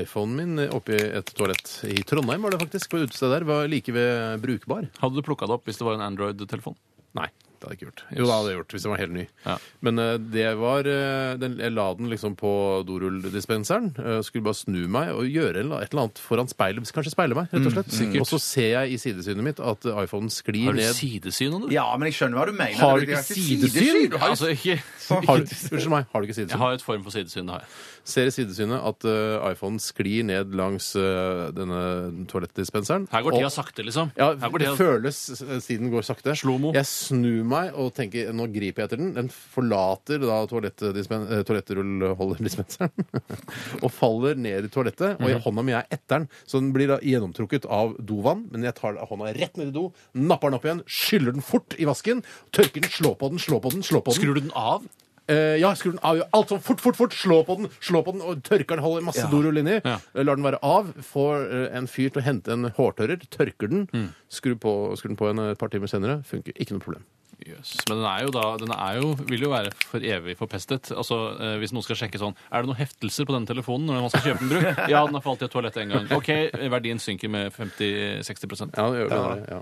[SPEAKER 3] iPhonen min oppi et toalett i Trondheim, var det faktisk. På utestedet der. Var like ved brukbar.
[SPEAKER 5] Hadde du plukka det opp hvis det var en Android-telefon?
[SPEAKER 3] Nei, det hadde jeg ikke gjort. Jo, det hadde jeg gjort hvis den var helt ny.
[SPEAKER 5] Ja.
[SPEAKER 3] Men eh, det var eh, den, Jeg la den liksom på dorulldispensereren. eh, skulle bare snu meg og gjøre en- et eller annet foran speilet. Kanskje speile meg, rett og slett. Og så ser jeg i sidesynet mitt at eh, iPhonen sklir
[SPEAKER 5] Mm, Har du
[SPEAKER 3] ned
[SPEAKER 5] sidesyn av det?
[SPEAKER 4] Ja, men jeg skjønner hva du mener.
[SPEAKER 3] Har du
[SPEAKER 4] Det er
[SPEAKER 3] ikke sidesyn?
[SPEAKER 4] Du har jo
[SPEAKER 5] Altså, ikke,
[SPEAKER 3] har du, Unnskyld meg, har du ikke sidesyn?
[SPEAKER 5] *laughs* jeg har et form for sidesyn. det har jeg.
[SPEAKER 3] Ser i sidesynet at eh, iPhonen sklir ned langs eh, denne toalettdispenseren.
[SPEAKER 5] Her går
[SPEAKER 3] Og-
[SPEAKER 5] tida sakte, liksom.
[SPEAKER 3] Ja,
[SPEAKER 5] Her går
[SPEAKER 3] det
[SPEAKER 5] tida...
[SPEAKER 3] føles siden går sakte.
[SPEAKER 5] Slow-mo.
[SPEAKER 3] Jeg snur meg og tenker nå griper jeg etter den. Den forlater da toalettdispen- eh, toalettrullholderdispenseren *laughs* og faller ned i toalettet. Og i hånda mi er etter den, så den blir da gjennomtrukket av dovann. Men jeg tar hånda rett ned i do, napper den opp igjen, skyller den fort i vasken, tørker den, slår på den, slår på den, slår på den.
[SPEAKER 5] Skrur du den av?
[SPEAKER 3] Eh, ja, skrur den av. gjør Alt sånn fort, fort, fort! Slå på den, slå på den, og tørker den, holder masse dorull inni.
[SPEAKER 5] Ja.
[SPEAKER 3] Eh, Lar den være av. Får eh, en fyr til å hente en hårtørrer, tørker den,
[SPEAKER 4] Mm.
[SPEAKER 3] skrur, på, skrur den på en eh, et par timer senere. Funker. Ikke noe problem.
[SPEAKER 5] Jøss. Men den er jo da Den er jo, vil jo være for evig forpestet. Altså, eh, Hvis noen skal sjekke sånn Er det noen heftelser på denne telefonen når man skal kjøpe den brukt?
[SPEAKER 3] *laughs*
[SPEAKER 5] Ja, den har falt i et toalett en gang. OK, verdien synker med 50-60
[SPEAKER 3] Ja, det gjør det. Ja.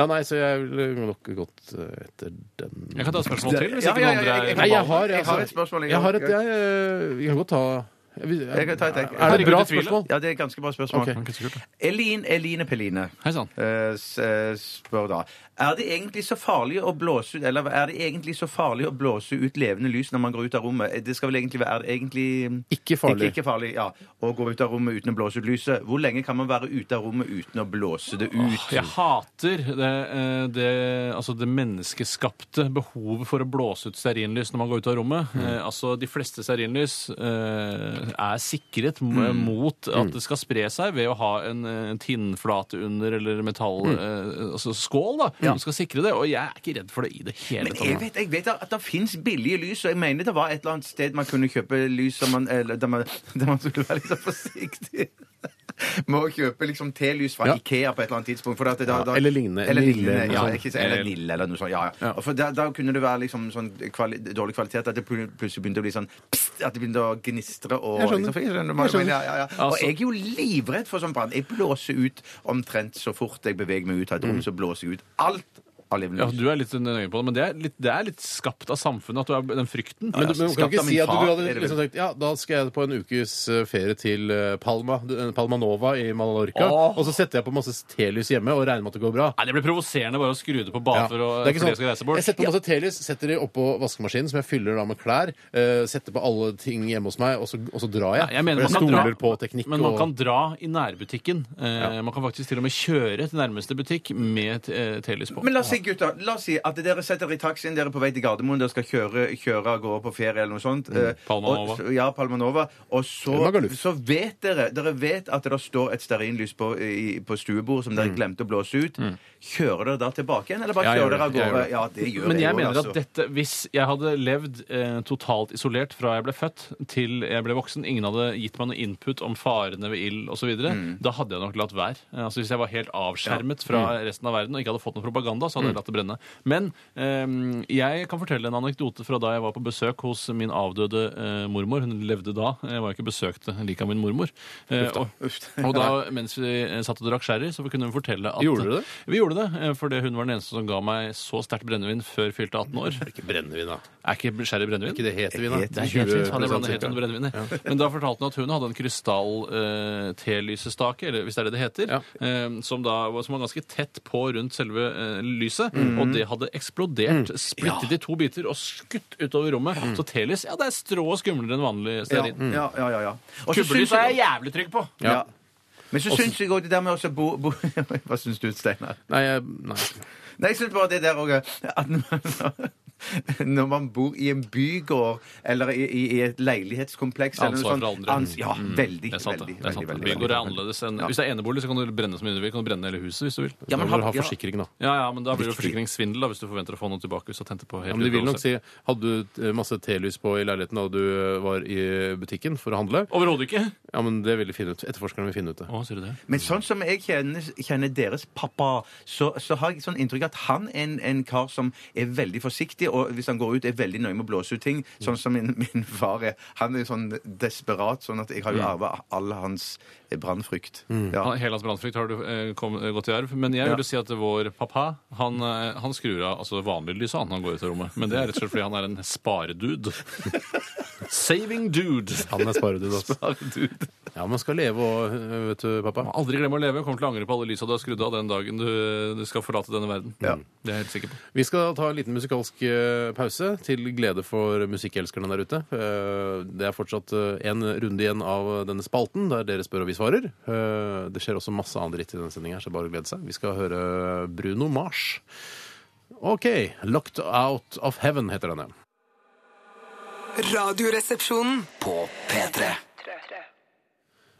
[SPEAKER 3] ja, nei, så jeg ville nok gått eh, etter den
[SPEAKER 5] Jeg kan ta et spørsmål til. hvis
[SPEAKER 4] Ja, ja,
[SPEAKER 5] ikke
[SPEAKER 4] ja,
[SPEAKER 5] noen andre
[SPEAKER 4] jeg-
[SPEAKER 5] er...
[SPEAKER 3] Nei, jeg har,
[SPEAKER 4] Jeg har et spørsmål, jeg
[SPEAKER 3] Jeg, har
[SPEAKER 4] også.
[SPEAKER 3] et, jeg, eh, jeg kan godt ta jeg, vil-
[SPEAKER 4] Jeg kan ta et, jeg.
[SPEAKER 3] Er det et bra
[SPEAKER 5] Herregud, jeg tviler.
[SPEAKER 3] spørsmål?
[SPEAKER 4] Ja, det er et ganske bra spørsmål.
[SPEAKER 3] Ok.
[SPEAKER 5] Ok, så kult, da.
[SPEAKER 4] Elin Eline Peline.
[SPEAKER 5] Hei sann.
[SPEAKER 4] Eh, s- eh, spør da Er det egentlig så farlig å blåse ut Eller er det egentlig så farlig å blåse ut levende lys når man går ut av rommet? Eh, Det skal vel egentlig være Er det egentlig
[SPEAKER 3] Ikke farlig.
[SPEAKER 4] Ikke, ikke farlig, ja Å gå ut av rommet uten å blåse ut lyset Hvor lenge kan man være ute av rommet uten å blåse det ut?
[SPEAKER 5] Jeg hater det, eh, det, altså det menneskeskapte
[SPEAKER 3] Mm.
[SPEAKER 5] behovet for å blåse ut stearinlys når man går ut av rommet. Eh, altså De fleste stearinlys eh, er sikret m-
[SPEAKER 3] Mm.
[SPEAKER 5] mot at det skal spre seg ved å ha en, eh, en tinnflate under eller metall...
[SPEAKER 3] Mm.
[SPEAKER 5] eh, altså skål, da. Som skal sikre det. Og jeg er ikke redd for det i det hele
[SPEAKER 4] Men jeg
[SPEAKER 5] tatt.
[SPEAKER 4] vet, jeg vet at det fins billige lys, og jeg mener det var et eller annet sted man kunne kjøpe lys som man, eller, der, man, der man skulle være litt sånn forsiktig. *laughs* Med å kjøpe liksom telys fra
[SPEAKER 3] Ja.
[SPEAKER 4] Ikea på et eller annet tidspunkt. For at det, da, da,
[SPEAKER 3] eller lignende.
[SPEAKER 4] Eller,
[SPEAKER 3] Nille,
[SPEAKER 4] lignende,
[SPEAKER 3] eller
[SPEAKER 4] ja,
[SPEAKER 3] sånn.
[SPEAKER 4] ikke, sant, eller Nille eller noe sånt. Ja, ja. Og For da, da kunne det være liksom sånn kvali, dårlig kvalitet at det pl- plutselig begynte å bli sånn pst, At det begynte å gnistre og
[SPEAKER 3] Jeg skjønner.
[SPEAKER 4] liksom, for jeg skjønner
[SPEAKER 3] Jeg skjønner.
[SPEAKER 4] hva du
[SPEAKER 3] Altså-
[SPEAKER 4] mener, ja, ja, ja. Og jeg er jo livredd for sånn brann. Jeg blåser ut omtrent så fort jeg beveger meg ut av et
[SPEAKER 3] Mm.
[SPEAKER 4] rom, så blåser jeg ut alt av levende
[SPEAKER 5] Ja,
[SPEAKER 4] lys.
[SPEAKER 5] du er litt nøye på det, men det er litt, det er litt skapt av samfunnet at du er den frykten.
[SPEAKER 3] Men, du, men du kan
[SPEAKER 4] skapt
[SPEAKER 3] ikke
[SPEAKER 4] av
[SPEAKER 3] si
[SPEAKER 4] min
[SPEAKER 3] at du,
[SPEAKER 4] far,
[SPEAKER 3] hadde
[SPEAKER 4] er det vel?
[SPEAKER 3] liksom tenkt Ja, da skal jeg på en ukes eh, ferie til eh, Palma eh, Palma Nova i Mallorca.
[SPEAKER 5] Åh.
[SPEAKER 3] Og så setter jeg på masse telys hjemme og regner med at det går bra.
[SPEAKER 5] Nei, Det blir provoserende bare å skru det på bare
[SPEAKER 3] Ja.
[SPEAKER 5] for å
[SPEAKER 3] Det er ikke
[SPEAKER 5] fordi jeg skal
[SPEAKER 3] sånn-
[SPEAKER 5] reise bort.
[SPEAKER 3] Jeg setter på masse telys, setter de oppå vaskemaskinen, som jeg fyller da med klær. eh, setter på alle ting hjemme hos meg, og så, og så drar jeg.
[SPEAKER 5] Nei, jeg mener
[SPEAKER 3] og jeg
[SPEAKER 5] man kan
[SPEAKER 3] stoler
[SPEAKER 5] dra-
[SPEAKER 3] på teknikk
[SPEAKER 5] Men man
[SPEAKER 3] og
[SPEAKER 5] kan dra i nærbutikken. Eh, Man kan faktisk til og med kjøre til nærmeste butikk med eh, telys på.
[SPEAKER 4] Men la oss si, gutter, la oss si at dere setter dere i taxien, dere er på vei til Gardermoen, dere skal kjøre, kjøre av gårde på ferie eller noe sånt. eh,
[SPEAKER 5] Palma
[SPEAKER 4] og-
[SPEAKER 5] Nova.
[SPEAKER 4] Ja, Palma Nova. Og så,
[SPEAKER 3] Eller Magaluf.
[SPEAKER 4] så vet dere dere vet at det står et stearinlys på, i- på stuebordet som dere glemte å blåse ut. Kjører dere da tilbake igjen, eller bare
[SPEAKER 3] Ja, jeg gjør
[SPEAKER 4] kjører dere av
[SPEAKER 3] det. Jeg gjør
[SPEAKER 4] gårde?
[SPEAKER 3] det.
[SPEAKER 4] Ja, det gjør
[SPEAKER 5] Men
[SPEAKER 4] jeg,
[SPEAKER 5] jeg
[SPEAKER 4] også,
[SPEAKER 5] mener at
[SPEAKER 4] altså.
[SPEAKER 5] dette, hvis jeg hadde levd eh, totalt isolert fra jeg ble født til jeg ble voksen, ingen hadde gitt meg noe input om farene ved ild osv., videre, da hadde jeg nok latt være. Eh, Altså Hvis jeg var helt avskjermet fra resten av verden og ikke hadde fått noe propaganda, så hadde jeg latt det brenne. Men ehm, jeg kan fortelle en anekdote fra da jeg var på besøk hos min avdøde eh, mormor. Hun levde da, jeg var jo ikke besøkt like av min mormor. Eh, og, og da, mens vi eh, satt og drakk sherry, så kunne hun fortelle at
[SPEAKER 3] Gjorde dere det?
[SPEAKER 5] vi gjorde det, eh, fordi hun var den eneste som ga meg så sterkt brennevin før fylte 18 år.
[SPEAKER 3] Ikke brennevin, da.
[SPEAKER 5] Er ikke sherry brennevin?
[SPEAKER 3] Ikke det heter vi, da.
[SPEAKER 4] Det er
[SPEAKER 5] Det er helt fint, faen,
[SPEAKER 3] 20%
[SPEAKER 5] jeg blander helt
[SPEAKER 3] cirka.
[SPEAKER 5] under brennevin, jeg. Men da fortalte hun at hun hadde en krystall-telysestake, eller hvis det er det det heter,
[SPEAKER 3] Ja.
[SPEAKER 5] eh, som, da, var- som var ganske tett på rundt selve eh, lyset, og det hadde eksplodert, splittet i to biter og skutt utover rommet. Så telys, ja, det er strå og skumlere enn vanlig
[SPEAKER 4] ja,
[SPEAKER 5] stearin.
[SPEAKER 4] ja, ja, ja, ja. Og så syns
[SPEAKER 5] Kubbelys er jeg
[SPEAKER 4] jeg
[SPEAKER 5] jævlig trygg på.
[SPEAKER 4] ja. Men så syns jeg òg det der med å bo, *laughs* bo Hva syns du, Steinar?
[SPEAKER 3] Nei, jeg- nei.
[SPEAKER 4] Nei, jeg synes bare det der også, at når man- når man bor i en bygård eller i, i, i et leilighetskompleks eller
[SPEAKER 5] Ansvar
[SPEAKER 4] noe
[SPEAKER 5] for
[SPEAKER 4] sånt,
[SPEAKER 5] andre. Mm.
[SPEAKER 4] ans- Ja, veldig.
[SPEAKER 5] Det er sant, det.
[SPEAKER 4] veldig,
[SPEAKER 5] det er sant.
[SPEAKER 4] veldig,
[SPEAKER 5] det. Bygård er
[SPEAKER 4] veldig.
[SPEAKER 5] annerledes enn Hvis det er enebolig, så kan du brenne så mye du vil. Kan du brenne hele huset hvis du vil.
[SPEAKER 3] Da
[SPEAKER 4] Ja, men
[SPEAKER 3] må du ha
[SPEAKER 4] har- ja.
[SPEAKER 3] forsikring, da.
[SPEAKER 5] Ja, ja, men da blir det jo
[SPEAKER 4] Viktig.
[SPEAKER 5] forsikringssvindel da, hvis du forventer å få noe tilbake. hvis du har tent det på hele
[SPEAKER 3] Ja, men de vil nok
[SPEAKER 5] huset.
[SPEAKER 3] si Hadde du eh, masse telys på i leiligheten da du eh, var i butikken for å handle?
[SPEAKER 5] Overhodet ikke!
[SPEAKER 3] Ja, men det vil de finne ut. Etterforskerne vil finne ut det.
[SPEAKER 5] Å, sier du det?
[SPEAKER 4] Men sånn som jeg kjenner, kjenner deres pappa, så, så har jeg sånn inntrykk at han er en, en kar som er veldig forsiktig, og hvis han går ut, er veldig nøye med å blåse ut ting. Sånn som min, min far er. Han er jo sånn desperat, sånn at jeg har jo
[SPEAKER 5] Mm.
[SPEAKER 4] arva all hans brannfrykt. Ja.
[SPEAKER 5] Han- Hele hans brannfrykt har du eh, kom, eh, gått i arv. Men jeg vil jo si at vår pappa han, eh, han skrur av altså vanlig lys han, når han går ut av rommet. Men det er rett og slett fordi han er en sparedude. *laughs* Saving dude.
[SPEAKER 3] Han er sparedud, altså.
[SPEAKER 5] Sparedude.
[SPEAKER 3] *laughs* Ja, man skal leve og eh, Vet du, pappa.
[SPEAKER 5] Aldri glem å leve. Kommer til å angre på alle lysa du har skrudd av den dagen du, du skal forlate denne verden. Det er jeg helt sikker på.
[SPEAKER 3] Vi skal ta en liten musikalsk eh, pause til glede for musikkelskerne der ute. Eh, Det er fortsatt eh, en runde igjen av denne spalten der dere spør og vi svarer. Eh, Det skjer også masse annen dritt i denne sendingen her, så bare glede seg. Vi skal høre Bruno Mars. OK. 'Locked Out of Heaven' heter den, ja.
[SPEAKER 6] Radioresepsjonen.
[SPEAKER 2] På P3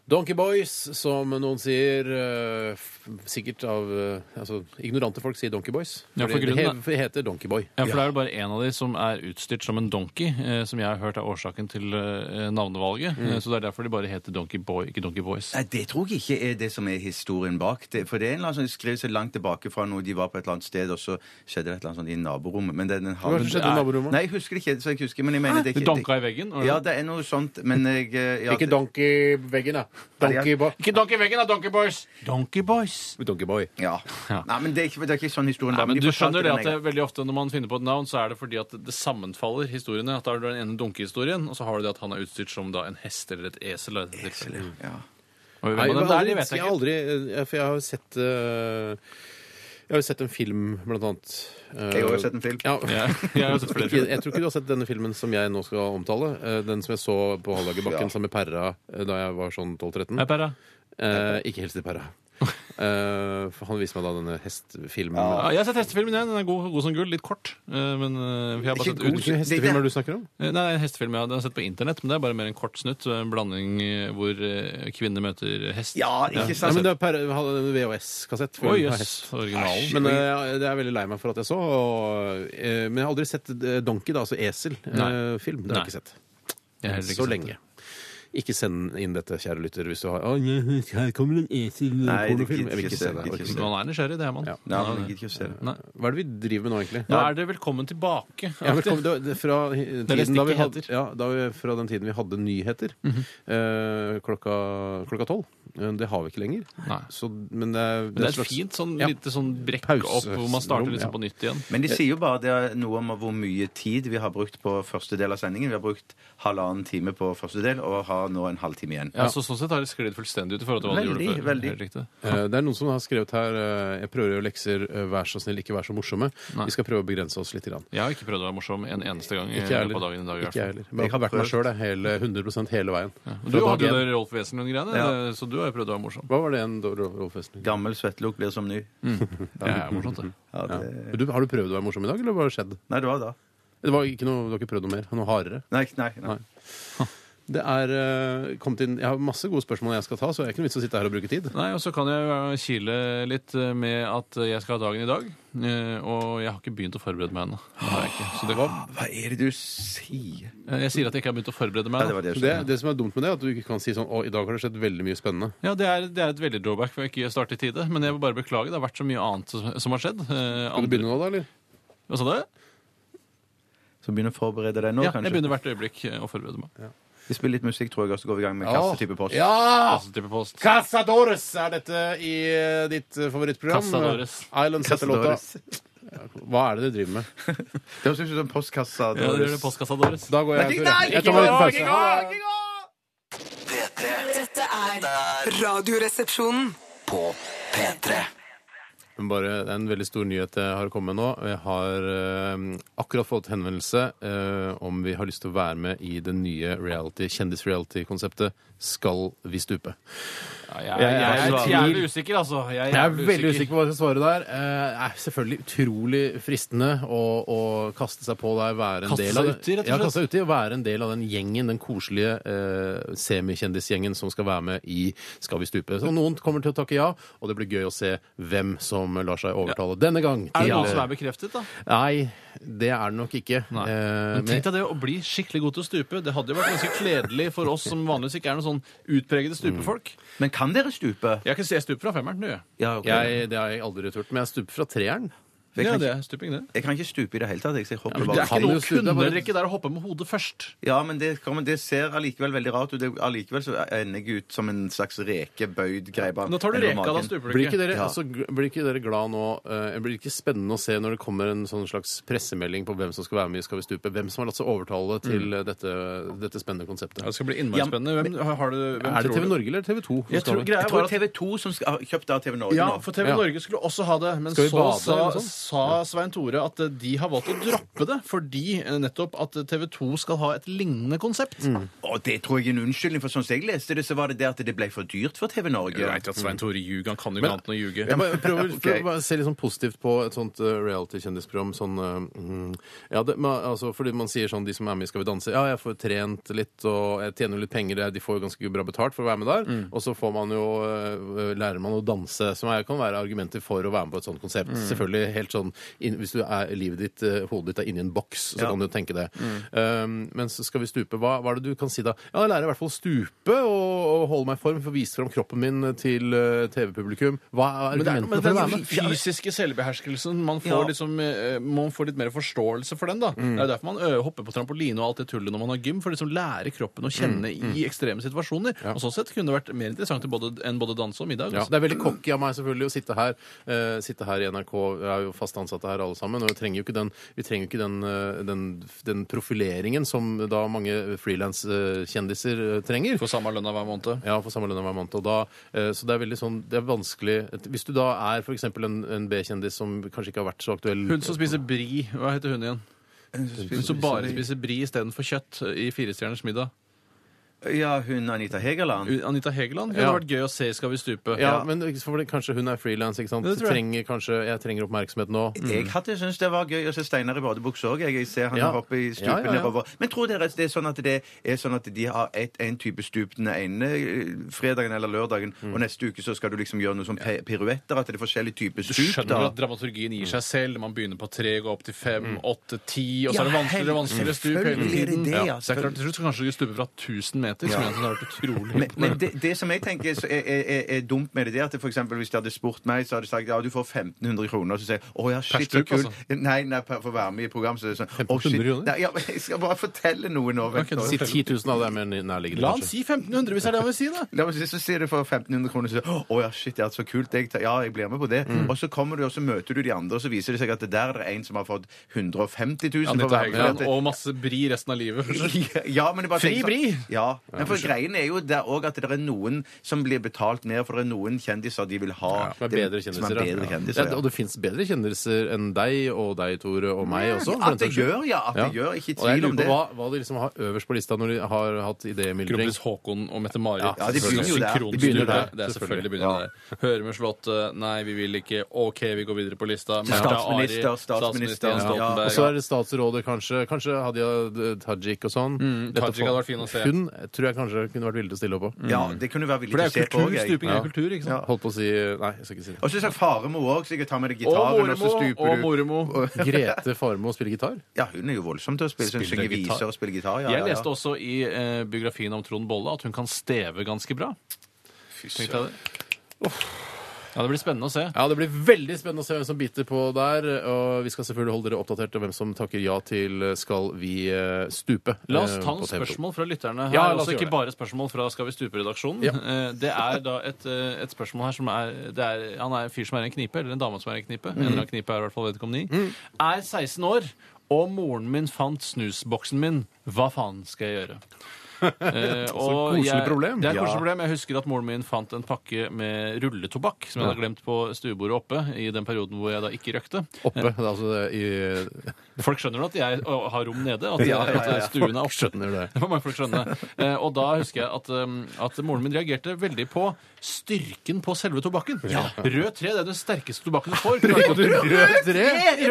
[SPEAKER 3] Donkey Boys, som noen sier eh, f- Sikkert av eh, Altså, ignorante folk sier Donkey Boys.
[SPEAKER 5] Ja, for
[SPEAKER 3] Fordi det
[SPEAKER 5] grunnen
[SPEAKER 3] he- heter Donkey Boy.
[SPEAKER 5] Ja, for det er jo bare en av de som er utstyrt som en donkey, eh, som jeg har hørt er årsaken til eh, navnevalget. Eh, så det er derfor de bare heter Donkey Boy, ikke Donkey Boys.
[SPEAKER 4] Nei, Det tror jeg ikke er det som er historien bak. Det, for det er en eller annen som skriver seg langt tilbake fra når de var på et eller annet sted, og så skjedde det et eller annet sånt i naborommet. Men det, den har-
[SPEAKER 3] Hva skjedde i naborommet? Ah.
[SPEAKER 4] Nei, jeg husker det ikke. så jeg husker, men jeg mener det er
[SPEAKER 5] Du
[SPEAKER 4] ikke...
[SPEAKER 5] danka i veggen? var det
[SPEAKER 4] Ja,
[SPEAKER 5] det?
[SPEAKER 4] det er noe sånt, men jeg eh, ja,
[SPEAKER 3] Ikke Donkey-veggen, da. Donkey Boy.
[SPEAKER 5] Ikke dank i veggen, da, Donkey Boys! Donkey Boys.
[SPEAKER 3] Donkey Boy.
[SPEAKER 4] Ja.
[SPEAKER 5] Ja.
[SPEAKER 4] Nei, men det er ikke, det er ikke sånn historien
[SPEAKER 5] Nei,
[SPEAKER 4] var,
[SPEAKER 5] men
[SPEAKER 4] de
[SPEAKER 5] du
[SPEAKER 4] fortalte
[SPEAKER 5] skjønner det
[SPEAKER 4] den
[SPEAKER 5] at
[SPEAKER 4] en
[SPEAKER 5] det,
[SPEAKER 4] gang.
[SPEAKER 5] veldig ofte når man finner på et navn, så er det fordi at det sammenfaller historiene. At da har du den ene dunkehistorien, og så har du det at han er utstyrt som da en hest eller et esel. eller et tilfelle.
[SPEAKER 4] ja.
[SPEAKER 5] Og hvem
[SPEAKER 3] Nei,
[SPEAKER 5] av
[SPEAKER 3] jeg, har
[SPEAKER 5] dem det er,
[SPEAKER 3] aldri,
[SPEAKER 5] det vet
[SPEAKER 3] jeg,
[SPEAKER 5] jeg
[SPEAKER 3] har
[SPEAKER 5] ikke.
[SPEAKER 3] aldri, eh, for jeg har jo sett eh, Jeg har jo sett en film, blant annet. eh,
[SPEAKER 4] Jeg har jo sett en film.
[SPEAKER 3] Ja.
[SPEAKER 5] Ja, jeg har jo sett flere
[SPEAKER 3] Ikke, jeg tror ikke du har sett denne filmen som jeg nå skal omtale. eh, Den som jeg så på Hallagerbakken
[SPEAKER 4] Ja.
[SPEAKER 3] sammen med Perra eh, da jeg var sånn 12-13.
[SPEAKER 5] Hei, Perra.
[SPEAKER 3] Eh, ikke hils til Perra. Eh, for han viste meg da denne hestefilmen.
[SPEAKER 5] Ja, jeg har sett hestefilmen, jeg. Den er god, god som gull. Litt kort. eh, Men eh, jeg har bare
[SPEAKER 4] Ikke
[SPEAKER 5] sett
[SPEAKER 4] god
[SPEAKER 5] ut...
[SPEAKER 3] Hvilken hestefilm er det du snakker om?
[SPEAKER 5] Eh, Nei, en hestefilm jeg har sett på internett, men det er bare mer en kort snutt. så En blanding eh, hvor eh, kvinner møter hest.
[SPEAKER 4] Ja, ikke sant?
[SPEAKER 3] Nei, men det er per, hadde en VHS-kassett.
[SPEAKER 5] Oi,
[SPEAKER 3] full av
[SPEAKER 5] jøss.
[SPEAKER 3] hest.
[SPEAKER 5] Originalen.
[SPEAKER 3] Men eh, det er jeg veldig lei meg for at jeg så. Og, eh, men jeg har aldri sett eh, Donkey, da, altså
[SPEAKER 5] Nei.
[SPEAKER 3] esel-film. det har jeg ikke sett.
[SPEAKER 5] Jeg har heller
[SPEAKER 3] så
[SPEAKER 5] ikke sett det.
[SPEAKER 3] lenge. Ikke send inn dette, kjære lytter, hvis du har Å, Her kommer en
[SPEAKER 4] Nei, det gidder
[SPEAKER 3] esel-pornofilm. Jeg vil ikke se det.
[SPEAKER 4] ikke
[SPEAKER 3] jeg orker
[SPEAKER 4] se.
[SPEAKER 3] ikke.
[SPEAKER 5] Man er nysgjerrig, det er man.
[SPEAKER 3] Ja.
[SPEAKER 4] Nei, men jeg gidder ikke å se det.
[SPEAKER 5] Nei.
[SPEAKER 3] Hva er det vi driver med nå, egentlig?
[SPEAKER 5] Nå er dere velkommen tilbake.
[SPEAKER 3] Ja, velkommen det, det, fra, hi-
[SPEAKER 5] det
[SPEAKER 3] tiden da vi
[SPEAKER 5] stikket
[SPEAKER 3] hadde,
[SPEAKER 5] heter. Mhm.
[SPEAKER 3] ja, da vi, fra den tiden vi hadde nyheter eh, klokka klokka tolv. Eh, Det har vi ikke lenger.
[SPEAKER 5] Nei.
[SPEAKER 3] Så, men det er,
[SPEAKER 5] Men det
[SPEAKER 3] et
[SPEAKER 5] er
[SPEAKER 3] slags-
[SPEAKER 5] et fint sånn
[SPEAKER 3] Ja.
[SPEAKER 5] lite sånn brekk
[SPEAKER 3] Pause-
[SPEAKER 5] opp, hvor man starter
[SPEAKER 3] rom, ja.
[SPEAKER 5] liksom på nytt igjen.
[SPEAKER 4] Men de sier jo bare det er noe om hvor mye tid vi har brukt på første del av sendingen. Vi har brukt halvannen time på første del og har nå en halvtime igjen.
[SPEAKER 5] Ja, så Sånn sett har det sklidd fullstendig ut i forhold til hva du
[SPEAKER 4] Veldig,
[SPEAKER 5] gjorde før.
[SPEAKER 4] veldig.
[SPEAKER 5] Helt riktig.
[SPEAKER 3] Eh, Det er noen som har skrevet her eh, Jeg prøver å gjøre lekser, eh, vær så snill, ikke vær så morsomme. Vi skal prøve å begrense oss litt. Grann.
[SPEAKER 5] Jeg har ikke prøvd å være morsom en eneste gang. i
[SPEAKER 3] Ikke jeg
[SPEAKER 5] løpet av dagen i dag, i
[SPEAKER 3] heller.
[SPEAKER 5] hvert
[SPEAKER 3] Ikke jeg
[SPEAKER 5] fall.
[SPEAKER 3] heller. Men jeg har vært meg sjøl hele 100 hele veien.
[SPEAKER 5] Og Du
[SPEAKER 3] Fra dag
[SPEAKER 5] hadde jo
[SPEAKER 3] én.
[SPEAKER 5] det Rolf Wesenlund-greiene,
[SPEAKER 4] Ja.
[SPEAKER 5] så du har jo prøvd å være morsom.
[SPEAKER 3] Hva var det en rollefestning?
[SPEAKER 4] Gammel svettelukk blir som ny.
[SPEAKER 5] Mm. Det er morsomt, det.
[SPEAKER 4] Ja, det...
[SPEAKER 3] Du, har du prøvd å være morsom i dag, eller hva har skjedd?
[SPEAKER 4] Nei, det var da.
[SPEAKER 3] Det var ikke noe, du har ikke prøvd noe mer? Noe hardere?
[SPEAKER 4] Nei, nei, nei.
[SPEAKER 3] Det er eh, kommet inn Jeg har masse gode spørsmål jeg skal ta, så det er ikke noe vits å sitte her og bruke tid.
[SPEAKER 5] Nei, og så kan jeg jo kile litt eh, med at jeg skal ha dagen i dag. eh, Og jeg har ikke begynt å forberede meg ennå. Det har jeg ikke. Så det,
[SPEAKER 4] Ah, Hva er det du sier?
[SPEAKER 5] Eh, jeg sier at jeg ikke har begynt å forberede
[SPEAKER 4] Nei,
[SPEAKER 5] meg.
[SPEAKER 4] det var
[SPEAKER 5] da.
[SPEAKER 3] Så
[SPEAKER 4] det jeg
[SPEAKER 3] Det,
[SPEAKER 4] skjønte.
[SPEAKER 3] det som er dumt med det, er at du ikke kan si sånn Å, i dag har det skjedd veldig mye spennende.
[SPEAKER 5] Ja, det er, det er et veldig drawback for jeg ikke startet i tide. Men jeg vil bare beklage. Det har vært så mye annet som- som har skjedd. eh,
[SPEAKER 3] Kan du
[SPEAKER 5] andre-
[SPEAKER 3] begynne nå, da, eller?
[SPEAKER 5] Hva sa du?
[SPEAKER 4] Så begynn å forberede deg nå,
[SPEAKER 5] Ja, jeg
[SPEAKER 4] kanskje.
[SPEAKER 5] begynner hvert øyeblikk eh, å forberede meg.
[SPEAKER 4] Vi spiller litt musikk, tror jeg, og så går vi i gang med kassetype post.
[SPEAKER 3] Ja!
[SPEAKER 5] Kassetype Altså, post.
[SPEAKER 3] Casadores er dette i eh, ditt eh, favorittprogram.
[SPEAKER 5] Casadores.
[SPEAKER 3] Island setter låta.
[SPEAKER 4] Kassadores.
[SPEAKER 3] Hva er det du driver med?
[SPEAKER 4] Det høres ut som postkassa.
[SPEAKER 5] Ja, det gjør det postkassa deres.
[SPEAKER 3] Da går jeg en tur, jeg. Jeg tar meg en liten pause. Ha det.
[SPEAKER 2] P3
[SPEAKER 6] Dette er Radioresepsjonen.
[SPEAKER 2] på P3
[SPEAKER 3] Men Bare, det er en veldig stor nyhet jeg har kommet med nå. Jeg har eh, akkurat fått henvendelse eh, om vi har lyst til å være med i det nye reality, kjendis-reality-konseptet Skal vi stupe?
[SPEAKER 5] jeg,
[SPEAKER 3] jeg er
[SPEAKER 5] er
[SPEAKER 3] i
[SPEAKER 5] jævlig
[SPEAKER 3] tvil.
[SPEAKER 5] usikker, altså. Jeg,
[SPEAKER 3] Jeg er veldig usikker på hva jeg skal svare der. Eh, Det er selvfølgelig utrolig fristende å, å kaste seg på der, være en
[SPEAKER 5] Kaste
[SPEAKER 3] del
[SPEAKER 5] seg
[SPEAKER 3] av det-
[SPEAKER 5] uti, rett og
[SPEAKER 3] Ja,
[SPEAKER 5] slett.
[SPEAKER 3] kaste seg uti og være en del av den gjengen, den koselige eh, semikjendisgjengen som skal være med i Skal vi stupe. Så noen kommer til å takke ja, og det blir gøy å se hvem som lar seg overtale denne gang.
[SPEAKER 5] Er det
[SPEAKER 3] til-
[SPEAKER 5] noen som er bekreftet, da?
[SPEAKER 3] Nei, det er det nok ikke.
[SPEAKER 5] Nei.
[SPEAKER 3] Eh,
[SPEAKER 5] Men tenk deg det å bli skikkelig god til å stupe. Det hadde jo vært ganske kledelig for oss som vanligvis ikke er noen sånn
[SPEAKER 3] Mm.
[SPEAKER 5] utpregede stupefolk.
[SPEAKER 4] Men kan dere stupe?
[SPEAKER 5] Jeg kan se stup fra femmeren, du. jeg.
[SPEAKER 4] Ja, ok.
[SPEAKER 3] jeg, det har jeg aldri turt, men jeg stuper fra treeren.
[SPEAKER 4] Jeg
[SPEAKER 5] Ja,
[SPEAKER 4] kan,
[SPEAKER 5] det
[SPEAKER 4] ikke,
[SPEAKER 5] er stuping, det.
[SPEAKER 4] jeg kan ikke stupe i det hele tatt. Jeg, så jeg hopper
[SPEAKER 5] Det
[SPEAKER 4] bare.
[SPEAKER 5] er
[SPEAKER 3] kan
[SPEAKER 5] ikke
[SPEAKER 3] jo
[SPEAKER 5] noe
[SPEAKER 3] stupe, det er
[SPEAKER 5] kunne
[SPEAKER 3] bare-
[SPEAKER 5] dere ikke der å hoppe med hodet først.
[SPEAKER 4] Ja, men det, kommer- det ser allikevel veldig rart ut. Det- Allikevel så ender jeg ut som en slags rekebøyd greie. bare
[SPEAKER 5] Nå tar du
[SPEAKER 4] under
[SPEAKER 5] reka, da
[SPEAKER 4] magen.
[SPEAKER 5] stuper du
[SPEAKER 3] Blir ikke dere,
[SPEAKER 5] ikke.
[SPEAKER 4] Ja.
[SPEAKER 3] altså, gl- blir ikke dere glad nå eh, Blir det ikke spennende å se når det kommer en sånn slags pressemelding på hvem som skal være med i Skal vi stupe? Hvem som har latt seg overtale til eh, dette, dette spennende konseptet?
[SPEAKER 5] Ja, Det skal bli innmari
[SPEAKER 4] Ja,
[SPEAKER 5] spennende. Hvem, har du, hvem
[SPEAKER 3] er det
[SPEAKER 5] Altså, tror
[SPEAKER 3] TV
[SPEAKER 5] du?
[SPEAKER 3] Norge eller TV 2?
[SPEAKER 5] Jeg tror greia
[SPEAKER 4] Jeg
[SPEAKER 5] var
[SPEAKER 4] tror
[SPEAKER 5] at
[SPEAKER 4] TV 2 som skal, har kjøpt av TV Norge
[SPEAKER 5] Ja,
[SPEAKER 4] nå.
[SPEAKER 5] for TV
[SPEAKER 3] Ja.
[SPEAKER 5] Norge skulle også ha det. Men
[SPEAKER 3] Skal vi
[SPEAKER 5] så
[SPEAKER 3] bade,
[SPEAKER 5] sa,
[SPEAKER 3] eller noe sånt?
[SPEAKER 5] sa Svein Tore at eh, de har valgt å droppe det fordi eh, nettopp at TV 2 skal ha et lignende konsept.
[SPEAKER 3] Mm.
[SPEAKER 4] Og det tror jeg er en unnskyldning, for sånn som jeg leste det, så var det det at det ble for dyrt for TV Norge.
[SPEAKER 5] Jeg vet at Svein Tore ljuger. Han kan jo
[SPEAKER 3] Men-
[SPEAKER 5] ikke annet enn å ljuge.
[SPEAKER 3] Jeg
[SPEAKER 4] *laughs*
[SPEAKER 3] bare prøver,
[SPEAKER 4] Ok.
[SPEAKER 3] prøver bare å se litt sånn positivt på et sånt eh, reality-kjendisprogram. Sånn, eh, mm, ja, det, man, altså, fordi man sier sånn, de som er med i Skal vi danse, ja, jeg får trent litt, og jeg tjener litt penger, jeg- de får jo ganske bra betalt for å være med der,
[SPEAKER 4] Mm.
[SPEAKER 3] og så får man jo, eh, lærer man å danse, som er, kan være argumenter for å være med på et sånt konsept.
[SPEAKER 4] Mm.
[SPEAKER 3] Selvfølgelig helt sånn, inn, hvis du er, livet ditt, eh, hodet ditt er inni en boks, så
[SPEAKER 4] Ja. Mm.
[SPEAKER 3] kan du jo tenke det. Um, men så skal vi stupe, hva, hva er det du kan si da? Ja, jeg lærer i hvert fall å stupe, og, og holde meg i form, for å vise frem kroppen min til eh, TV-publikum. Hva er
[SPEAKER 5] Men det er,
[SPEAKER 3] argumentene
[SPEAKER 5] men
[SPEAKER 3] for å
[SPEAKER 5] den
[SPEAKER 3] være med.
[SPEAKER 5] fysiske selvbeherskelsen Man får,
[SPEAKER 4] Ja.
[SPEAKER 5] liksom, eh, man får litt mer forståelse for den. da Det er derfor man ø, hopper på trampoline og alt det tullet når man har gym. For å liksom lære kroppen å kjenne i ekstreme situasjoner. Og Sånn sett kunne det vært mer interessant enn både, enn både danse og middag.
[SPEAKER 3] Ja,
[SPEAKER 5] altså.
[SPEAKER 3] det er veldig cocky av meg selvfølgelig å sitte her, eh, sitte her i NRK. Vi er jo fast ansatte her alle sammen. Og vi trenger jo ikke den, vi trenger jo ikke den, eh, den, den profileringen som da mange frilanskjendiser trenger.
[SPEAKER 5] For samme lønna hver måned.
[SPEAKER 3] Ja, for samme lønn hver måned. Og da, eh, så det er veldig sånn, det er vanskelig Hvis du da er f.eks. en, en B-kjendis som kanskje ikke har vært så aktuell
[SPEAKER 5] Hun som spiser bri. Hva heter hun igjen? Hun som bare spiser bri istedenfor kjøtt i Firestjerners middag.
[SPEAKER 4] Ja, hun Anita Hegerland.
[SPEAKER 5] Anita Hegeland
[SPEAKER 3] Ja.
[SPEAKER 5] hadde vært gøy å se i Skal vi stupe.
[SPEAKER 3] Ja, men for det- kanskje hun er frilans, ikke sant?
[SPEAKER 5] Det tror jeg.
[SPEAKER 3] Trenger kanskje, jeg trenger oppmerksomhet nå.
[SPEAKER 5] Mm.
[SPEAKER 4] Jeg hadde syntes det var gøy å se Steinar i badebukse òg. Jeg ser han
[SPEAKER 3] Ja.
[SPEAKER 4] er oppe i stupen
[SPEAKER 3] Ja, ja, ja.
[SPEAKER 4] nedover. Men tror dere det er sånn at det er sånn at de har et, en type stup den ene eh, fredagen eller lørdagen,
[SPEAKER 5] Mm.
[SPEAKER 4] og neste uke så skal du liksom gjøre noe sånn pe- piruetter? At det er forskjellige typer
[SPEAKER 5] Du
[SPEAKER 4] stup?
[SPEAKER 5] skjønner
[SPEAKER 4] da? Mm.
[SPEAKER 5] at dramaturgien gir seg selv. Man begynner på tre, går opp til fem, åtte, ti, og så er det
[SPEAKER 4] Ja,
[SPEAKER 5] vanskeligere og vanskeligere stup hele
[SPEAKER 4] selvfølgelig er det
[SPEAKER 5] tiden.
[SPEAKER 4] det,
[SPEAKER 5] Ja.
[SPEAKER 4] ja,
[SPEAKER 5] Så det er klart, til slutt så kanskje du stuper fra 1000 meter, som jeg synes har vært utrolig
[SPEAKER 4] Men, men det, det som jeg tenker er, er, er, er dumt med det, det er at det for eksempel, hvis de hadde spurt meg, så hadde de sagt ja, du får 1500 kroner. Og så sier jeg å ja, shit, så
[SPEAKER 5] stup,
[SPEAKER 4] kult.
[SPEAKER 5] altså.
[SPEAKER 4] Nei, nei, per- for å være med i programmet. Så er det sånn, å,
[SPEAKER 3] 1500
[SPEAKER 4] shit.
[SPEAKER 3] kroner?
[SPEAKER 4] Nei, ja, *laughs* men jeg skal bare fortelle noe nå. Vent,
[SPEAKER 5] Ok,
[SPEAKER 4] nå.
[SPEAKER 3] Si 10 000 av det er mer nærliggende.
[SPEAKER 5] La han
[SPEAKER 3] kanskje.
[SPEAKER 5] si 1500, hvis det er det han vil si, da!
[SPEAKER 4] La meg si, så sier du for 1500 kroner, så sier du, å ja, shit, det er så kult, jeg, tar- ja, jeg blir med på det.
[SPEAKER 3] Mm.
[SPEAKER 4] Og så kommer du, og så møter du de andre, og så viser det seg at det der er det en som har fått 150 000 for å
[SPEAKER 5] Anita
[SPEAKER 4] være med.
[SPEAKER 5] Hegeland
[SPEAKER 4] At det- *laughs*
[SPEAKER 5] og masse bri resten av livet.
[SPEAKER 4] Ja, men jeg bare
[SPEAKER 5] Fri
[SPEAKER 4] tenker
[SPEAKER 5] bri!
[SPEAKER 4] sånn- Ja, men for greien er jo der også at det er noen som blir betalt mer, for det er noen kjendiser de vil ha.
[SPEAKER 3] Ja, som er
[SPEAKER 4] Det-
[SPEAKER 3] bedre kjendiser.
[SPEAKER 4] Som er
[SPEAKER 3] ja.
[SPEAKER 4] bedre kjendiser,
[SPEAKER 3] ja.
[SPEAKER 4] ja.
[SPEAKER 3] Og det fins bedre kjendiser enn deg og deg, Tore, og meg også. for den
[SPEAKER 4] At det
[SPEAKER 3] saks skyld.
[SPEAKER 4] gjør, ja. At det gjør. Ikke i
[SPEAKER 3] Og jeg
[SPEAKER 4] tvil
[SPEAKER 3] lurer
[SPEAKER 4] om
[SPEAKER 3] på
[SPEAKER 4] det.
[SPEAKER 3] Hva, hva de liksom har øverst på lista når de har hatt idémyldring.
[SPEAKER 5] Kronprins Håkon og Mette-Marit.
[SPEAKER 4] Ja, de begynner jo der.
[SPEAKER 5] Synkron-
[SPEAKER 4] De begynner
[SPEAKER 5] Det er-
[SPEAKER 4] der,
[SPEAKER 5] Det er selvfølgelig
[SPEAKER 3] selvfølgelig.
[SPEAKER 5] begynner der. Hører med Slottet. Nei, vi vil ikke. OK, vi går videre på lista. Märtha Ari,
[SPEAKER 4] Statsminister, statsminister,
[SPEAKER 5] Jens
[SPEAKER 4] ja.
[SPEAKER 5] Stoltenberg.
[SPEAKER 3] Og så er det statsråder, kanskje. Kanskje Hadia eh, Tajik og sånn. Dette
[SPEAKER 5] Mm, Tajik
[SPEAKER 3] folk-
[SPEAKER 5] hadde vært fin å se.
[SPEAKER 3] Hun tror jeg kanskje kunne vært villig til å stille opp på.
[SPEAKER 4] Ja, det kunne du være villig
[SPEAKER 5] For
[SPEAKER 4] til å
[SPEAKER 5] det
[SPEAKER 4] se på.
[SPEAKER 5] er jo kultur.
[SPEAKER 4] jeg.
[SPEAKER 5] Stuping er
[SPEAKER 4] Mm. Ja.
[SPEAKER 5] jo kultur, ikke sant?
[SPEAKER 3] Holdt på å si Nei, jeg skal ikke si det.
[SPEAKER 4] Og så er det faremo òg, så jeg kan ta med deg
[SPEAKER 5] Og
[SPEAKER 4] gitaren, og så
[SPEAKER 5] moremo.
[SPEAKER 4] stuper
[SPEAKER 5] Og
[SPEAKER 4] du.
[SPEAKER 5] moremo.
[SPEAKER 3] Grete Farmo spiller gitar?
[SPEAKER 4] Ja, hun er jo voldsom til å spille. så Hun
[SPEAKER 5] Spiller
[SPEAKER 4] synger
[SPEAKER 5] gitar.
[SPEAKER 4] viser og spiller gitar. Ja,
[SPEAKER 5] Jeg
[SPEAKER 4] ja, ja.
[SPEAKER 5] leste også i eh, biografien om Trond Bolle at hun kan steve ganske bra. Tenkte jeg det. Ja, Det blir spennende å se.
[SPEAKER 3] Ja, Det blir veldig spennende å se hvem som biter på der. Og vi skal selvfølgelig holde dere oppdatert om hvem som takker ja til Skal vi eh, stupe?
[SPEAKER 5] La oss
[SPEAKER 3] eh,
[SPEAKER 5] ta
[SPEAKER 3] på
[SPEAKER 5] noen
[SPEAKER 3] TV 2.
[SPEAKER 5] spørsmål fra lytterne. her,
[SPEAKER 3] Ja, la oss
[SPEAKER 5] altså
[SPEAKER 3] gjøre
[SPEAKER 5] Ikke
[SPEAKER 3] det.
[SPEAKER 5] bare spørsmål fra Skal vi stupe-redaksjonen.
[SPEAKER 3] Ja.
[SPEAKER 5] Eh, Det er da et, eh, et spørsmål her som er, det er Han er en fyr som er i en knipe, eller en dame som er i en knipe. En
[SPEAKER 3] Mm.
[SPEAKER 5] eller annen knipe er i hvert fall vedkommende i. Er 16 år, og moren min fant snusboksen min. Hva faen skal jeg
[SPEAKER 3] *laughs*
[SPEAKER 5] gjøre? Eh, og
[SPEAKER 3] koselig problem.
[SPEAKER 5] Det er et
[SPEAKER 3] Ja.
[SPEAKER 5] koselig problem. Jeg husker at moren min fant en pakke med rulletobakk som jeg hadde glemt på stuebordet oppe i den perioden hvor jeg da ikke røykte.
[SPEAKER 3] Oppe, det er altså det i
[SPEAKER 5] Folk skjønner jo at jeg å, har rom nede, at, at stuen er oppe.
[SPEAKER 3] Skjønner du det?
[SPEAKER 5] Det får mange folk skjønne. Eh, og da husker jeg at, um, at moren min reagerte veldig på styrken på selve tobakken. Rød tre det er den sterkeste tobakken du får. Rød,
[SPEAKER 3] Rød tre!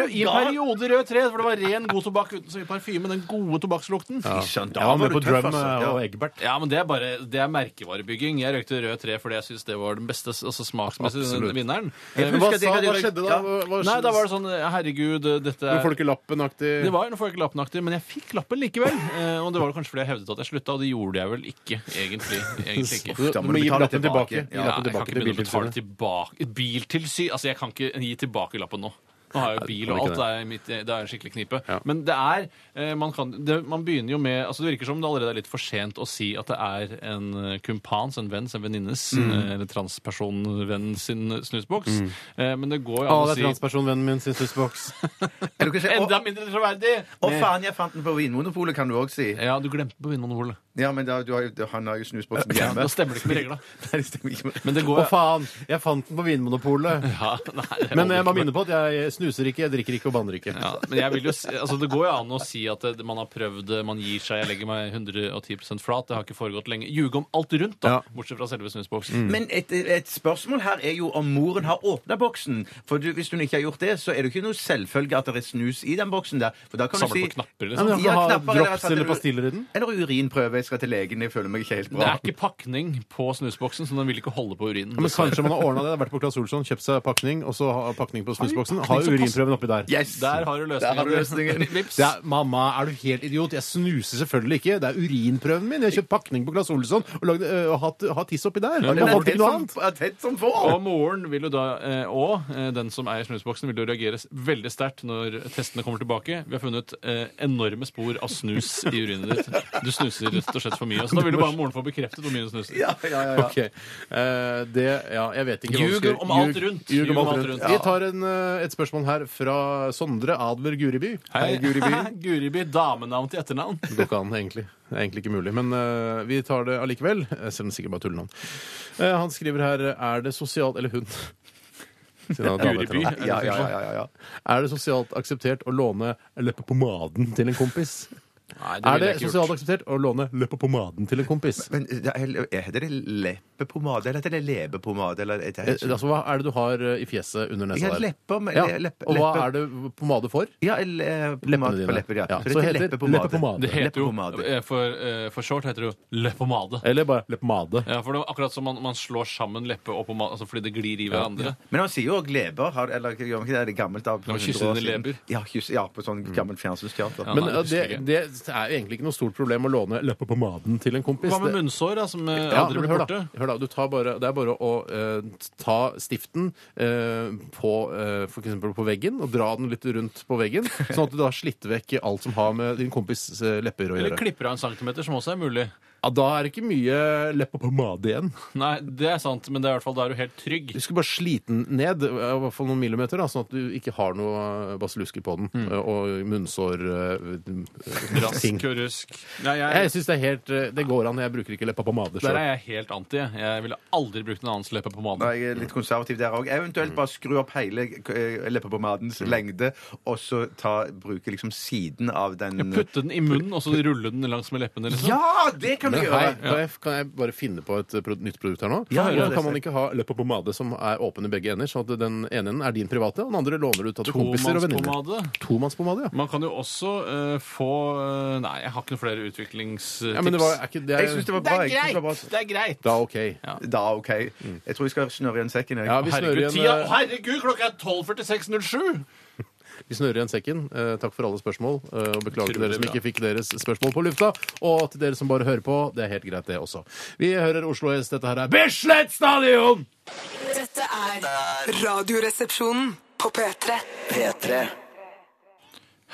[SPEAKER 5] I en periode rød tre, for det var ren, god tobakk uten så mye parfyme. Den gode tobakkslukten. Ja.
[SPEAKER 4] Skjønn, da
[SPEAKER 3] Jeg var
[SPEAKER 4] var
[SPEAKER 3] med
[SPEAKER 4] du
[SPEAKER 3] på
[SPEAKER 4] tøff,
[SPEAKER 3] Drum
[SPEAKER 4] altså. Ja.
[SPEAKER 3] og Egbert.
[SPEAKER 5] men Det er bare, det er merkevarebygging. Jeg røykte rød tre fordi jeg syns det var den beste altså smaksmessig
[SPEAKER 3] Absolutt.
[SPEAKER 5] den vinneren.
[SPEAKER 4] Jeg
[SPEAKER 5] Eh,
[SPEAKER 3] Hva,
[SPEAKER 4] husker at
[SPEAKER 3] sa,
[SPEAKER 4] jeg hadde
[SPEAKER 3] hva
[SPEAKER 4] røykt-
[SPEAKER 3] skjedde da?
[SPEAKER 4] Ja.
[SPEAKER 3] Hva, hva,
[SPEAKER 5] Nei, da var det sånn Herregud, dette
[SPEAKER 3] Men
[SPEAKER 5] er
[SPEAKER 3] Får du ikke lappen-aktig
[SPEAKER 5] Det var en forklappnaktig, men jeg fikk lappen likevel. Eh, og det var kanskje fordi jeg hevdet at jeg slutta, og det gjorde jeg vel ikke, egentlig. egentlig ikke.
[SPEAKER 3] Så
[SPEAKER 4] Da må
[SPEAKER 3] du må
[SPEAKER 4] du
[SPEAKER 3] gi
[SPEAKER 4] betale
[SPEAKER 3] lappen
[SPEAKER 4] tilbake.
[SPEAKER 3] tilbake. Gi
[SPEAKER 5] Ja,
[SPEAKER 3] lappen
[SPEAKER 5] jeg kan
[SPEAKER 3] tilbake
[SPEAKER 5] ikke
[SPEAKER 3] til
[SPEAKER 5] begynne å betale
[SPEAKER 3] Biltilsynet.
[SPEAKER 5] tilbake Biltilsyn? Altså, jeg kan ikke gi tilbake lappen nå. Nå har jeg jo bil
[SPEAKER 3] kan
[SPEAKER 5] og
[SPEAKER 3] ikke
[SPEAKER 5] alt. Det er, mitt, det er en skikkelig knipe.
[SPEAKER 3] Ja.
[SPEAKER 5] Men det er eh, man, kan, det, man begynner jo med altså Det virker som det allerede er litt for sent å si at det er en eh, kumpans, en venns, en venninnes,
[SPEAKER 3] Mm.
[SPEAKER 5] eh, eller transpersonvenn sin snusboks. Eh, Men det går
[SPEAKER 3] Å,
[SPEAKER 5] jo an å
[SPEAKER 3] det er
[SPEAKER 5] si
[SPEAKER 3] transpersonvennen min sin snusboks.
[SPEAKER 4] Er du ikke så-
[SPEAKER 5] Enda mindre troverdig!
[SPEAKER 4] Å, faen, jeg fant den på Vinmonopolet, kan du òg si.
[SPEAKER 5] Ja, du glemte på Vinmonopolet.
[SPEAKER 4] Ja, men da, du har, jo- han har jo snusboksen
[SPEAKER 5] Ja,
[SPEAKER 4] hjemme.
[SPEAKER 5] da stemmer det ikke med reglene.
[SPEAKER 4] Nei, det stemmer ikke.
[SPEAKER 5] *laughs* *laughs* Men det
[SPEAKER 3] Å,
[SPEAKER 5] går
[SPEAKER 3] faen! Jeg fant den på Vinmonopolet.
[SPEAKER 5] ja, nei, det
[SPEAKER 3] Men eh, jeg må
[SPEAKER 5] holder ikke med.
[SPEAKER 3] minne på at jeg snuser ikke, jeg drikker ikke og banner ikke.
[SPEAKER 5] ja, men jeg vil jo si, altså det går jo an å si at det, man har prøvd, det, man gir seg, jeg legger meg 110 flat. Det har ikke foregått lenge. Ljuge om alt rundt, da,
[SPEAKER 3] Ja.
[SPEAKER 5] bortsett fra selve snusboksen.
[SPEAKER 4] *laughs* Men et, et spørsmål her er jo om moren har åpna boksen. For du, Hvis hun ikke har gjort det, så er det jo ikke noe selvfølgelig at det er snus i den boksen der. For da kan du
[SPEAKER 5] Samle
[SPEAKER 4] si
[SPEAKER 5] på knapper,
[SPEAKER 3] Ja,
[SPEAKER 5] liksom.
[SPEAKER 3] men jeg
[SPEAKER 4] Ja,
[SPEAKER 3] har
[SPEAKER 4] knapper, eller
[SPEAKER 3] drops
[SPEAKER 4] satte
[SPEAKER 3] eller
[SPEAKER 4] du-
[SPEAKER 3] pastiller i den.
[SPEAKER 4] Eller urinprøve. Jeg skal til legen. Jeg føler meg ikke helt
[SPEAKER 5] Det
[SPEAKER 4] bra.
[SPEAKER 5] er ikke pakning på snusboksen, så den vil ikke holde på urinen.
[SPEAKER 3] Ja, men Kanskje man har ordna det. Vært på Claes Olsson, kjøpt seg pakning, og så har pakning på snusboksen. Har urinprøven oppi der.
[SPEAKER 4] Yes!
[SPEAKER 5] Der har du løsningen.
[SPEAKER 4] Der har du
[SPEAKER 5] *laughs*
[SPEAKER 4] løsningen.
[SPEAKER 5] Vips.
[SPEAKER 3] Det er, mamma, er du helt idiot? Jeg snuser selvfølgelig ikke. Det er urinprøven min. Jeg har kjøpt pakning på Claes Olsson og, lagd, øh, og hatt, hatt tiss oppi der.
[SPEAKER 4] Det
[SPEAKER 3] Man
[SPEAKER 4] er
[SPEAKER 3] fant ikke
[SPEAKER 4] tett
[SPEAKER 3] noe
[SPEAKER 4] som,
[SPEAKER 3] annet.
[SPEAKER 4] det er tett som få!
[SPEAKER 5] *laughs* Og moren vil jo da, eh, og eh, den som eier snusboksen, vil jo reagere s- veldig sterkt når testene kommer tilbake. Vi har funnet eh, enorme spor av snus i urinen ditt. Du snuser rett og slett for mye. Så da vil jo bare moren få bekreftet hvor mye du snuser.
[SPEAKER 4] Ja, ja, ja, ja.
[SPEAKER 3] Ok. Eh, det Ja, jeg vet ikke. hva vi
[SPEAKER 5] Ljug
[SPEAKER 3] skal-
[SPEAKER 5] om alt
[SPEAKER 3] Ljug-
[SPEAKER 5] rundt.
[SPEAKER 3] Ljug om alt rundt. Vi tar en, eh, et spørsmål her fra Sondre Adler Guriby.
[SPEAKER 5] *laughs* Guriby, damenavn til etternavn.
[SPEAKER 3] Det går ikke an, egentlig. Det er egentlig ikke mulig. Men eh, vi tar det allikevel. eh, Selv om det sikkert bare er tullenavn. Eh, han skriver her Er det sosialt Eller hun. Siden han er dame
[SPEAKER 5] Guriby.
[SPEAKER 3] etter navn.
[SPEAKER 4] Ja, ja, ja, ja, ja.
[SPEAKER 3] Er det sosialt akseptert å låne leppepomaden til en kompis?
[SPEAKER 5] Nei,
[SPEAKER 3] Er det
[SPEAKER 5] ville jeg ikke
[SPEAKER 3] sosialt
[SPEAKER 5] gjort.
[SPEAKER 3] akseptert å låne leppepomaden til en kompis?
[SPEAKER 4] Men eh, det er- heter det leppepomade, eller heter det leppepomade? Eller, det
[SPEAKER 3] Eh, Altså, Hva er det du har eh, i fjeset under nesa
[SPEAKER 4] Jeg
[SPEAKER 3] der?
[SPEAKER 4] har lepper, men-
[SPEAKER 3] ja.
[SPEAKER 5] eh,
[SPEAKER 4] le- leppe-
[SPEAKER 3] Og hva
[SPEAKER 4] leppe-
[SPEAKER 3] er det pomade for?
[SPEAKER 4] Ja, leppene
[SPEAKER 3] Leppene dine.
[SPEAKER 4] På lepper, ja.
[SPEAKER 3] Ja,
[SPEAKER 4] Så
[SPEAKER 3] så
[SPEAKER 4] det heter
[SPEAKER 3] heter
[SPEAKER 4] leppepomade.
[SPEAKER 3] leppepomade.
[SPEAKER 5] Det heter jo,
[SPEAKER 4] Leppepomade.
[SPEAKER 5] eh, for, eh, for short heter det jo leppepomade.
[SPEAKER 3] Eller bare leppepomade?
[SPEAKER 5] Ja, for det er akkurat som man, man slår sammen leppe og pomade altså fordi det glir i hverandre.
[SPEAKER 4] Men han sier jo òg leber. Har, eller gjør han ikke det? Er det gammelt av
[SPEAKER 5] må kysse dine leber.
[SPEAKER 4] Ja, kysse, ja, på sånn gammelt fjernsynsteater.
[SPEAKER 5] Ja.
[SPEAKER 3] Mm. Men
[SPEAKER 5] nei,
[SPEAKER 3] eh, det,
[SPEAKER 5] husker jeg
[SPEAKER 3] det er jo egentlig ikke noe stort problem å låne leppepomaden til en kompis.
[SPEAKER 5] Hva med
[SPEAKER 3] Det-
[SPEAKER 5] munnsår, da, som eh,
[SPEAKER 3] Ja,
[SPEAKER 5] aldri
[SPEAKER 3] men
[SPEAKER 5] blir
[SPEAKER 3] hør
[SPEAKER 5] borte?
[SPEAKER 3] da, hør da du tar bare, Det er bare å eh, ta stiften eh, på eh, for eksempel på veggen og dra den litt rundt på
[SPEAKER 5] *laughs*
[SPEAKER 3] veggen, sånn at du da har slitt vekk alt som har med din kompis eh, lepper å
[SPEAKER 5] Eller
[SPEAKER 3] gjøre.
[SPEAKER 5] klipper av en centimeter, som også er mulig.
[SPEAKER 3] Ja, da er det ikke mye leppepomade igjen.
[SPEAKER 5] Nei, det er sant, men det er i hvert fall da er du helt trygg.
[SPEAKER 3] Du skal bare slite den ned, eh, i hvert fall noen millimeter, da, sånn at du ikke har noe eh, basillusker på den, og munnsår eh, ting.
[SPEAKER 5] Mm. Rask og rusk. Nei,
[SPEAKER 3] Jeg
[SPEAKER 5] jeg,
[SPEAKER 3] syns det er helt eh, Det går an. Jeg bruker ikke leppepomader
[SPEAKER 5] der
[SPEAKER 3] sjøl.
[SPEAKER 5] er jeg helt anti. jeg. Jeg ville aldri brukt en annens leppepomade.
[SPEAKER 4] Nei, Jeg er litt konservativ der òg. Eventuelt bare skru opp hele eh, leppepomadens
[SPEAKER 3] Mm.
[SPEAKER 4] lengde, og så ta, bruke liksom siden av den
[SPEAKER 5] Putte den i munnen, og så rulle den langs med leppene. liksom.
[SPEAKER 4] Ja, det kan du
[SPEAKER 3] Men
[SPEAKER 4] gjøre!
[SPEAKER 3] hei, kan, jeg, kan jeg bare finne på et eh, pro nytt produkt her nå?
[SPEAKER 4] Ja,
[SPEAKER 3] Hvorfor
[SPEAKER 4] ja, det
[SPEAKER 3] kan
[SPEAKER 4] ser
[SPEAKER 3] man
[SPEAKER 4] jeg.
[SPEAKER 3] ikke ha leppepomade som er åpen i begge ender, sånn at den ene enden er din private, og den andre låner du ut til kompiser og venninner?
[SPEAKER 5] Tomannspomade.
[SPEAKER 3] Tomannspomade, ja.
[SPEAKER 5] Man kan jo også eh, få eh, Nei, jeg har ikke noen flere eh, utviklingstips.
[SPEAKER 3] ja. Men det var er ikke altså. det
[SPEAKER 4] Jeg syns det var bra. jeg synes det var bra.
[SPEAKER 5] Det er greit!
[SPEAKER 3] Da OK.
[SPEAKER 4] Da OK. Jeg tror vi skal snørre igjen sekken.
[SPEAKER 3] Mm.
[SPEAKER 4] Jeg.
[SPEAKER 3] Ja, vi snører
[SPEAKER 5] Herregud,
[SPEAKER 3] igjen,
[SPEAKER 5] tida,
[SPEAKER 3] eh,
[SPEAKER 5] herregud, klokka er 12.46,07!
[SPEAKER 3] vi snører igjen sekken. Eh, takk for alle spørsmål. eh, og beklager til
[SPEAKER 5] Utrolig
[SPEAKER 3] dere som
[SPEAKER 5] bra.
[SPEAKER 3] ikke fikk deres spørsmål på lufta. Og til dere som bare hører på. Det er helt greit, det også. Vi hører Oslo S. Dette her er Bislett Stadion!
[SPEAKER 6] Dette er Radioresepsjonen på P3.
[SPEAKER 2] P3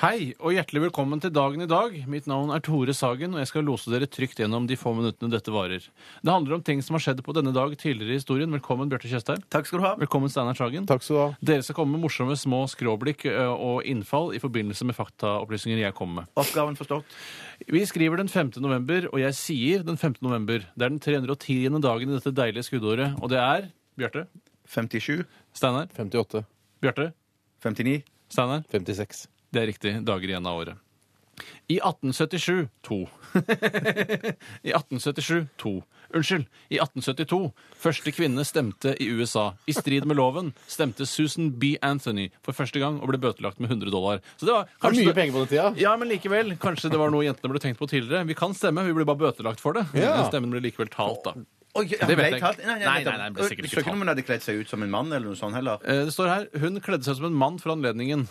[SPEAKER 5] Hei, og hjertelig velkommen til dagen i dag. Mitt navn er Tore Sagen, og jeg skal lose dere trygt gjennom de få minuttene dette varer. Det handler om ting som har skjedd på denne dag tidligere i historien. Velkommen, Bjarte Tjøstheim.
[SPEAKER 4] Takk skal du ha.
[SPEAKER 5] Velkommen, Steinar Sagen.
[SPEAKER 3] Takk skal du ha.
[SPEAKER 5] Dere skal komme med morsomme små skråblikk ø, og innfall i forbindelse med faktaopplysninger jeg kommer med.
[SPEAKER 4] Oppgaven forstått.
[SPEAKER 5] Vi skriver den 5. november, og jeg sier den 5. november. Det er den 310. dagen i dette deilige skuddåret, og det er Bjarte,
[SPEAKER 4] 57.
[SPEAKER 5] Steinar,
[SPEAKER 3] 58.
[SPEAKER 5] Bjarte,
[SPEAKER 4] 59.
[SPEAKER 5] Steinar.
[SPEAKER 3] 56.
[SPEAKER 5] Det er riktig. Dager igjen av året. I 1877 to. *laughs* I 1877 to. Unnskyld. I 1872. Første kvinne stemte i USA. I strid med loven stemte Susan B. Anthony for første gang og ble bøtelagt med 100 dollar. Så det var
[SPEAKER 3] Det er
[SPEAKER 5] kanskje
[SPEAKER 3] mye penger på den tida.
[SPEAKER 5] ja, men likevel. Kanskje det var noe jentene ble tenkt på tidligere. Vi kan stemme, vi blir bare bøtelagt for det.
[SPEAKER 3] Ja.
[SPEAKER 5] Stemmen ble likevel talt, da.
[SPEAKER 4] Oi, ja,
[SPEAKER 5] Det vet
[SPEAKER 4] ble
[SPEAKER 5] jeg ikke.
[SPEAKER 4] talt? Nei,
[SPEAKER 5] Nei,
[SPEAKER 4] nei,
[SPEAKER 5] nei, nei, ble sikkert ikke
[SPEAKER 4] Så ikke
[SPEAKER 5] talt.
[SPEAKER 4] om hun hadde kledd seg ut som en mann eller noe sånt heller.
[SPEAKER 5] Eh, Det står her hun kledde seg som en mann for anledningen.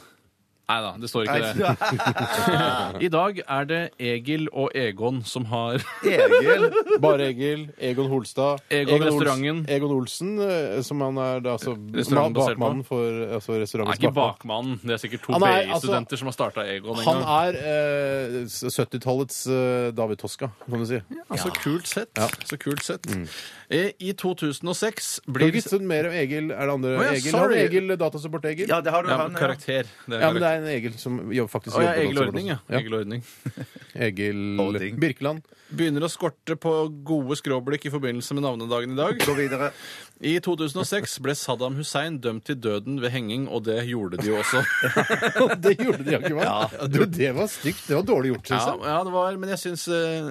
[SPEAKER 5] Nei da, det står *laughs* ikke det. I dag er det Egil og Egon som *laughs* har
[SPEAKER 4] Egil.
[SPEAKER 3] Bare Egil, Egon Holstad
[SPEAKER 5] Egon
[SPEAKER 3] Ols-
[SPEAKER 5] Restauranten.
[SPEAKER 3] Egon Olsen, eh, som han er da, altså,
[SPEAKER 5] Restauranten basert på.
[SPEAKER 3] bakmannen for altså,
[SPEAKER 5] Nei,
[SPEAKER 3] restaurantens
[SPEAKER 5] ikke
[SPEAKER 3] bakmann.
[SPEAKER 5] bakmannen. Det er altså, sikkert to
[SPEAKER 3] Han er,
[SPEAKER 5] BI-studenter som har starta Egon en
[SPEAKER 3] Han
[SPEAKER 5] gang.
[SPEAKER 3] er eh, 70-tallets eh, David Toska, kan du si.
[SPEAKER 5] Ja, Så kult sett. Så kult sett. Eh, I 2006
[SPEAKER 3] Kan
[SPEAKER 5] blir
[SPEAKER 3] du ikke si mer om Egil? Er det andre
[SPEAKER 5] Å, ja,
[SPEAKER 3] Egil?
[SPEAKER 5] sorry.
[SPEAKER 3] Har du Egil Datasupport-Egil?
[SPEAKER 4] Ja, det har du.
[SPEAKER 5] ja,
[SPEAKER 4] han,
[SPEAKER 5] men karakter. Det er
[SPEAKER 3] Ja, men det
[SPEAKER 5] karakter.
[SPEAKER 3] er en Egil som jobber, faktisk
[SPEAKER 5] Å, ja,
[SPEAKER 3] jobber på
[SPEAKER 5] Egil
[SPEAKER 3] Datasupport
[SPEAKER 5] Ordning, ja.
[SPEAKER 3] også.
[SPEAKER 5] Egil Ordning.
[SPEAKER 3] Egil
[SPEAKER 4] Ordning.
[SPEAKER 3] Birkeland. *laughs*
[SPEAKER 5] Begynner å skorte på gode skråblikk i forbindelse med navnedagen i *laughs* dag.
[SPEAKER 4] Gå videre.
[SPEAKER 5] I 2006 ble Saddam Hussein dømt til døden ved henging, og det gjorde de jo
[SPEAKER 3] *laughs*
[SPEAKER 5] også.
[SPEAKER 3] det gjorde de jaggu meg. Du, det var stygt. Det var dårlig gjort, syns
[SPEAKER 5] Ja,
[SPEAKER 3] jeg.
[SPEAKER 5] ja det var, men jeg syns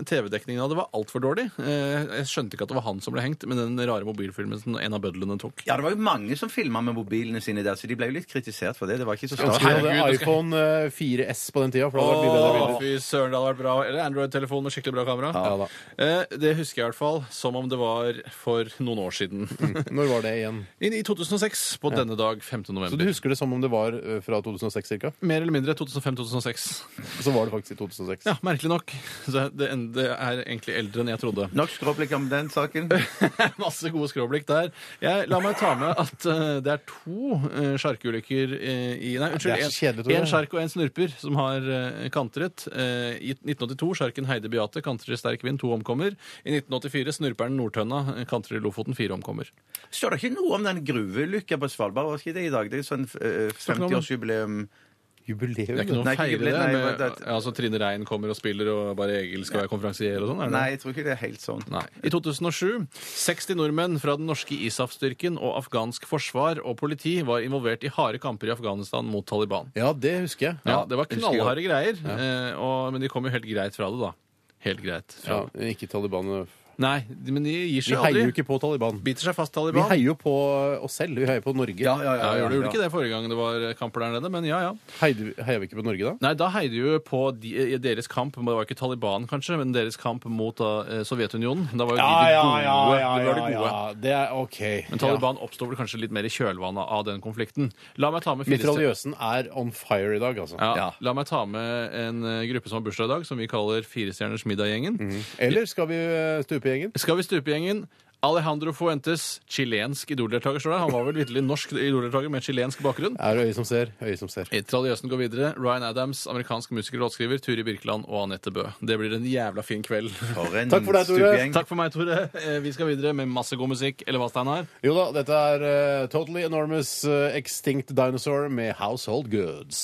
[SPEAKER 5] TV-dekningen av det var altfor dårlig. Eh, jeg skjønte ikke at det var han som ble hengt, men den rare mobilfilmen som en av bødlene tok.
[SPEAKER 4] Ja, det var jo mange som filma med mobilene sine der, så de ble jo litt kritisert for det. Det var ikke så
[SPEAKER 3] Vi
[SPEAKER 4] stas.
[SPEAKER 3] hadde iPhone eh, 4S på den tida. For det hadde vært mye bedre
[SPEAKER 5] Å,
[SPEAKER 3] bilder.
[SPEAKER 5] fy søren, det hadde vært bra. Eller Android-telefon med skikkelig bra kamera.
[SPEAKER 3] Ja da.
[SPEAKER 5] Eh, det husker jeg i hvert fall som om det var for noen år siden.
[SPEAKER 3] *laughs* Når var det igjen?
[SPEAKER 5] Inn I 2006, på denne dag, 5.
[SPEAKER 3] Så du
[SPEAKER 5] november.
[SPEAKER 3] husker det som om det var eh, fra 2006 ca.?
[SPEAKER 5] Mer eller mindre 2005-2006.
[SPEAKER 3] Så var det faktisk i 2006.
[SPEAKER 5] Ja, merkelig nok. Så det, en- det er egentlig eldre enn jeg trodde.
[SPEAKER 4] Nok skråblikk om den
[SPEAKER 5] *laughs*
[SPEAKER 4] saken.
[SPEAKER 5] Masse gode skråblikk der. Jeg, la meg ta med at eh, det er to eh, sjarkulykker eh, i Nei,
[SPEAKER 3] det er så kjedelig,
[SPEAKER 5] unnskyld.
[SPEAKER 3] Tore.
[SPEAKER 5] Én sjark og én snurper som har eh, kantret. Eh, I 1982 sjarken Heide Beate kantrer i sterk vind, to omkommer. I 1984 snurperen Nordtønna eh, kantrer i Lofoten, fire omkommer.
[SPEAKER 4] Står det ikke noe om den gruvelykka på Svalbard? Var ikke det i dag? Det er sånn eh,
[SPEAKER 5] ikke noe om det.
[SPEAKER 4] 50-årsjubileum. Jubileum?
[SPEAKER 5] Det er ikke noe
[SPEAKER 4] Nei,
[SPEAKER 5] å feire det?
[SPEAKER 4] jubileum, nei,
[SPEAKER 5] Med,
[SPEAKER 4] vent,
[SPEAKER 5] ja, altså Trine Rein kommer og spiller, og bare Egil skal være konferansier og sånn? er det?
[SPEAKER 4] Nei, jeg tror ikke det er helt sånn.
[SPEAKER 5] Nei. I 2007 60 nordmenn fra den norske ISAF-styrken og afghansk forsvar og politi var involvert i harde kamper i Afghanistan mot Taliban.
[SPEAKER 3] Ja, det husker jeg.
[SPEAKER 5] Ja, Det var
[SPEAKER 4] husker jeg
[SPEAKER 5] knallharde greier, eh, og, men de kom jo helt greit fra det, da. Helt greit.
[SPEAKER 3] Ja,
[SPEAKER 5] Fra.
[SPEAKER 3] men ikke Taliban.
[SPEAKER 5] Nei, de- men de gir
[SPEAKER 3] Vi
[SPEAKER 5] seg
[SPEAKER 3] heier jo
[SPEAKER 5] aldri.
[SPEAKER 3] ikke på Taliban.
[SPEAKER 5] Biter seg fast,
[SPEAKER 3] Vi
[SPEAKER 5] Taliban.
[SPEAKER 3] heier jo på oss selv. Vi heier på Norge.
[SPEAKER 5] Ja, gjorde, gjorde ikke det forrige gang det var eh, kamper der nede, men ja, ja.
[SPEAKER 3] Heier, heier vi ikke på Norge, da?
[SPEAKER 5] Nei, da heide jo på de, i deres kamp, men det var ikke Taliban kanskje, men deres kamp mot da, eh, Sovjetunionen. Da var jo de de gode. de var de gode.
[SPEAKER 3] Det er OK.
[SPEAKER 5] Men Taliban oppstod vel kanskje litt mer i kjølvannet av den konflikten. La meg ta med
[SPEAKER 3] Ja.
[SPEAKER 5] fire stykker.
[SPEAKER 3] Mitraljøsen er on fire i dag, altså.
[SPEAKER 5] Ja. La meg ta med en eh, gruppe som har bursdag i dag, som vi kaller Firestjerners middag-gjengen.
[SPEAKER 3] Eller skal vi eh, stupe i gjengen?
[SPEAKER 5] Skal vi stupe gjengen? Alejandro Fuentes, chilensk idoldeltaker, står det. Han var vel vitterlig norsk idoldeltaker med chilensk bakgrunn.
[SPEAKER 3] Er det øyet som ser? Øyet som ser.
[SPEAKER 5] Traljøsen går videre. Ryan Adams, amerikansk musiker og låtskriver. Turi Birkeland og Anette Bø. Det blir en jævla fin kveld.
[SPEAKER 4] For en
[SPEAKER 3] Takk for deg, Tore.
[SPEAKER 4] stupegjeng.
[SPEAKER 5] Takk for meg, Tore. Eh, Vi skal videre med masse god musikk. Eller hva, Steinar?
[SPEAKER 3] Jo da, dette er eh, Totally Enormous eh, Extinct Dinosaur med Household Goods.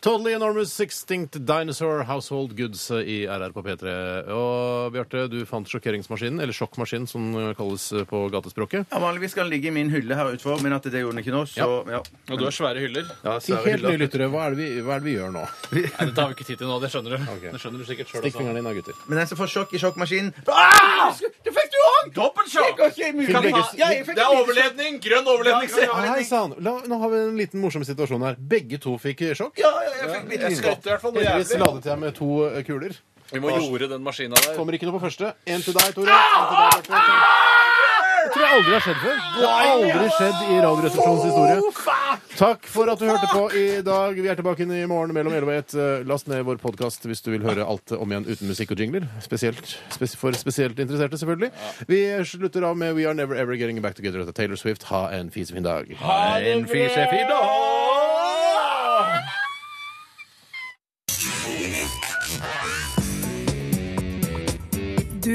[SPEAKER 3] Totally Enormous Extinct Dinosaur Household Goods eh, i RR på P3. Og Bjarte, du fant sjokkeringsmaskinen, eller sjokkmaskinen som eh, kalles eh, på gatespråket.
[SPEAKER 4] Ja, Vanligvis skal den ligge i min hylle her utenfor, men at det gjorde den ikke nå, så ja.
[SPEAKER 5] Og du har svære hyller.
[SPEAKER 4] Ja,
[SPEAKER 3] Til
[SPEAKER 4] Sverre
[SPEAKER 3] helt
[SPEAKER 4] hyller.
[SPEAKER 3] nye lyttere, hva er det vi, hva er det vi gjør nå?
[SPEAKER 5] Nei, dette har vi ikke tid til nå. Det skjønner du.
[SPEAKER 3] Ok.
[SPEAKER 5] Det skjønner du sikkert selv
[SPEAKER 3] Stikk
[SPEAKER 5] også.
[SPEAKER 3] fingrene dine, gutter.
[SPEAKER 4] Men den som får sjokk i sjokkmaskinen ah! Det fikk du òg!
[SPEAKER 5] Dobbeltsjokk!
[SPEAKER 3] Kan
[SPEAKER 5] Det
[SPEAKER 3] ta-
[SPEAKER 4] Ja, jeg fikk
[SPEAKER 5] er overledning! Grønn overledning! Se!
[SPEAKER 3] Hei sann! La- Nå har vi en liten morsom situasjon her. Begge to fikk eh, sjokk.
[SPEAKER 4] Ja, ja, jeg fikk litt skott.
[SPEAKER 5] i hvert fall.
[SPEAKER 3] Heldigvis ladet jeg med to eh, kuler.
[SPEAKER 5] Vi må jorde den maskina der.
[SPEAKER 3] Kommer ikke noe på første. En til deg, Tore. En til deg, Bjarte. Det tror jeg aldri har skjedd før. Det har aldri skjedd i Radioresepsjonens historie. Takk for at du hørte på i dag. Vi er tilbake inn i morgen mellom 11 og 1. Last ned vår podkast hvis du vil høre alt om igjen uten musikk og jingler. Spesielt, spes for spesielt interesserte, selvfølgelig. Vi slutter av med We Are Never Ever Getting Back Together etter Taylor Swift. Ha en fisefin dag.
[SPEAKER 4] En fyr ser fint, da.
[SPEAKER 1] Du